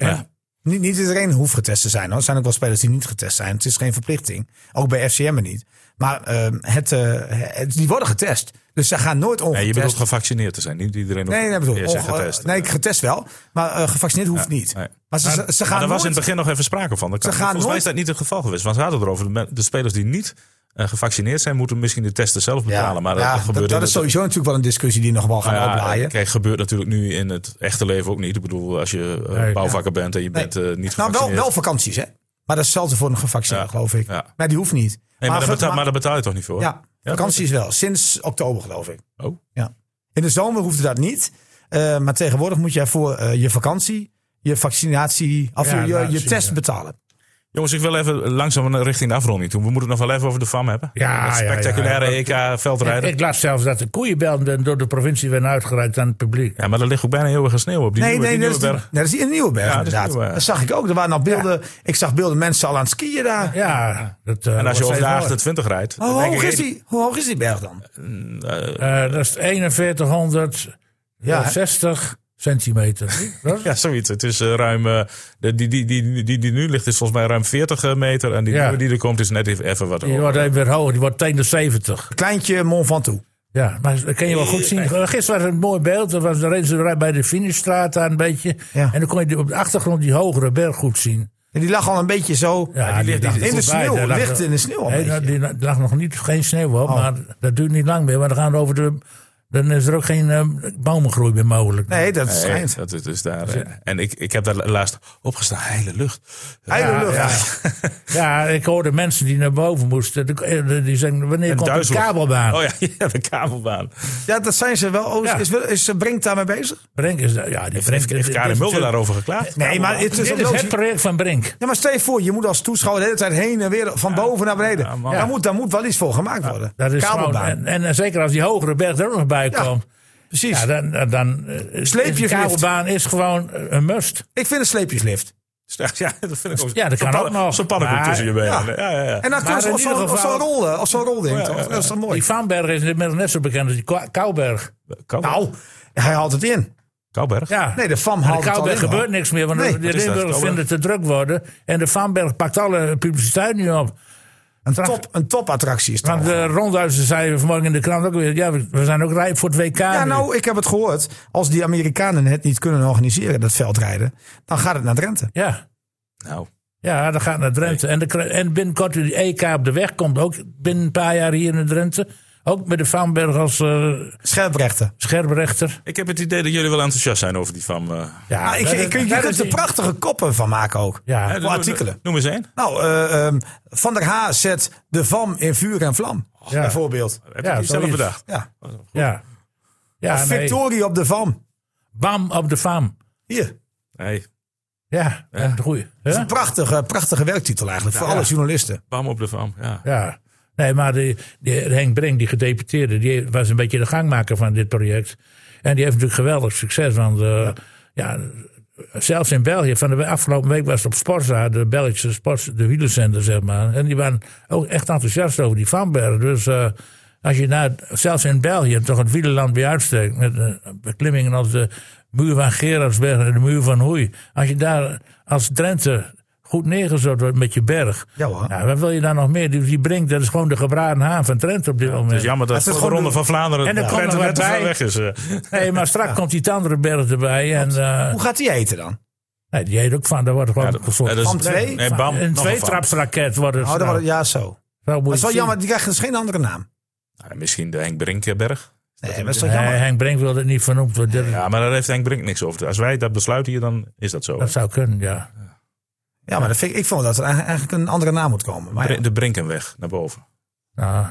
[SPEAKER 2] ja.
[SPEAKER 1] Niet, niet iedereen hoeft getest te zijn. Hoor. Er zijn ook wel spelers die niet getest zijn. Het is geen verplichting. Ook bij FCM'en niet. Maar ehm, het, eh, het- die worden getest. Dus ze gaan nooit
[SPEAKER 2] Nee, je
[SPEAKER 1] ongetest.
[SPEAKER 2] bedoelt gevaccineerd te zijn. Niet iedereen
[SPEAKER 1] nee, nee, bedoel,
[SPEAKER 2] eerst
[SPEAKER 1] onge-
[SPEAKER 2] getest.
[SPEAKER 1] nee, getest wel. Maar eh, gevaccineerd hoeft niet.
[SPEAKER 2] nee.
[SPEAKER 1] Maar ze, ze- ze gaan
[SPEAKER 2] Maar daar was in
[SPEAKER 1] nooit...
[SPEAKER 2] het begin nog even sprake van. Dat kan-
[SPEAKER 1] Ze gaan
[SPEAKER 2] Volgens mij
[SPEAKER 1] nooit-
[SPEAKER 2] is dat niet het geval geweest. Want ze hadden het erover. De, men- de spelers die niet eh, gevaccineerd zijn, moeten misschien de testen zelf betalen. maar dat,
[SPEAKER 1] ja,
[SPEAKER 2] dat gebeurt in
[SPEAKER 1] is
[SPEAKER 2] het-
[SPEAKER 1] sowieso natuurlijk wel een discussie die nog wel gaan
[SPEAKER 2] Nou ja,
[SPEAKER 1] oplaaien.
[SPEAKER 2] Kijk, gebeurt natuurlijk nu in het echte leven ook niet. Ik bedoel, als je eh,
[SPEAKER 4] Nee,
[SPEAKER 2] bouwvakker bent en je bent eh, niet
[SPEAKER 1] nou, wel,
[SPEAKER 2] gevaccineerd.
[SPEAKER 1] wel vakanties, hè? Maar dat is hetzelfde voor een gevaccineerde,
[SPEAKER 2] Ja,
[SPEAKER 1] geloof ik.
[SPEAKER 2] ja.
[SPEAKER 1] Maar die hoeft niet.
[SPEAKER 2] Nee, maar, daar
[SPEAKER 1] ge-
[SPEAKER 2] betaal, maar daar betaal je toch niet voor?
[SPEAKER 1] Ja,
[SPEAKER 2] Ja,
[SPEAKER 1] vakanties wel. Sinds oktober, geloof ik.
[SPEAKER 2] Oh.
[SPEAKER 1] Ja. In de zomer hoefde dat niet. Eh, maar tegenwoordig moet jij voor eh, je vakantie, je vaccinatie, of
[SPEAKER 4] Ja,
[SPEAKER 1] je- je,
[SPEAKER 4] laat
[SPEAKER 1] je
[SPEAKER 4] zien,
[SPEAKER 1] test
[SPEAKER 4] ja.
[SPEAKER 1] betalen.
[SPEAKER 2] Jongens, ik wil even langzaam naar- richting de afronding toe. We moeten het nog wel even over de FAM hebben.
[SPEAKER 4] Ja,
[SPEAKER 2] Dat
[SPEAKER 4] ja, ja.
[SPEAKER 2] spectaculaire EK-veldrijden. Ja,
[SPEAKER 4] Ik las zelfs dat de koeienbelden door de provincie werden uitgereikt aan het publiek.
[SPEAKER 2] maar er ligt ook bijna heel erg sneeuw op die
[SPEAKER 1] Nee,
[SPEAKER 2] nieuwe,
[SPEAKER 1] nee,
[SPEAKER 2] die
[SPEAKER 1] dat is,
[SPEAKER 2] nieuwe
[SPEAKER 1] die, nee,
[SPEAKER 2] berg.
[SPEAKER 1] dat is die in Nieuwenberg
[SPEAKER 2] Ja, dat is
[SPEAKER 1] inderdaad. Dat,
[SPEAKER 2] Nieuwenberg.
[SPEAKER 1] zag ik ook. Er waren al beelden. Ik zag beelden mensen al aan het skiën daar. Oh,
[SPEAKER 4] Ja, dat, eh,
[SPEAKER 2] En als je over de
[SPEAKER 4] achter
[SPEAKER 2] 28
[SPEAKER 4] Oh,
[SPEAKER 2] rijdt, dan
[SPEAKER 1] Hoe,
[SPEAKER 2] denk
[SPEAKER 1] hoog
[SPEAKER 2] ik,
[SPEAKER 1] is
[SPEAKER 2] hey,
[SPEAKER 1] die, hoe hoog is die berg dan?
[SPEAKER 4] Eh, dat is 4160
[SPEAKER 1] Ja, hè?
[SPEAKER 4] centimeter. Dat?
[SPEAKER 2] Ja, zoiets. Het is eh, ruim. eh, de- die, die, die, die, die, nu ligt is volgens mij ruim 40 meter. En die
[SPEAKER 4] Ja.
[SPEAKER 2] nieuwe die er komt is net even, even wat
[SPEAKER 4] Die
[SPEAKER 2] hoger.
[SPEAKER 4] wordt even weer hoger, die wordt tegen de 70.
[SPEAKER 1] Kleintje Mont Ventoux.
[SPEAKER 4] Ja, maar dat kun je wel goed zien. Gisteren was het een mooi beeld. Er was de race bij de finishstraat aan een beetje.
[SPEAKER 1] Ja.
[SPEAKER 4] En dan kon je die- op de achtergrond die hogere berg goed zien.
[SPEAKER 1] En die lag al een beetje zo
[SPEAKER 4] die ligt- die
[SPEAKER 1] in de
[SPEAKER 4] ligt voorbij.
[SPEAKER 1] sneeuw.
[SPEAKER 4] Daar lag-
[SPEAKER 1] Ligt in de sneeuw al een
[SPEAKER 4] Nee,
[SPEAKER 1] beetje. Oh.
[SPEAKER 4] die lag nog niet, geen sneeuw op, maar dat duurt niet lang meer. Maar dan gaan we over de dan is er ook geen eh, bomengroei meer mogelijk.
[SPEAKER 1] Nee, dat
[SPEAKER 2] Nee,
[SPEAKER 1] schijnt.
[SPEAKER 2] dat is dus daar. eh, En ik, ik heb daar laatst opgestaan. Heile lucht.
[SPEAKER 1] Heile
[SPEAKER 4] Ja,
[SPEAKER 1] lucht.
[SPEAKER 4] ja. Ja, ik hoorde mensen die naar boven moesten. die- eh, Die zeggen, wanneer komt de
[SPEAKER 2] duizelig.
[SPEAKER 4] kabelbaan?
[SPEAKER 2] Oh ja, ja, de kabelbaan.
[SPEAKER 1] Ja, dat zijn ze wel. Oh,
[SPEAKER 4] Ja.
[SPEAKER 1] Is, wel- is eh, Brink daarmee bezig?
[SPEAKER 4] Brink is daar. Ja, die
[SPEAKER 2] Heeft,
[SPEAKER 4] Brink-
[SPEAKER 2] heeft
[SPEAKER 4] dit-
[SPEAKER 2] Karin
[SPEAKER 4] dit-
[SPEAKER 2] Mulder daarover geklaagd?
[SPEAKER 1] Nee, maar het is
[SPEAKER 4] Dit
[SPEAKER 1] ook
[SPEAKER 4] is het
[SPEAKER 1] logisch.
[SPEAKER 4] project van Brink.
[SPEAKER 1] Ja, maar stel je voor, je moet als toeschouwer de hele tijd heen en weer van boven naar beneden.
[SPEAKER 2] Ja, man.
[SPEAKER 1] daar, moet, daar moet wel iets voor gemaakt worden.
[SPEAKER 4] Dat is gewoon,
[SPEAKER 1] Kabelbaan.
[SPEAKER 4] en, en zeker als die hogere berg er ook nog bij
[SPEAKER 1] Ja,
[SPEAKER 4] komt.
[SPEAKER 1] Precies.
[SPEAKER 4] Ja, dan, dan, dan eh,
[SPEAKER 1] Sleep
[SPEAKER 4] is
[SPEAKER 1] je
[SPEAKER 4] de
[SPEAKER 1] verliefd.
[SPEAKER 4] kabelbaan is gewoon een must.
[SPEAKER 1] Ik vind een sleepjeslift.
[SPEAKER 2] Straks, dus ja, dat vind ik ook.
[SPEAKER 4] Ja, dat
[SPEAKER 2] Zo'n
[SPEAKER 4] kan ook
[SPEAKER 2] pannen-
[SPEAKER 4] nog.
[SPEAKER 2] Zo'n pannenkoek
[SPEAKER 4] Maar-
[SPEAKER 2] tussen je benen. Ja,
[SPEAKER 1] Ja.
[SPEAKER 2] ja, ja.
[SPEAKER 1] En dan
[SPEAKER 4] Maar
[SPEAKER 1] kun je
[SPEAKER 4] in
[SPEAKER 1] of
[SPEAKER 4] ieder
[SPEAKER 1] zo'n- of
[SPEAKER 4] geval-
[SPEAKER 1] zo'n rol, eh, of zo'n rol ding, toch?
[SPEAKER 2] ja, ja.
[SPEAKER 1] Dat is toch
[SPEAKER 4] Die
[SPEAKER 1] mooi?
[SPEAKER 4] Vaanberg is inmiddels net zo bekend als die Kwa- Kouwberg.
[SPEAKER 2] Kouw-
[SPEAKER 1] Nou, hij haalt het in.
[SPEAKER 2] Kouwberg?
[SPEAKER 4] Ja.
[SPEAKER 1] Nee, de FAM
[SPEAKER 4] Maar
[SPEAKER 1] haalt
[SPEAKER 4] de
[SPEAKER 1] het al in.
[SPEAKER 4] Kouwberg
[SPEAKER 1] hoor.
[SPEAKER 4] gebeurt niks meer, want
[SPEAKER 1] Nee,
[SPEAKER 4] de- de
[SPEAKER 1] wat
[SPEAKER 2] is dat,
[SPEAKER 4] Limburgers
[SPEAKER 2] Kouwberg?
[SPEAKER 4] vinden het te druk worden. En de Vaanberg pakt alle publiciteit nu op.
[SPEAKER 1] Een, top, een topattractie is
[SPEAKER 4] Want
[SPEAKER 1] dat.
[SPEAKER 4] de rondhuizen zeiden vanmorgen in de krant ook weer... ja, we- we zijn ook rijp voor het WK
[SPEAKER 1] Ja,
[SPEAKER 4] nu.
[SPEAKER 1] nou, ik heb het gehoord. Als die Amerikanen het niet kunnen organiseren, dat veldrijden, dan gaat het naar Drenthe.
[SPEAKER 4] Ja.
[SPEAKER 2] Nou,
[SPEAKER 4] Ja, dat gaat naar Drenthe. En, de, kri- en binnenkort die EK op de weg komt ook binnen een paar jaar hier in Drenthe. Ook met de Vaanberg als eh,
[SPEAKER 1] Scherprechten.
[SPEAKER 4] scherprechter.
[SPEAKER 2] ik heb het idee dat jullie wel enthousiast zijn over die van. eh,
[SPEAKER 4] Ja,
[SPEAKER 1] Ah, ik,
[SPEAKER 4] dat-
[SPEAKER 1] ik, je
[SPEAKER 4] dat
[SPEAKER 1] kunt
[SPEAKER 4] is-
[SPEAKER 1] er prachtige koppen van maken ook.
[SPEAKER 4] Ja.
[SPEAKER 2] hè,
[SPEAKER 1] Voor
[SPEAKER 2] noem-
[SPEAKER 1] artikelen.
[SPEAKER 2] Noem eens één.
[SPEAKER 1] Nou, eh, ehm, Van der Haar zet de VAM in vuur en vlam.
[SPEAKER 4] Ja.
[SPEAKER 1] Bijvoorbeeld.
[SPEAKER 2] Heb je
[SPEAKER 4] Ja,
[SPEAKER 2] die zelf
[SPEAKER 4] zoiets.
[SPEAKER 2] bedacht?
[SPEAKER 1] Ja.
[SPEAKER 4] Ja. Ja, nee.
[SPEAKER 1] Victorie op de VAM.
[SPEAKER 4] Bam op de faam.
[SPEAKER 1] Hier.
[SPEAKER 2] Nee,
[SPEAKER 4] Ja, ja. goeie.
[SPEAKER 1] Een
[SPEAKER 4] Huh?
[SPEAKER 1] prachtige, prachtige werktitel eigenlijk voor alle journalisten.
[SPEAKER 2] bam op de van. Ja.
[SPEAKER 4] Ja. Nee, maar die, die Henk Brink, die gedeputeerde, die was een beetje de gangmaker van dit project. En die heeft natuurlijk geweldig succes. Want eh, ja. zelfs in België, van de afgelopen week was het op Sporza, de Belgische sports, de wielerzender, zeg maar. En die waren ook echt enthousiast over die Vanberg. Dus eh, als je nou, zelfs in België, toch het wielerland bij uitstek, met eh, beklimmingen als de muur van Gerardsberg en de muur van Hoei. Als je daar als Drenthe goed neergezet wordt met je berg.
[SPEAKER 1] Ja hoor.
[SPEAKER 4] Nou, wat wil je daar nog meer? Die, die Brink, dat is gewoon de gebraden haan van Drenthe op dit
[SPEAKER 2] Het is
[SPEAKER 4] moment.
[SPEAKER 2] jammer dat
[SPEAKER 1] Het is
[SPEAKER 2] voor de
[SPEAKER 1] gewoon
[SPEAKER 2] Ronde
[SPEAKER 1] de-
[SPEAKER 2] van Vlaanderen
[SPEAKER 4] En er komt
[SPEAKER 2] Drenthe
[SPEAKER 4] nog
[SPEAKER 2] net
[SPEAKER 4] wat
[SPEAKER 2] te ver
[SPEAKER 4] bij.
[SPEAKER 2] weg is. eh.
[SPEAKER 4] Nee, maar straks komt die andere berg erbij. En, eh,
[SPEAKER 1] Hoe gaat die eten dan?
[SPEAKER 4] nee, die heet ook van, daar wordt gewoon
[SPEAKER 2] Ja,
[SPEAKER 4] ja,
[SPEAKER 2] dat- ja, dat is-
[SPEAKER 1] Van twee?
[SPEAKER 2] Nee, bam.
[SPEAKER 4] een
[SPEAKER 2] nog
[SPEAKER 4] tweetrapsraket wordt het.
[SPEAKER 1] Oh, dat
[SPEAKER 4] nou.
[SPEAKER 1] wordt- ja, zo.
[SPEAKER 4] Zo moet
[SPEAKER 1] Dat is
[SPEAKER 4] je
[SPEAKER 1] wel
[SPEAKER 4] het
[SPEAKER 1] jammer, die krijgt dus geen andere naam.
[SPEAKER 2] van. Nou, misschien de Henk Brinkberg.
[SPEAKER 1] Nee, dat is
[SPEAKER 4] zien.
[SPEAKER 1] toch jammer.
[SPEAKER 4] Nee, Henk Brink wilde het niet vernoemd worden.
[SPEAKER 2] Ja, maar daar heeft Henk Brink niks over. te- Als wij dat besluiten hier, dan is dat zo.
[SPEAKER 4] Dat zou kunnen, ja.
[SPEAKER 1] Ja, maar dat vind ik, ik vond dat er eigenlijk eigenlijk een andere naam moet komen. Maar ja.
[SPEAKER 2] Brin- De Brinkenweg naar boven.
[SPEAKER 4] Nou,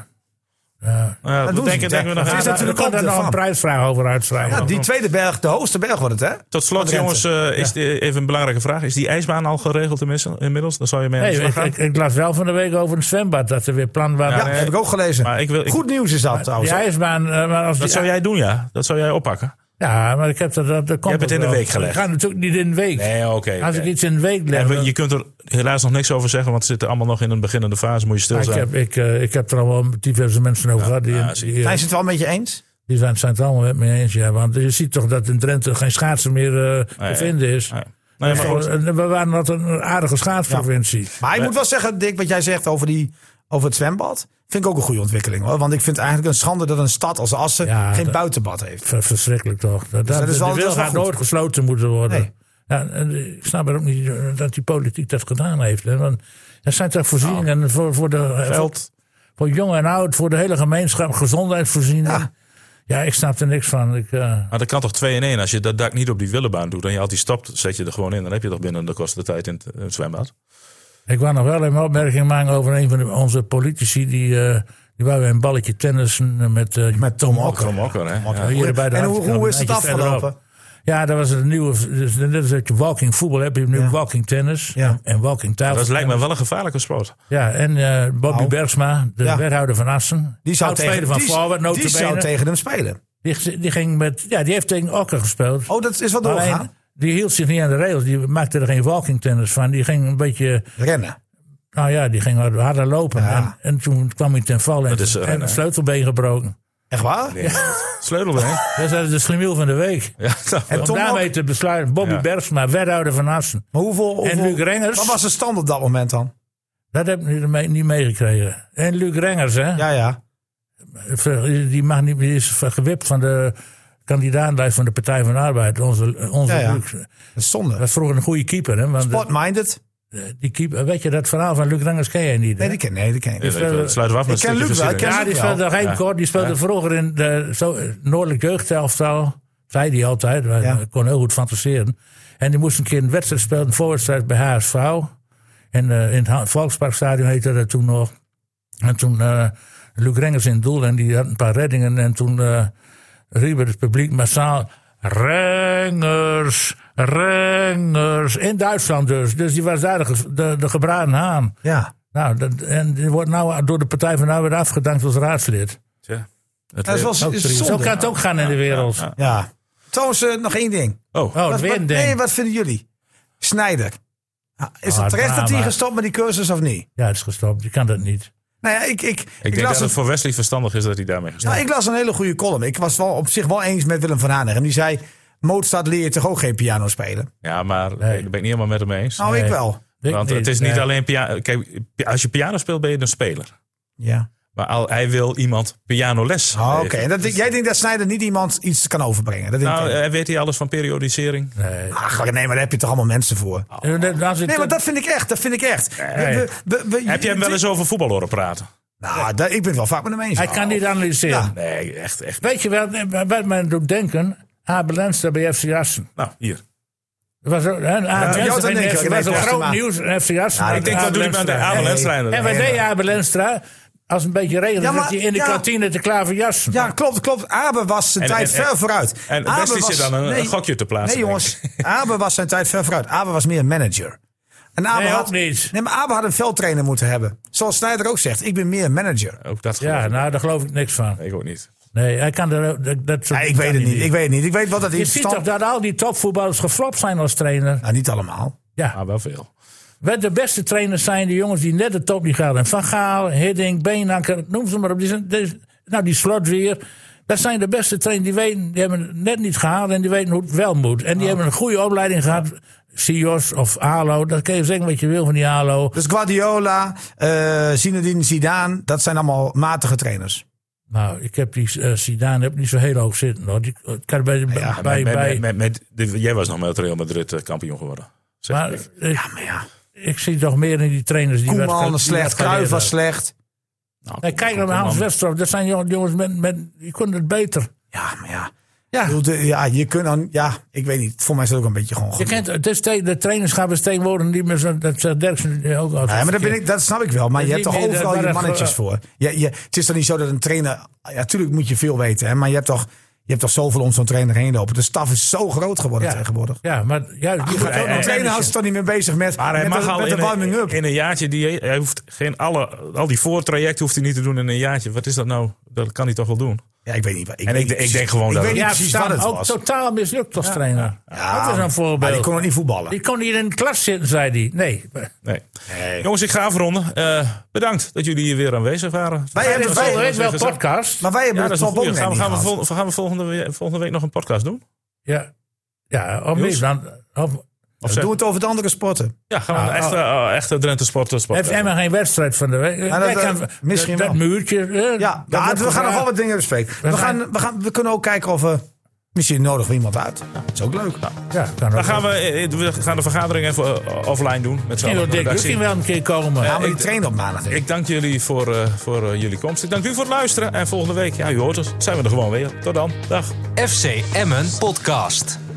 [SPEAKER 4] ja.
[SPEAKER 1] doen ze
[SPEAKER 2] Nou, dat denken,
[SPEAKER 1] niet,
[SPEAKER 2] denken we
[SPEAKER 1] hè?
[SPEAKER 2] nog
[SPEAKER 1] Dat
[SPEAKER 2] aan.
[SPEAKER 1] is
[SPEAKER 4] Maar er
[SPEAKER 1] natuurlijk
[SPEAKER 4] komt
[SPEAKER 1] ook
[SPEAKER 4] er nog
[SPEAKER 1] ervan.
[SPEAKER 4] een prijsvraag over uitschrijven.
[SPEAKER 1] Ja, die tweede berg, de hoogste berg wordt het, hè?
[SPEAKER 2] Tot
[SPEAKER 1] Van
[SPEAKER 2] slot,
[SPEAKER 1] Drenthe.
[SPEAKER 2] jongens, eh, is de- even een belangrijke vraag. Is die ijsbaan al geregeld tenminste- inmiddels? Dan zou je mee aan de
[SPEAKER 4] Nee,
[SPEAKER 2] slag
[SPEAKER 4] ik,
[SPEAKER 2] gaan.
[SPEAKER 4] ik, ik las wel van de week over een zwembad dat er weer plan waren.
[SPEAKER 1] Ja,
[SPEAKER 2] nee.
[SPEAKER 1] heb ik ook gelezen.
[SPEAKER 2] Maar ik wil, ik-
[SPEAKER 1] Goed nieuws is dat
[SPEAKER 4] die
[SPEAKER 1] trouwens.
[SPEAKER 4] ijsbaan, eh, maar als die,
[SPEAKER 2] dat zou jij doen, ja. Dat zou jij oppakken.
[SPEAKER 4] ja, maar ik heb dat, dat, dat komt
[SPEAKER 2] hebt het
[SPEAKER 4] ook
[SPEAKER 2] in de
[SPEAKER 4] wel.
[SPEAKER 2] week gelegd.
[SPEAKER 4] Ik ga natuurlijk niet in de week.
[SPEAKER 2] Nee, oké. oké.
[SPEAKER 4] Als ik iets in de week leg,
[SPEAKER 2] En we-
[SPEAKER 4] dan-
[SPEAKER 2] je kunt er helaas nog niks over zeggen, want ze zitten allemaal nog in een beginnende fase. Moet je stil
[SPEAKER 1] Ah,
[SPEAKER 4] Maar ik,
[SPEAKER 2] zijn.
[SPEAKER 4] heb, ik, eh, ik heb er al wel met diverse mensen over gehad. Die,
[SPEAKER 2] ja, zie
[SPEAKER 4] die,
[SPEAKER 2] je.
[SPEAKER 4] eh,
[SPEAKER 1] Zijn ze het wel met je eens?
[SPEAKER 4] die zijn zijn het allemaal met me eens. Ja, want je ziet toch dat in Drenthe geen schaatsen meer eh,
[SPEAKER 2] Ah, ja.
[SPEAKER 4] te vinden is.
[SPEAKER 2] Nee. Nee, maar goed.
[SPEAKER 4] En we waren wat een aardige schaatsprovincie.
[SPEAKER 1] Maar ik moet wel zeggen, Dick, wat jij zegt over, die, over het zwembad. Vind ik ook een goede ontwikkeling hoor. Want ik vind het eigenlijk een schande dat een stad als Assen
[SPEAKER 4] Ja,
[SPEAKER 1] geen
[SPEAKER 4] dat-
[SPEAKER 1] buitenbad heeft.
[SPEAKER 4] Ver- verschrikkelijk toch. Dat, dat,
[SPEAKER 1] Dus dat is wel-
[SPEAKER 4] de
[SPEAKER 1] dat
[SPEAKER 4] wil
[SPEAKER 1] is wel
[SPEAKER 4] gaat
[SPEAKER 1] goed.
[SPEAKER 4] nooit gesloten moeten worden.
[SPEAKER 1] Nee.
[SPEAKER 4] Ja, en ik snap er ook niet eh, dat die politiek dat gedaan heeft. Hè? Want er zijn toch voorzieningen voor, voor, de, voor,
[SPEAKER 2] Veld.
[SPEAKER 4] voor jong en oud, voor de hele gemeenschap, gezondheidsvoorzieningen. Ja,
[SPEAKER 1] Ja.
[SPEAKER 4] ik snap er niks van. Ik, eh,
[SPEAKER 2] Maar Ah, dat kan toch 2 in 1. Als je dat dak niet op die willebaan doet en je altijd stapt, zet je er gewoon in. Dan heb je toch binnen de kosten tijd in het, eh, het zwembad.
[SPEAKER 4] Ik wou nog wel even een opmerking maken over een van de- onze politici. Die, eh, die wou weer een balletje tennissen met, eh,
[SPEAKER 1] Met Tom Okker.
[SPEAKER 2] Kom ook hè? Ja.
[SPEAKER 4] hier bij de
[SPEAKER 1] En hoe,
[SPEAKER 4] Hartkamp,
[SPEAKER 1] hoe
[SPEAKER 4] een
[SPEAKER 1] is het
[SPEAKER 4] eindje verderop.
[SPEAKER 1] afgelopen?
[SPEAKER 4] Ja, dat was het nieuwe. Dus net als dat je walking voetbal hebt, je hebt nu walking tennis
[SPEAKER 1] Ja.
[SPEAKER 4] en walking tafel.
[SPEAKER 2] Dat lijkt me wel een gevaarlijke sport.
[SPEAKER 4] Ja, en eh, Bobby
[SPEAKER 1] Nou.
[SPEAKER 4] Bergsma, de
[SPEAKER 1] Ja.
[SPEAKER 4] wethouder van Assen.
[SPEAKER 1] Die zou, tegen,
[SPEAKER 4] Oud-speler van
[SPEAKER 1] die,
[SPEAKER 4] Forward,
[SPEAKER 1] die zou
[SPEAKER 4] notabene.
[SPEAKER 1] tegen hem spelen.
[SPEAKER 4] Die, die, ging met, ja, die heeft tegen Okker gespeeld.
[SPEAKER 1] Oh, dat is wel
[SPEAKER 4] Alleen,
[SPEAKER 1] doorgaan.
[SPEAKER 4] die hield zich niet aan de regels. Die maakte er geen walking tennis van. Die ging een beetje...
[SPEAKER 1] Rennen.
[SPEAKER 4] Nou ja, die ging hard- harder lopen. En, en toen kwam hij ten val en,
[SPEAKER 2] is, eh,
[SPEAKER 4] en
[SPEAKER 2] nee.
[SPEAKER 4] een sleutelbeen gebroken.
[SPEAKER 1] Echt waar?
[SPEAKER 2] Sleutelbeen.
[SPEAKER 4] Dus dat is de slimiel van de week.
[SPEAKER 2] Ja, dat-
[SPEAKER 1] En
[SPEAKER 4] Om
[SPEAKER 1] Tom
[SPEAKER 4] daarmee
[SPEAKER 1] ook?
[SPEAKER 4] te besluiten. Bobby
[SPEAKER 2] Ja.
[SPEAKER 4] Bergsma, wethouder van Assen.
[SPEAKER 1] Maar hoeveel, hoeveel,
[SPEAKER 4] En Luc Rengers.
[SPEAKER 1] Wat was de stand op dat moment dan?
[SPEAKER 4] Dat heb ik niet mee- niet meegekregen. En Luc Rengers, hè?
[SPEAKER 1] Ja, ja.
[SPEAKER 4] Die, mag niet, die is gewipt van de kandidaatlijst van de Partij van de Arbeid. Onze, onze
[SPEAKER 1] Ja, ja.
[SPEAKER 4] Luc.
[SPEAKER 1] Dat is zonde.
[SPEAKER 4] Dat is vroeger een goede keeper, hè? Want,
[SPEAKER 1] Sport-minded.
[SPEAKER 4] eh, die keeper, weet je dat verhaal van Luc Rangers ken jij niet? hè?
[SPEAKER 1] Nee, die ken, nee, die ken ik.
[SPEAKER 2] Ja, dat- dat sluiten we af met
[SPEAKER 1] Ik
[SPEAKER 2] een
[SPEAKER 1] ken
[SPEAKER 2] stukje
[SPEAKER 1] Luc wel, ik
[SPEAKER 2] geschiedenis.
[SPEAKER 4] ja, die
[SPEAKER 1] wel.
[SPEAKER 4] speelde Rijmkort. Die speelde vroeger in de zo, Noordelijk Jeugdelftal. Zei die altijd. Maar
[SPEAKER 1] Ja.
[SPEAKER 4] Ik kon heel goed fantaseren. En die moest een keer een wedstrijd spelen. Een voorwedstrijd bij HSV. En eh, in het Ha- Volksparkstadion heette dat toen nog. En toen eh Luc Rengers in het doel. En die had een paar reddingen. En toen eh riepen het publiek massaal... Rengers, Rengers. In Duitsland dus. Dus die was daar de, ge- de, de gebraden haan.
[SPEAKER 1] Ja.
[SPEAKER 4] Nou, dat, en die wordt nou door de Partij van de Arbeid afgedankt als raadslid.
[SPEAKER 2] Ja. Het
[SPEAKER 1] Dat is wel
[SPEAKER 2] leeft.
[SPEAKER 1] is
[SPEAKER 4] Zo
[SPEAKER 1] zonde.
[SPEAKER 4] kan het ook gaan in de wereld.
[SPEAKER 1] Ja. Trouwens, eh, nog één ding.
[SPEAKER 2] Oh,
[SPEAKER 4] Oh,
[SPEAKER 1] Wat- wat-
[SPEAKER 4] het wind,
[SPEAKER 1] nee,
[SPEAKER 4] ding.
[SPEAKER 1] wat vinden jullie? Snijder. Ah, Is
[SPEAKER 4] Ah,
[SPEAKER 1] het terecht dat hij
[SPEAKER 4] drama.
[SPEAKER 1] gestopt met die cursus of niet?
[SPEAKER 4] Ja, het is gestopt. Je kan dat niet.
[SPEAKER 1] Nou ja, ik, ik, ik,
[SPEAKER 2] ik denk
[SPEAKER 1] las
[SPEAKER 2] dat
[SPEAKER 1] een,
[SPEAKER 2] het voor Wesley verstandig is dat hij daarmee
[SPEAKER 1] nou,
[SPEAKER 2] gestopt
[SPEAKER 1] ik las een hele goede column. Ik was wel op zich wel eens met Willem van Hanegem. Die zei, Mozart leer je toch ook geen piano spelen?
[SPEAKER 2] is. Ja, maar eh, daar ben ik niet helemaal met hem eens.
[SPEAKER 1] Nou, ik
[SPEAKER 4] Nee.
[SPEAKER 1] wel.
[SPEAKER 4] Weet ik
[SPEAKER 2] Want het is niet
[SPEAKER 4] Nee. eh,
[SPEAKER 2] alleen piano. Kijk, pi- als je piano speelt ben je een speler.
[SPEAKER 1] Ja.
[SPEAKER 2] Maar al, hij wil iemand pianoles.
[SPEAKER 1] Oh, Oké,
[SPEAKER 2] geven.
[SPEAKER 1] En dat- jij denkt dat Snijder niet iemand iets kan overbrengen? Dat denk
[SPEAKER 2] Nou,
[SPEAKER 1] ik.
[SPEAKER 2] eh, weet hij alles van periodisering?
[SPEAKER 4] Nee.
[SPEAKER 1] Ach, nee, maar daar heb je toch allemaal mensen voor?
[SPEAKER 4] Eh, dat- als het-
[SPEAKER 1] Nee, maar dat vind ik echt. Dat vind ik echt. We- we- we- we-
[SPEAKER 2] Heb je hem wel eens over voetbal horen praten?
[SPEAKER 1] Nou, daar- ik ben het wel vaak met hem eens.
[SPEAKER 4] Hij kan niet analyseren.
[SPEAKER 1] Ja.
[SPEAKER 2] Nee, echt, echt.
[SPEAKER 4] Weet je wat, wat mij doet denken? Abel Lenster bij FC Assen.
[SPEAKER 2] Nou, hier.
[SPEAKER 4] Dat was, ook- hè, Abel
[SPEAKER 1] Jota
[SPEAKER 4] Lenster bij
[SPEAKER 1] denk
[SPEAKER 4] FC
[SPEAKER 1] ik,
[SPEAKER 4] dat was
[SPEAKER 1] weet
[SPEAKER 4] al
[SPEAKER 1] je,
[SPEAKER 4] groot
[SPEAKER 1] maar-
[SPEAKER 4] nieuws. FC Assen.
[SPEAKER 1] Ja,
[SPEAKER 4] had
[SPEAKER 1] ik
[SPEAKER 2] Ik denk,
[SPEAKER 4] Abel
[SPEAKER 2] wat doe je met de
[SPEAKER 4] Lenstra.
[SPEAKER 2] Abel Enstra?
[SPEAKER 4] En wat deed Abel Lenstra? Als het een beetje regende,
[SPEAKER 1] Ja, maar-
[SPEAKER 4] zat hij in de
[SPEAKER 1] ja.
[SPEAKER 4] kantine te klaver jassen.
[SPEAKER 1] Ja, klopt, klopt. Abe was zijn
[SPEAKER 2] En-
[SPEAKER 1] tijd
[SPEAKER 2] en-
[SPEAKER 1] ver
[SPEAKER 2] en-
[SPEAKER 1] vooruit.
[SPEAKER 2] en
[SPEAKER 1] Abe
[SPEAKER 2] Wesley
[SPEAKER 1] was-
[SPEAKER 2] zit dan een- een gokje te plaatsen,
[SPEAKER 1] Nee,
[SPEAKER 2] denk
[SPEAKER 1] jongens. Abe was zijn tijd ver vooruit. Abe was meer een manager. En Abe
[SPEAKER 4] Nee,
[SPEAKER 1] had,
[SPEAKER 4] ook niet.
[SPEAKER 1] Nee, maar Abe had een veldtrainer moeten hebben. Zoals Snijder ook zegt. Ik ben meer een manager.
[SPEAKER 2] Ook dat geloof
[SPEAKER 4] Ja,
[SPEAKER 2] ik.
[SPEAKER 4] nou, daar geloof ik niks van.
[SPEAKER 2] Ik ook niet.
[SPEAKER 4] Nee, hij kan er, dat, dat soort
[SPEAKER 1] Ja, ik
[SPEAKER 4] dingen
[SPEAKER 1] weet
[SPEAKER 4] kan
[SPEAKER 1] het
[SPEAKER 4] hij
[SPEAKER 1] niet. Ik weet het niet. Ik weet wat dat
[SPEAKER 4] Je
[SPEAKER 1] is.
[SPEAKER 4] ziet toch dat al die topvoetballers geflopt zijn als trainer?
[SPEAKER 1] Nou, niet allemaal.
[SPEAKER 4] Ja.
[SPEAKER 2] Maar Ah, wel veel.
[SPEAKER 4] Wat de beste trainers zijn de jongens die net de top niet gaan. En Van Gaal, Hiddink, Beenanker, noem ze maar op. Die zijn, die- nou, die slot weer. Dat zijn de beste trainers. Die, weten, die hebben het net niet gehaald en die weten hoe het wel moet.
[SPEAKER 1] Ah.
[SPEAKER 4] En die hebben een goede opleiding gehad. Sios of Alo. Dat kun je zeggen wat je wil van die Alo.
[SPEAKER 1] Dus Guardiola, eh Zinedine Zidane, dat zijn allemaal matige trainers.
[SPEAKER 4] Nou, ik heb die eh, Zidane heb ik niet zo heel hoog zitten. Hoor. Die, ik kan bij, bij, Ah, bij,
[SPEAKER 2] Met- met- met- met- de- jij was nog met Real Madrid eh, kampioen geworden. Zeg
[SPEAKER 4] maar
[SPEAKER 2] ik.
[SPEAKER 4] ik,
[SPEAKER 1] Ja, maar ja.
[SPEAKER 4] ik zie toch meer in die trainers. Die wat-
[SPEAKER 1] Koeman
[SPEAKER 4] die
[SPEAKER 1] was slecht,
[SPEAKER 4] wat geleerd
[SPEAKER 1] Cruijff was
[SPEAKER 4] hebben.
[SPEAKER 1] slecht.
[SPEAKER 2] Nou,
[SPEAKER 4] Nee, kijk naar
[SPEAKER 2] kom
[SPEAKER 4] Hans
[SPEAKER 2] dan.
[SPEAKER 4] Westerhof. Dat zijn jongen- jongens met, met... Die konden het beter.
[SPEAKER 1] Ja, maar ja. Ja, ik bedoel, de- ja, je kunt dan, ja, ik weet niet. Voor mij is dat ook een beetje gewoon.
[SPEAKER 4] Je kent, het is tegen- de trainerschap is tegenwoordig niet meer zo... Dat zegt Derksen ook altijd.
[SPEAKER 1] Ja, maar dat, ben ik, dat snap ik wel. Maar je
[SPEAKER 4] Dat
[SPEAKER 1] hebt
[SPEAKER 4] niet
[SPEAKER 1] toch
[SPEAKER 4] meer, dat
[SPEAKER 1] overal je
[SPEAKER 4] waren
[SPEAKER 1] mannetjes voor. Je, je, het is toch niet zo dat een trainer. Natuurlijk moet je veel weten, hè, maar je hebt toch, je hebt toch zoveel om zo'n trainer heen lopen. De staf is zo groot geworden
[SPEAKER 4] Ja.
[SPEAKER 1] tegenwoordig.
[SPEAKER 2] Ah,
[SPEAKER 4] Ja, maar juist... die
[SPEAKER 1] Je gaat
[SPEAKER 4] gaat
[SPEAKER 1] ook nog-
[SPEAKER 4] ook nog
[SPEAKER 1] een eh, trainer houdt zich toch niet meer bezig met,
[SPEAKER 2] Maar hij
[SPEAKER 1] met,
[SPEAKER 2] mag
[SPEAKER 1] de,
[SPEAKER 2] al
[SPEAKER 1] met
[SPEAKER 2] in,
[SPEAKER 1] de warming
[SPEAKER 2] een,
[SPEAKER 1] up.
[SPEAKER 2] in een jaartje, die, hij hoeft geen alle, al die voortrajecten hoeft hij niet te doen in een jaartje. Wat is dat nou? Dat kan hij toch wel doen?
[SPEAKER 1] ja, ik weet niet. wat- Ik
[SPEAKER 2] En
[SPEAKER 1] weet
[SPEAKER 2] ik-
[SPEAKER 1] niet
[SPEAKER 2] ik denk
[SPEAKER 1] precies-
[SPEAKER 2] gewoon dat
[SPEAKER 1] Ik weet
[SPEAKER 2] het-
[SPEAKER 1] niet
[SPEAKER 4] Ja,
[SPEAKER 1] precies wat
[SPEAKER 4] Stam
[SPEAKER 1] het
[SPEAKER 4] ook
[SPEAKER 1] was.
[SPEAKER 4] totaal mislukt als trainer.
[SPEAKER 1] Ja,
[SPEAKER 4] dat is een voorbeeld.
[SPEAKER 1] Maar die kon ook niet voetballen.
[SPEAKER 4] Die kon niet in de klas zitten, zei hij. Nee.
[SPEAKER 2] Nee.
[SPEAKER 1] Nee.
[SPEAKER 2] Jongens, ik ga afronden. Eh, bedankt dat jullie hier weer aanwezig waren.
[SPEAKER 1] Wij hebben-
[SPEAKER 2] Dat
[SPEAKER 1] wij-
[SPEAKER 2] was
[SPEAKER 4] Volgende week wel
[SPEAKER 2] weer gezellig.
[SPEAKER 4] podcast.
[SPEAKER 1] Maar wij hebben
[SPEAKER 2] Ja, dat
[SPEAKER 1] het
[SPEAKER 2] is een
[SPEAKER 1] toch ook
[SPEAKER 2] goeie.
[SPEAKER 1] net
[SPEAKER 2] Gaan we,
[SPEAKER 1] niet
[SPEAKER 2] gaan we,
[SPEAKER 1] gehad.
[SPEAKER 2] vol- gaan we volgende, we- volgende week nog een podcast doen?
[SPEAKER 4] Ja. Ja, of niet,
[SPEAKER 2] Niels?
[SPEAKER 4] dan... Of,
[SPEAKER 2] Of zeg-
[SPEAKER 1] Doe het over de andere sporten.
[SPEAKER 2] Ja, gaan
[SPEAKER 1] Nou,
[SPEAKER 2] we een echte, eh, echte Drenthe Sport. eh, sport
[SPEAKER 4] heeft Emma geen wedstrijd van de week?
[SPEAKER 1] dat-
[SPEAKER 4] Jij kan-
[SPEAKER 1] dat- misschien
[SPEAKER 4] dat,
[SPEAKER 1] wel.
[SPEAKER 4] muurtje. eh,
[SPEAKER 1] Ja,
[SPEAKER 4] dat
[SPEAKER 1] maar
[SPEAKER 4] wordt
[SPEAKER 1] we gaan nog
[SPEAKER 4] gevraagd.
[SPEAKER 1] wel wat dingen bespreken. We,
[SPEAKER 4] zijn-
[SPEAKER 1] gaan, we, gaan, we kunnen ook kijken of we. Misschien nodig we iemand uit. Dat is ook leuk.
[SPEAKER 4] Ja, kan
[SPEAKER 2] Dan
[SPEAKER 4] ook.
[SPEAKER 2] gaan we, eh, we gaan de vergadering even eh, offline doen. Met z'n
[SPEAKER 4] Misschien
[SPEAKER 2] allen,
[SPEAKER 4] wil
[SPEAKER 2] de
[SPEAKER 4] Dick
[SPEAKER 2] redactie.
[SPEAKER 4] Lucking wel een keer komen.
[SPEAKER 1] Ja, maar die
[SPEAKER 2] ik-
[SPEAKER 1] trainen op maandag.
[SPEAKER 2] Ik dank jullie voor, eh, voor eh, jullie komst. Ik dank u voor het luisteren. En volgende week, ja, u hoort het, zijn we er gewoon weer. Tot dan. Dag.
[SPEAKER 3] FC Emmen Podcast.